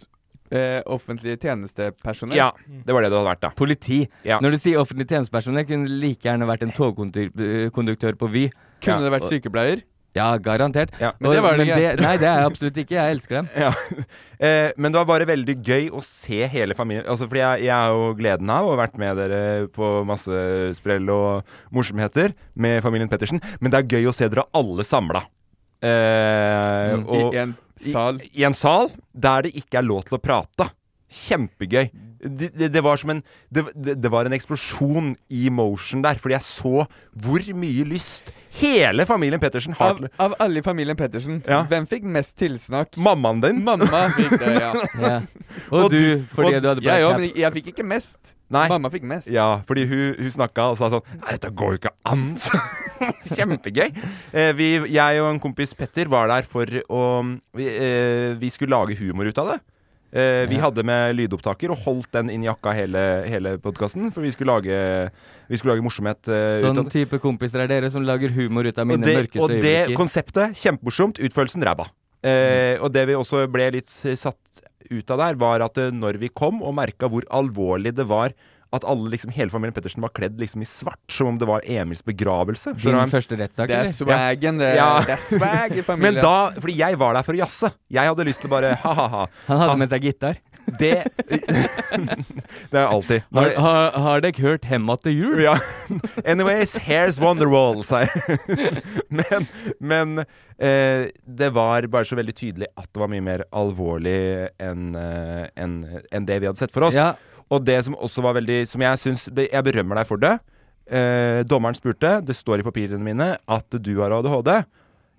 Speaker 10: eh, offentlig tjenestepersonell.
Speaker 3: Ja, det var det du hadde vært, da.
Speaker 2: Politi.
Speaker 3: Ja.
Speaker 2: Når du sier offentlig tjenestepersonell, kunne det like gjerne vært en togkonduktør eh, på Vy.
Speaker 10: Kunne
Speaker 2: Ja.
Speaker 10: det vært
Speaker 2: Og-
Speaker 10: sykepleier?
Speaker 2: Ja, garantert.
Speaker 10: Men det var det ikke.
Speaker 2: nei, det er jeg absolutt ikke. Jeg
Speaker 10: [LAUGHS]
Speaker 2: elsker dem.
Speaker 3: Ja. [LAUGHS] Eh, men det var bare veldig gøy å se hele familien. Altså, fordi jeg, jeg har jo gleden av å ha vært med dere på masse sprell og morsomheter med familien Pettersen. Men det er gøy å se dere alle samla. Eh,
Speaker 10: Mm.
Speaker 3: og-
Speaker 10: I en sal.
Speaker 3: I, I en sal der det ikke er lov til å prate. Kjempegøy. Det, det, det var som en det, det, det var en eksplosjon i motion der, fordi jeg så hvor mye lyst hele familien Pettersen har
Speaker 10: Av,
Speaker 3: til
Speaker 10: av alle i familien Pettersen,
Speaker 3: Ja.
Speaker 10: hvem fikk mest tilsnakk?
Speaker 3: Mammaen din.
Speaker 10: Mamma fikk det, ja.
Speaker 2: Ja. Og,
Speaker 3: Og
Speaker 2: du,
Speaker 3: du-
Speaker 2: fordi
Speaker 3: og-
Speaker 2: du hadde
Speaker 10: Ja,
Speaker 2: black
Speaker 10: ja, men
Speaker 2: caps.
Speaker 10: jeg, jeg fikk ikke mest.
Speaker 3: Nei.
Speaker 10: Mamma fikk mest.
Speaker 3: Ja, fordi hun, hun snakka og sa sånn Nei, dette går jo ikke an! [LAUGHS] så." Kjempegøy. Eh, vi, jeg og en kompis Petter var der for å Vi, eh, vi skulle lage humor ut av det. Eh, vi hadde med lydopptaker og holdt den inn i jakka hele, hele podkasten, for vi skulle lage, vi skulle lage morsomhet eh, ut
Speaker 2: Sånn
Speaker 3: av det.
Speaker 2: type kompiser er dere som lager humor ut av mine
Speaker 3: Og det,
Speaker 2: mørkeste
Speaker 3: og det
Speaker 2: øyeblikker. Mm.
Speaker 3: konseptet, kjempemorsomt. Utførelsen ræva. Eh, og det vi også ble litt eh, satt ut av der, var at eh, når vi kom og merka hvor alvorlig det var at alle, liksom, hele familien Pettersen var kledd liksom i svart, som om det var Emils begravelse. Skjønner du hva
Speaker 2: Din
Speaker 3: jeg-
Speaker 2: første rettssak,
Speaker 10: Det er
Speaker 2: eller?
Speaker 10: swaggen, det.
Speaker 2: [LAUGHS]
Speaker 3: Ja.
Speaker 10: Det er swag i familien.
Speaker 3: Men da, fordi jeg var der for å jazze. Jeg hadde lyst til å bare ha-ha-ha.
Speaker 2: Han hadde med seg gitar.
Speaker 3: Det [LAUGHS] Det er alltid.
Speaker 2: Har, har, har dere hørt 'Hemma til jul'?
Speaker 3: Ja. [LAUGHS] Anyways, here's Wonderwall, sa jeg. [LAUGHS] Men, men eh, det var bare så veldig tydelig at det var mye mer alvorlig enn eh, enn- enn det vi hadde sett for oss.
Speaker 2: Ja.
Speaker 3: Og det som også var veldig Som jeg syns Jeg berømmer deg for det. Eh, dommeren spurte, det står i papirene mine, at du har ADHD.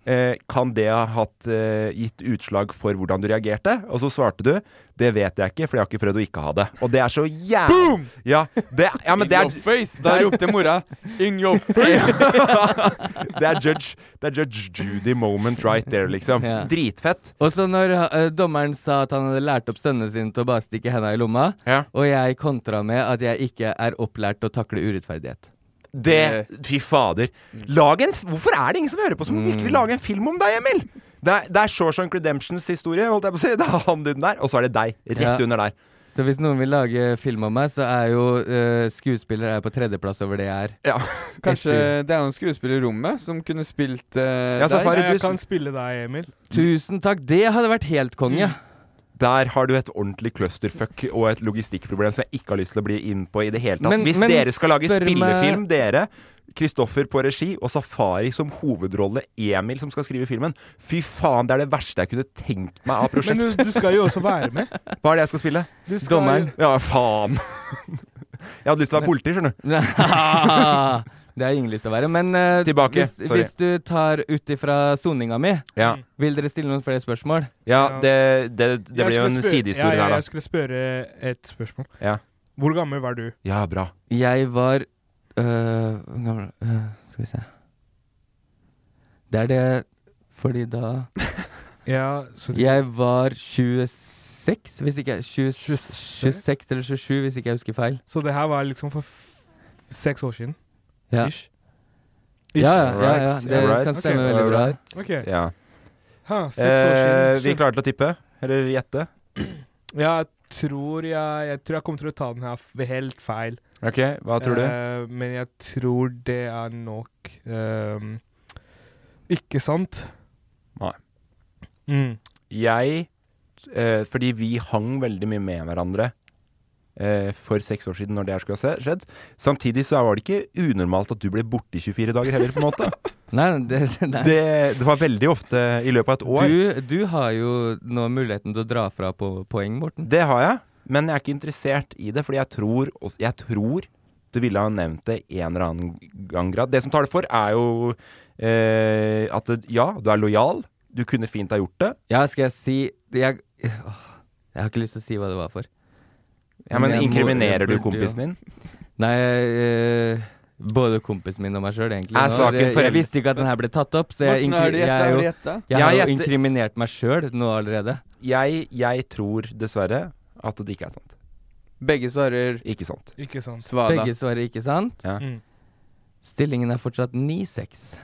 Speaker 3: eh, kan det ha hatt, eh, gitt utslag for hvordan du reagerte? Og så svarte du det vet jeg ikke, for jeg har ikke prøvd å ikke ha det. Og det er så jævlig Boom! Ja, det, ja, men
Speaker 10: In
Speaker 3: det er,
Speaker 10: your face!
Speaker 3: [LAUGHS]
Speaker 10: Da ropte mora. In your face!
Speaker 3: det, er judge, det er Judge Judy moment right there, liksom. Dritfett.
Speaker 2: Og så når eh, dommeren sa at han hadde lært opp sønnene sine til å bare stikke henda i lomma, og jeg kontra med at jeg ikke er opplært til å takle urettferdighet.
Speaker 3: Det Fy fader. Lag en, hvorfor er det ingen som hører på som
Speaker 2: Mm.
Speaker 3: virkelig lager en film om deg, Emil? Det er, det er Shawshank Redemptions historie, holdt jeg på å si. [LAUGHS] Det er han dyden der, og så er det deg rett
Speaker 2: Ja.
Speaker 3: under der.
Speaker 2: Så hvis noen vil lage film om meg, så er jo eh, skuespiller er på tredjeplass over det jeg er.
Speaker 10: Kanskje
Speaker 2: Etter-
Speaker 10: det er jo en skuespiller i rommet som kunne spilt eh,
Speaker 2: Ja, Safari,
Speaker 10: deg.
Speaker 2: du- Jeg kan
Speaker 4: spille deg, Emil.
Speaker 2: Tusen takk, det hadde vært helt konge.
Speaker 10: Mm.
Speaker 3: Der har du et ordentlig clusterfuck og et logistikkproblem som jeg ikke har lyst til å bli inn på i det hele tatt.
Speaker 2: Men-
Speaker 3: Hvis
Speaker 2: men
Speaker 3: dere skal lage
Speaker 2: spør meg-
Speaker 3: spillefilm, dere Kristoffer på regi og Safari som hovedrolle, Emil som skal skrive filmen. Fy faen, det er det verste jeg kunne tenkt meg av
Speaker 2: [LAUGHS]
Speaker 3: prosjekt.
Speaker 4: Men du, du skal jo også være med.
Speaker 3: Hva er det jeg skal spille?
Speaker 4: Du skal Dommeren.
Speaker 3: Ja, faen. [LAUGHS] Jeg hadde lyst til å være politi, skjønner du.
Speaker 2: [LAUGHS] det har ingen lyst til å være. Men eh,
Speaker 3: Tilbake,
Speaker 2: hvis,
Speaker 3: sorry.
Speaker 2: hvis du tar ut ifra soninga mi,
Speaker 3: Ja.
Speaker 2: vil dere stille noen flere spørsmål?
Speaker 3: Ja, det, det, det
Speaker 4: Jeg
Speaker 3: blir jo
Speaker 4: skulle
Speaker 3: en
Speaker 4: spørre-
Speaker 3: sidehistorie
Speaker 4: ja, ja,
Speaker 3: der,
Speaker 4: Jeg
Speaker 3: da.
Speaker 4: skulle spørre et spørsmål.
Speaker 3: Ja.
Speaker 4: Hvor gammel var du?
Speaker 3: Ja, bra.
Speaker 2: Jeg var øh, hvor gammel, øh, Skal vi se Det er det fordi da
Speaker 4: Ja, så du-
Speaker 2: Jeg var 26, hvis ikke jeg 20, 26 eller 27, hvis ikke jeg husker feil.
Speaker 4: Så det her var liksom for f seks år siden?
Speaker 2: Ja.
Speaker 4: Ish.
Speaker 2: Ja, ja, ja, ja,
Speaker 3: Alright,
Speaker 2: det
Speaker 3: alright.
Speaker 2: kan stemme
Speaker 3: Ok,
Speaker 2: veldig bra.
Speaker 3: alright.
Speaker 4: Ok.
Speaker 3: Ja.
Speaker 4: Ha, seks år siden,
Speaker 3: Eh, vi
Speaker 4: skjønner.
Speaker 3: klarer til å tippe? Eller gjette?
Speaker 4: Jeg tror jeg, jeg tror jeg kommer til å ta den her f- helt feil.
Speaker 3: Ok, hva tror du?
Speaker 4: Eh, men jeg tror det er nok ehm, Ikke sant?
Speaker 3: Nei.
Speaker 4: Mm.
Speaker 3: Jeg eh, Fordi vi hang veldig mye med hverandre eh, for seks år siden når det her skulle ha se- skjedd. Samtidig så var det ikke unormalt at du ble borte i 24 dager heller, på en
Speaker 4: [LAUGHS]
Speaker 3: måte.
Speaker 2: Nei, det, nei.
Speaker 3: Det, det var veldig ofte i løpet av et år.
Speaker 2: Du, du har jo nå muligheten til å dra fra på poeng, Morten.
Speaker 3: Det har jeg, men jeg er ikke interessert i det, fordi jeg tror, også- jeg tror du ville ha nevnt det en eller annen gang. grad. Det som tar det for, er jo eh, at det- ja, du er lojal. Du kunne fint ha gjort det.
Speaker 2: Ja, skal jeg si jeg, åh, jeg har ikke lyst til å si hva det var for.
Speaker 3: Ja, men
Speaker 2: jeg må- jeg
Speaker 3: inkriminerer du
Speaker 2: burde jo-
Speaker 3: kompisen din?
Speaker 2: Nei, eh, både kompisen min og meg sjøl, egentlig.
Speaker 3: Er
Speaker 2: Nå,
Speaker 3: saken
Speaker 2: det, jeg
Speaker 3: foreldet?
Speaker 2: visste ikke at den her ble tatt opp, så jeg,
Speaker 3: Morten,
Speaker 2: inkri-
Speaker 3: har du gjetta?
Speaker 2: jeg, er
Speaker 3: Har du
Speaker 2: jo,
Speaker 3: gjetta?
Speaker 2: jeg
Speaker 3: Jeg
Speaker 2: har jo
Speaker 3: gjetter-
Speaker 2: inkriminert meg sjøl nå allerede.
Speaker 3: Jeg, jeg tror dessverre at det ikke er sant.
Speaker 10: Begge svarer
Speaker 3: Ikke sant.
Speaker 4: Ikke sant.
Speaker 10: Svada.
Speaker 2: Begge svarer ikke sant.
Speaker 3: Ja.
Speaker 4: Mm.
Speaker 2: Stillingen er fortsatt 9-6.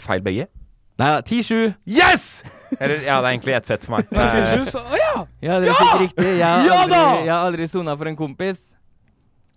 Speaker 3: Feil begge?
Speaker 2: Nei, 10-7.
Speaker 3: Yes! Eller, ja, det er egentlig ett fett
Speaker 2: [LAUGHS]
Speaker 3: for meg.
Speaker 4: Til
Speaker 3: Eh,
Speaker 4: slutt så- Å ja!
Speaker 2: Ja, det er sikkert riktig. Jeg har aldri, jeg har aldri sona for en kompis.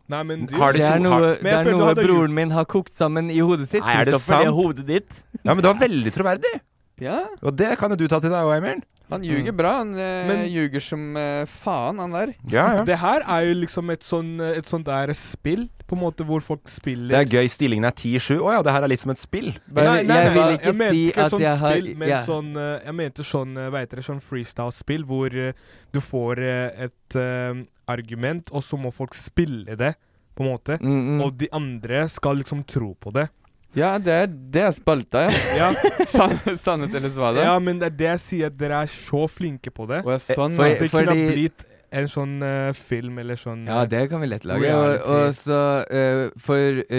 Speaker 4: Nei, men du
Speaker 3: Har
Speaker 2: Det er
Speaker 3: so-
Speaker 2: noe,
Speaker 3: har-
Speaker 4: Men
Speaker 2: det
Speaker 4: jeg
Speaker 2: er
Speaker 4: føler du
Speaker 2: noe
Speaker 4: hadde
Speaker 2: broren min har kokt sammen i hodet sitt.
Speaker 3: Nei, er det
Speaker 2: Kristoffer, det er
Speaker 3: sant?
Speaker 2: hodet ditt.
Speaker 3: Ja, men du er veldig troverdig.
Speaker 10: Ja,
Speaker 3: Og det kan jo du ta til deg òg, Emil.
Speaker 10: han ljuger
Speaker 2: Mm.
Speaker 10: bra. Han eh,
Speaker 4: Men-
Speaker 10: ljuger som eh, faen, han der.
Speaker 3: Ja, ja.
Speaker 4: Det her er jo liksom et sånn et sånt der spill, på en måte, hvor folk spiller
Speaker 3: Det er gøy. Stillingen er 10-7. Å ja, det her er litt som et spill.
Speaker 2: Bare- jeg vil ikke
Speaker 4: mente
Speaker 2: si
Speaker 4: ikke
Speaker 2: at
Speaker 4: sånn
Speaker 2: jeg har-
Speaker 4: spill, men
Speaker 2: jeg-
Speaker 4: sånn, eh, jeg mente sånn, eh, hva heter det, sånn freestyle-spill hvor eh, du får eh, et eh, argument, og så må folk spille det, på en måte.
Speaker 2: Mm, mm.
Speaker 4: Og de andre skal liksom tro på det.
Speaker 10: Ja, det er, det er spalta, ja.
Speaker 2: [LAUGHS]
Speaker 4: Ja,
Speaker 10: Sann, sannhet eller svada?
Speaker 4: ja men det er det jeg sier, at dere er så flinke på det.
Speaker 10: Å, ja, sånn,
Speaker 4: Så
Speaker 2: ja.
Speaker 4: at det
Speaker 2: Eh, Fordi-
Speaker 4: kunne ha blitt en sånn eh, film eller sånn
Speaker 2: Ja,
Speaker 4: eh,
Speaker 2: det kan vi lett lage. Og,
Speaker 4: reality.
Speaker 2: og så eh, For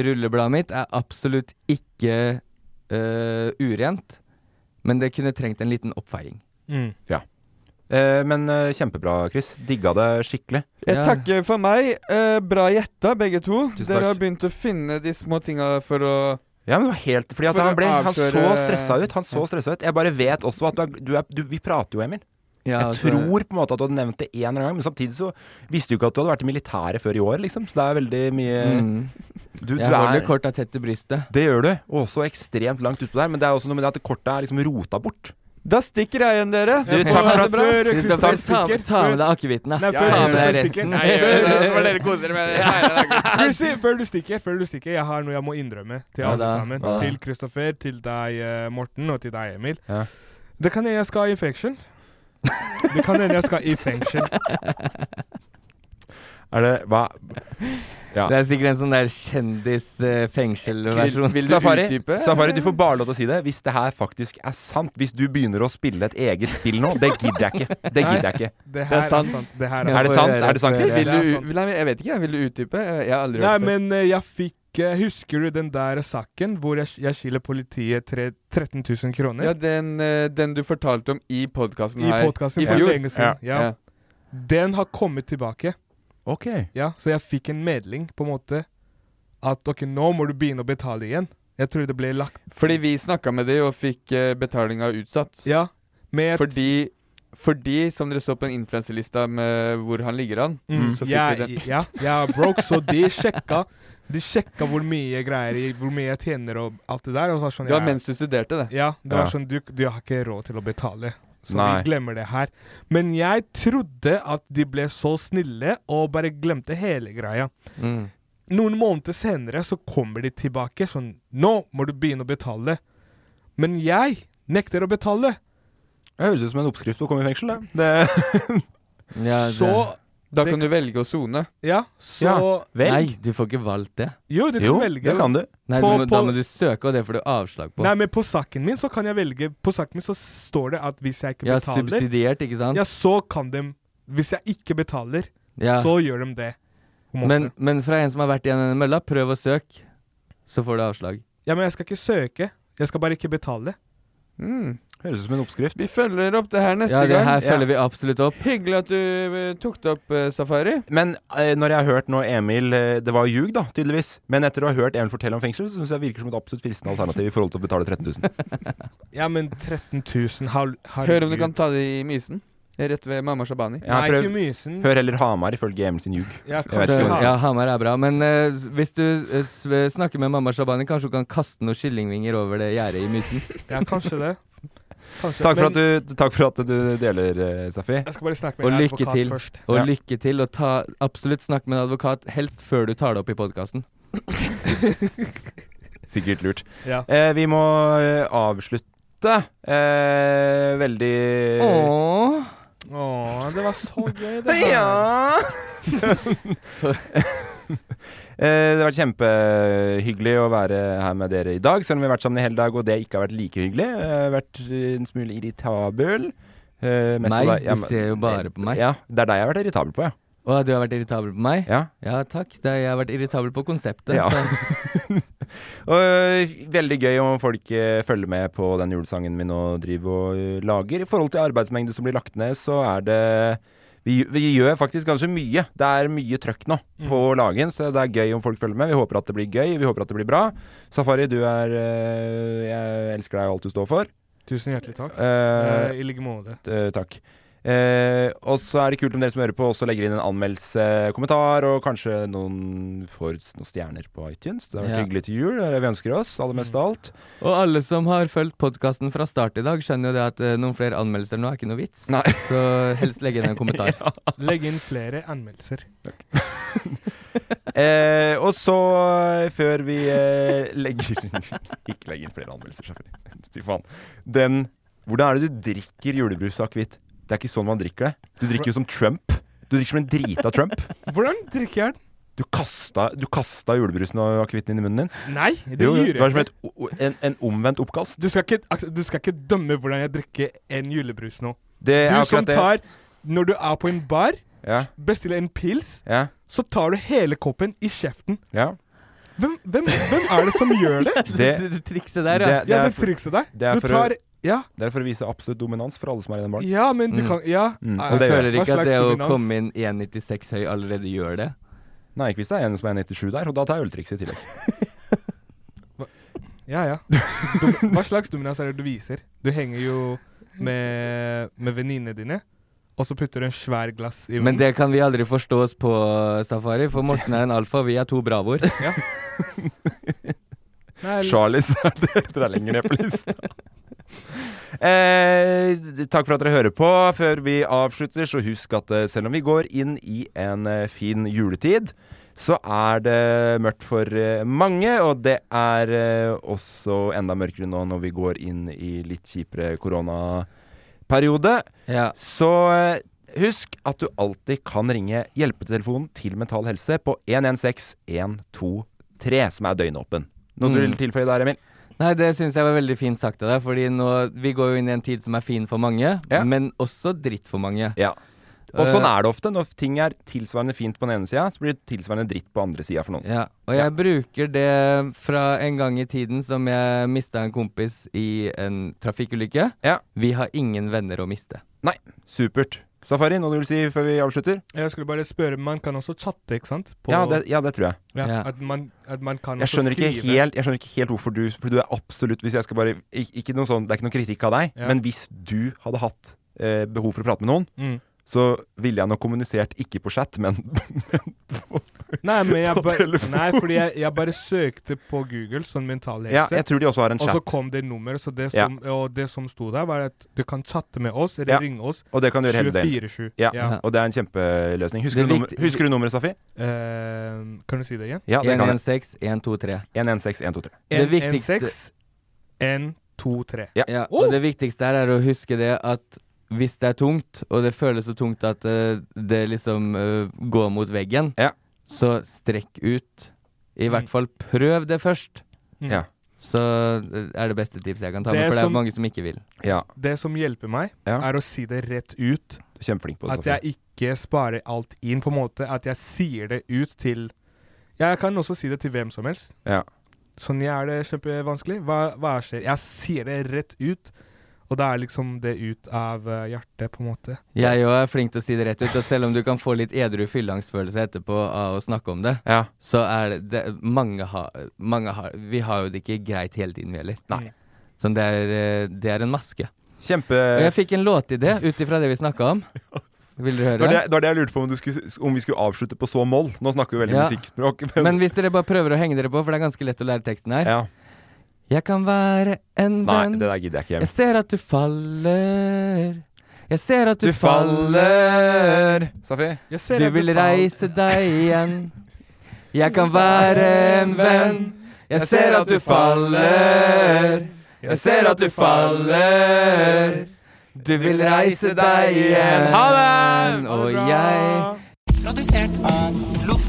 Speaker 2: rullebladet mitt er absolutt ikke eh, urent, men det kunne trengt en liten oppfeiing.
Speaker 4: Mm.
Speaker 3: Ja. Eh, men eh, kjempebra, Chris. Digga det skikkelig.
Speaker 10: Jeg
Speaker 2: Ja.
Speaker 10: takker for meg. Eh, bra gjetta, begge to.
Speaker 3: Tusen takk.
Speaker 10: Dere har begynt å finne de små tinga for å
Speaker 3: Ja, men det var helt Fordi at
Speaker 10: For å
Speaker 3: han ble Han så
Speaker 10: avsløre-
Speaker 3: stressa ut. Han så stressa ut. Jeg bare vet også at du er, du er du, Vi prater jo, Emil.
Speaker 2: Ja,
Speaker 3: jeg
Speaker 2: altså-
Speaker 3: tror på en måte at du hadde nevnt det en eller annen gang, men samtidig så visste du ikke at du hadde vært i militæret før i år, liksom. Så det er veldig mye
Speaker 2: Mm.
Speaker 3: du, du
Speaker 2: Jeg holder
Speaker 3: er
Speaker 2: korta tett til brystet.
Speaker 3: Det gjør du. Og også ekstremt langt utpå der. Men det er også noe med det at kortet er liksom rota bort.
Speaker 10: Da stikker jeg igjen, dere.
Speaker 3: Du, takk for at
Speaker 4: Før Kristoffer
Speaker 2: Kristoffer, ta,
Speaker 4: stikker.
Speaker 2: ta med deg akevitten, da.
Speaker 4: Nei,
Speaker 2: Ta
Speaker 4: før
Speaker 2: med deg
Speaker 4: Kristoffer stikker.
Speaker 2: resten.
Speaker 4: Nei, jeg gjør det, så får dere
Speaker 10: kose dere med
Speaker 4: Chrissy, før du stikker, før du stikker, jeg har noe jeg må innrømme til
Speaker 2: Hva
Speaker 4: alle
Speaker 2: da? Hva
Speaker 4: sammen.
Speaker 2: da?
Speaker 4: Til Kristoffer, til deg, eh, Morten, og til deg, Emil.
Speaker 3: Ja.
Speaker 4: Det kan hende jeg skal i fengsel. Det kan hende jeg skal i fengsel.
Speaker 3: Er det Hva Ja.
Speaker 2: Det er sikkert en sånn der eh, kjendisfengselversjon.
Speaker 3: Vil, Safari, Safari, du får bare lov til å si det hvis det her faktisk er sant. Hvis du begynner å spille et eget spill nå, det gidder jeg ikke. Det gidder jeg ikke.
Speaker 4: Det her er sant. Det her
Speaker 3: Er det sant? Er det sant, Chris?
Speaker 10: Vil du, nei, jeg vet ikke. jeg. Vil du utdype? Jeg har aldri
Speaker 4: Nei,
Speaker 10: hørt det.
Speaker 4: men eh, jeg fikk eh, Husker du den der saken hvor jeg, jeg skylder politiet tre, 13 000 kroner?
Speaker 10: Ja, den, eh, den du fortalte om i podkasten
Speaker 4: I
Speaker 10: her.
Speaker 4: podkasten for
Speaker 10: fjor.
Speaker 4: lenge siden. Ja. Den har kommet tilbake.
Speaker 3: Ok.
Speaker 4: Ja, Så jeg fikk en melding på en måte at ok, nå må du begynne å betale igjen. Jeg tror det ble lagt
Speaker 10: Fordi vi snakka med de og fikk eh, betalinga utsatt.
Speaker 4: Ja,
Speaker 10: fordi, fordi, som dere så på den influenselista med hvor han ligger an,
Speaker 4: Mm.
Speaker 10: så fikk vi
Speaker 4: Jeg,
Speaker 10: den.
Speaker 4: ja, jeg er broke, så de sjekka De sjekka hvor mye greier jeg- Hvor mye jeg tjener og alt det der. Og så var det sånn,
Speaker 10: Det var
Speaker 4: jeg-
Speaker 10: mens du studerte, det.
Speaker 4: Ja, det var
Speaker 10: Ja.
Speaker 4: sånn du, du har ikke råd til å betale. Så
Speaker 10: Nei.
Speaker 4: vi glemmer det her. Men jeg trodde at de ble så snille og bare glemte hele greia.
Speaker 2: Mm.
Speaker 4: Noen måneder senere så kommer de tilbake sånn Nå må du begynne å betale. Men jeg nekter å betale.
Speaker 3: Det høres ut som en oppskrift på å komme i fengsel, [LAUGHS] det.
Speaker 2: Ja,
Speaker 4: så
Speaker 10: Da kan du velge å sone.
Speaker 4: Ja, så
Speaker 2: Nei, du får ikke valgt det.
Speaker 4: Jo, du kan Jo, velge. det kan du.
Speaker 2: Nei,
Speaker 4: På-
Speaker 2: du må, Da
Speaker 4: på-
Speaker 2: må du søke, og det får du avslag på.
Speaker 4: Nei, men på saken min så kan jeg velge På saken min så står det at hvis jeg ikke
Speaker 2: Ja,
Speaker 4: betaler
Speaker 2: subsidiert, ikke sant?
Speaker 4: Ja, så kan de Hvis jeg ikke betaler,
Speaker 2: Ja.
Speaker 4: så gjør de det. på en måte.
Speaker 2: men, men fra en som har vært i en mølla, prøv å søke, så får du avslag.
Speaker 4: Ja, men jeg skal ikke søke. Jeg skal bare ikke betale.
Speaker 3: Høres ut som en oppskrift.
Speaker 10: Vi følger opp det her neste
Speaker 2: Ja,
Speaker 10: gang.
Speaker 2: det her følger vi absolutt opp.
Speaker 10: Hyggelig at du eh, tok det opp, eh, Safari.
Speaker 3: Men eh, når jeg har hørt nå Emil eh, Det var jo ljug, da, tydeligvis. Men etter å ha hørt Emil fortelle om fengsel, så syns jeg det virker som et absolutt fristende alternativ i forhold til å betale 13 [LAUGHS] 000.
Speaker 4: Ja, men 13 000 har, har
Speaker 10: Hør om du kan ta det i Mysen. Rett ved mamma Shabani.
Speaker 3: Jeg har prøvd- Hør heller Hamar, ifølge Emil sin ljug.
Speaker 4: Ja,
Speaker 3: Jeg vet ikke hva det er.
Speaker 2: ja, Hamar er bra. Men eh, s- hvis du eh, s- snakker med mamma Shabani, kanskje hun kan kaste noen kyllingvinger over det gjerdet i mysen?
Speaker 3: [LAUGHS]
Speaker 4: Ja, kanskje det. Kanskje.
Speaker 3: Takk for,
Speaker 4: Men
Speaker 3: at du, takk for at du deler, eh, Safi.
Speaker 4: Jeg skal bare snakke
Speaker 2: Og
Speaker 4: med en
Speaker 2: lykke
Speaker 4: advokat
Speaker 2: til.
Speaker 4: først.
Speaker 2: Og
Speaker 4: Ja.
Speaker 2: lykke til, og ta, absolutt snakk med en advokat, helst før du tar det opp i podkasten.
Speaker 3: Sikkert lurt.
Speaker 4: Ja.
Speaker 3: Eh, vi må eh, avslutte. Eh, veldig
Speaker 2: Åh.
Speaker 4: Åh, det var så gøy,
Speaker 3: [LAUGHS]
Speaker 4: det her.
Speaker 3: Ja Eh, Det har vært kjempehyggelig å være her med dere i dag, selv om vi har vært sammen i hele dag, og det ikke har vært like hyggelig. Jeg har vært eh, en smule irritabel. Eh, mest
Speaker 2: Meg?
Speaker 3: på deg- ja,
Speaker 2: Du
Speaker 3: men-
Speaker 2: ser jo bare på meg.
Speaker 3: Ja, det er deg jeg har vært irritabel på, ja.
Speaker 2: Å, du har vært irritabel på meg?
Speaker 3: Ja.
Speaker 2: takk. Det, jeg har vært irritabel på konseptet.
Speaker 3: Ja. [LAUGHS]
Speaker 2: Så.
Speaker 3: Og, eh, veldig gøy om folk eh, følger med på den julesangen min og driver og eh, lager. I forhold til arbeidsmengde som blir lagt ned, så er det vi, vi gjør faktisk ganske mye. Det er mye trøkk nå på lagen, så det er gøy om folk følger med. Vi håper at det blir gøy, vi håper at det blir bra. Safari, du er eh, Jeg elsker deg og alt du står for.
Speaker 4: Tusen hjertelig takk.
Speaker 3: Eh,
Speaker 4: Eh, I like måte.
Speaker 3: Eh, takk. Eh, og så er det kult om dere som hører på, også legger inn en anmeldelse, eh, kommentar, og kanskje noen får s- noen stjerner på iTunes. Det har vært
Speaker 2: Ja.
Speaker 3: hyggelig til jul. Det er det vi ønsker oss, aller mest av alt.
Speaker 2: Og alle som har fulgt podkasten fra start i dag, skjønner jo det at eh, noen flere anmeldelser nå er ikke noe vits. Så helst legg inn en kommentar.
Speaker 4: Legg inn flere anmeldelser.
Speaker 3: [LAUGHS] Eh, og så, eh, før vi eh, legger Ikke legg inn [LAUGHS] flere anmeldelser, selvfølgelig. Fy faen. Den Hvordan er det du drikker julebrus og akevitt? Det er ikke sånn man drikker det. Du drikker jo som Trump. Du drikker som en drita Trump.
Speaker 4: Hvordan drikker jeg den?
Speaker 3: Du kasta, du kasta julebrusen og akevitten inn i munnen din?
Speaker 4: Nei, det
Speaker 3: jo, jo,
Speaker 4: gjorde
Speaker 3: Det var som
Speaker 4: jeg
Speaker 3: et, o- o- en, en omvendt oppkast.
Speaker 4: Du skal, ikke, ak- du skal ikke dømme hvordan jeg drikker en julebrus nå.
Speaker 3: Det er
Speaker 4: du som
Speaker 3: akkurat det.
Speaker 4: tar Når du er på en bar,
Speaker 3: Ja.
Speaker 4: bestiller en pils,
Speaker 3: Ja.
Speaker 4: så tar du hele koppen i kjeften. [LAUGHS]
Speaker 3: Ja.
Speaker 4: Hvem, hvem, hvem er det som gjør det?
Speaker 3: [LAUGHS] [LAUGHS] Det-
Speaker 2: [LAUGHS] det trikset
Speaker 4: der, ja. Ja, det
Speaker 3: for-
Speaker 4: trikset der.
Speaker 3: Det er,
Speaker 4: Du
Speaker 3: for
Speaker 4: tar-
Speaker 3: å, det er for å vise absolutt dominans for alle som er i den baren.
Speaker 4: Ja, men du
Speaker 3: Mm.
Speaker 4: kan Ja.
Speaker 3: Mm.
Speaker 4: Eh,
Speaker 3: Og det
Speaker 2: Jeg
Speaker 3: gjør
Speaker 2: føler
Speaker 3: jeg.
Speaker 2: ikke
Speaker 4: Hva
Speaker 2: at det
Speaker 4: slags
Speaker 2: å
Speaker 4: dominans?
Speaker 2: komme inn 1,96 høy allerede gjør det.
Speaker 3: Nei, ikke hvis det er en som er 97 der, og da tar jeg øltrikset i tillegg.
Speaker 4: Ja, ja. Dom- Hva slags dominans er det du viser? Du henger jo med, med venninnene dine, og så putter du en svær glass i
Speaker 2: Men det kan vi aldri forstå oss på, Safari, for Morten er en alfa, vi er to bravoer.
Speaker 4: [LAUGHS] Ja. Nei, eller-
Speaker 3: Charlies [LAUGHS] er det dere er lenger ned på lista. Eh, takk for at dere hører på. Før vi avslutter, så husk at eh, selv om vi går inn i en eh, fin juletid, så er det mørkt for eh, mange, og det er eh, også enda mørkere nå når vi går inn i litt kjipere koronaperiode.
Speaker 2: Ja.
Speaker 3: Så eh, Husk at du alltid kan ringe hjelpetelefonen til Mental Helse på 116123, som er døgnåpen. Noe du
Speaker 2: Mm.
Speaker 3: vil tilføye der, Emil?
Speaker 2: Nei, det syns jeg var veldig fint sagt av deg, fordi nå, vi går jo inn i en tid som er fin for mange, men også dritt for mange.
Speaker 3: Ja. Og sånn er det ofte. Når ting er tilsvarende fint på den ene sida, så blir det tilsvarende dritt på andre sida for noen.
Speaker 2: Ja, og jeg bruker det fra en gang i tiden som jeg mista en kompis i en trafikkulykke. Vi har ingen venner å miste.
Speaker 3: Nei, supert. Safari, noe du vil si før vi avslutter?
Speaker 4: Jeg skulle bare spørre, man kan også chatte, ikke sant?
Speaker 3: Ja, det- ja, det tror jeg.
Speaker 4: Ja,
Speaker 3: Ja.
Speaker 4: At, man, at man kan
Speaker 3: Jeg
Speaker 4: også
Speaker 3: skjønner, ikke
Speaker 4: skrive.
Speaker 3: helt, jeg skjønner ikke helt hvorfor du For du er absolutt Hvis jeg skal bare ik- Ikke noe sånn Det er ikke noen kritikk av deg
Speaker 4: Ja.
Speaker 3: Men hvis du hadde hatt eh, behov for å prate med noen
Speaker 4: Mm.
Speaker 3: Så ville jeg nok kommunisert Ikke på chat Men, men på,
Speaker 4: Nei, men jeg
Speaker 3: [LAUGHS] på
Speaker 4: bare,
Speaker 3: telefon.
Speaker 4: nei, fordi jeg, jeg bare søkte på Google sånn mental helse.
Speaker 3: Ja, jeg tror de også har en
Speaker 4: Og så
Speaker 3: chat.
Speaker 4: kom det nummer, så det
Speaker 3: Ja.
Speaker 4: som, og det som sto der, var at du kan chatte med oss eller
Speaker 3: Ja.
Speaker 4: ringe oss
Speaker 3: Og det kan du gjøre hele delen
Speaker 4: 24-7.
Speaker 3: ja. Og det er en kjempeløsning Husker,
Speaker 4: Det
Speaker 3: du,
Speaker 4: er
Speaker 3: nummer,
Speaker 4: viktig-
Speaker 3: husker du nummeret, Safi?
Speaker 4: Eh, kan du si det igjen?
Speaker 3: Ja, det kan jeg
Speaker 2: 116 123
Speaker 3: 116 123
Speaker 4: En- en seks, en, to, tre.
Speaker 2: Ja, og det viktigste her er å huske det at hvis det er tungt, og det føles så tungt at eh, det liksom eh, går mot veggen, så strekk ut. I hvert fall prøv det først.
Speaker 4: Mm. Ja.
Speaker 2: Så eh, er det beste tipset jeg kan ta
Speaker 4: Det
Speaker 2: med, for det
Speaker 4: som-
Speaker 2: er mange som ikke vil.
Speaker 4: Det som hjelper meg,
Speaker 2: Ja.
Speaker 4: er å si det rett ut.
Speaker 3: Kjempeflink på det,
Speaker 4: At jeg ikke sparer alt inn, på en måte. At jeg sier det ut til Jeg kan også si det til hvem som helst.
Speaker 3: Ja.
Speaker 4: Sånn jeg er det kjempevanskelig. Hva, hva skjer? Jeg sier det rett ut, og da er liksom det ut av eh, hjertet, på en måte.
Speaker 2: Jeg òg er flink til å si det rett ut, og selv om du kan få litt edru fylleangstfølelse etterpå av å snakke om det, så er det, det mange, har- mange har Vi har jo det ikke greit hele tiden, vi heller.
Speaker 3: Nei.
Speaker 2: Så det er, eh, det er en maske.
Speaker 3: Kjempe
Speaker 2: Og jeg fikk en låtidé ut ifra det vi snakka
Speaker 3: [LAUGHS]
Speaker 2: om. Vil dere
Speaker 3: det var det,
Speaker 2: høre?
Speaker 3: det var det jeg lurte på om, du skulle, om vi skulle avslutte på så moll Nå snakker vi veldig
Speaker 2: Ja.
Speaker 3: musikkspråk [LAUGHS]
Speaker 2: Men, hvis dere bare prøver å henge dere på, for det er ganske lett å lære teksten her. Jeg kan være en
Speaker 3: Nei,
Speaker 2: venn
Speaker 3: det der gidder jeg ikke
Speaker 2: Jeg
Speaker 3: Emil.
Speaker 2: ser at du faller. Jeg ser at du,
Speaker 3: Du faller. Safi? Jeg ser
Speaker 2: Du
Speaker 3: at du
Speaker 2: vil
Speaker 3: faller.
Speaker 2: reise deg igjen. Jeg kan være en venn. Jeg ser at du faller. Jeg ser at du faller. Du vil reise deg igjen.
Speaker 11: Ha
Speaker 2: det! Og jeg
Speaker 11: Produsert av Loff.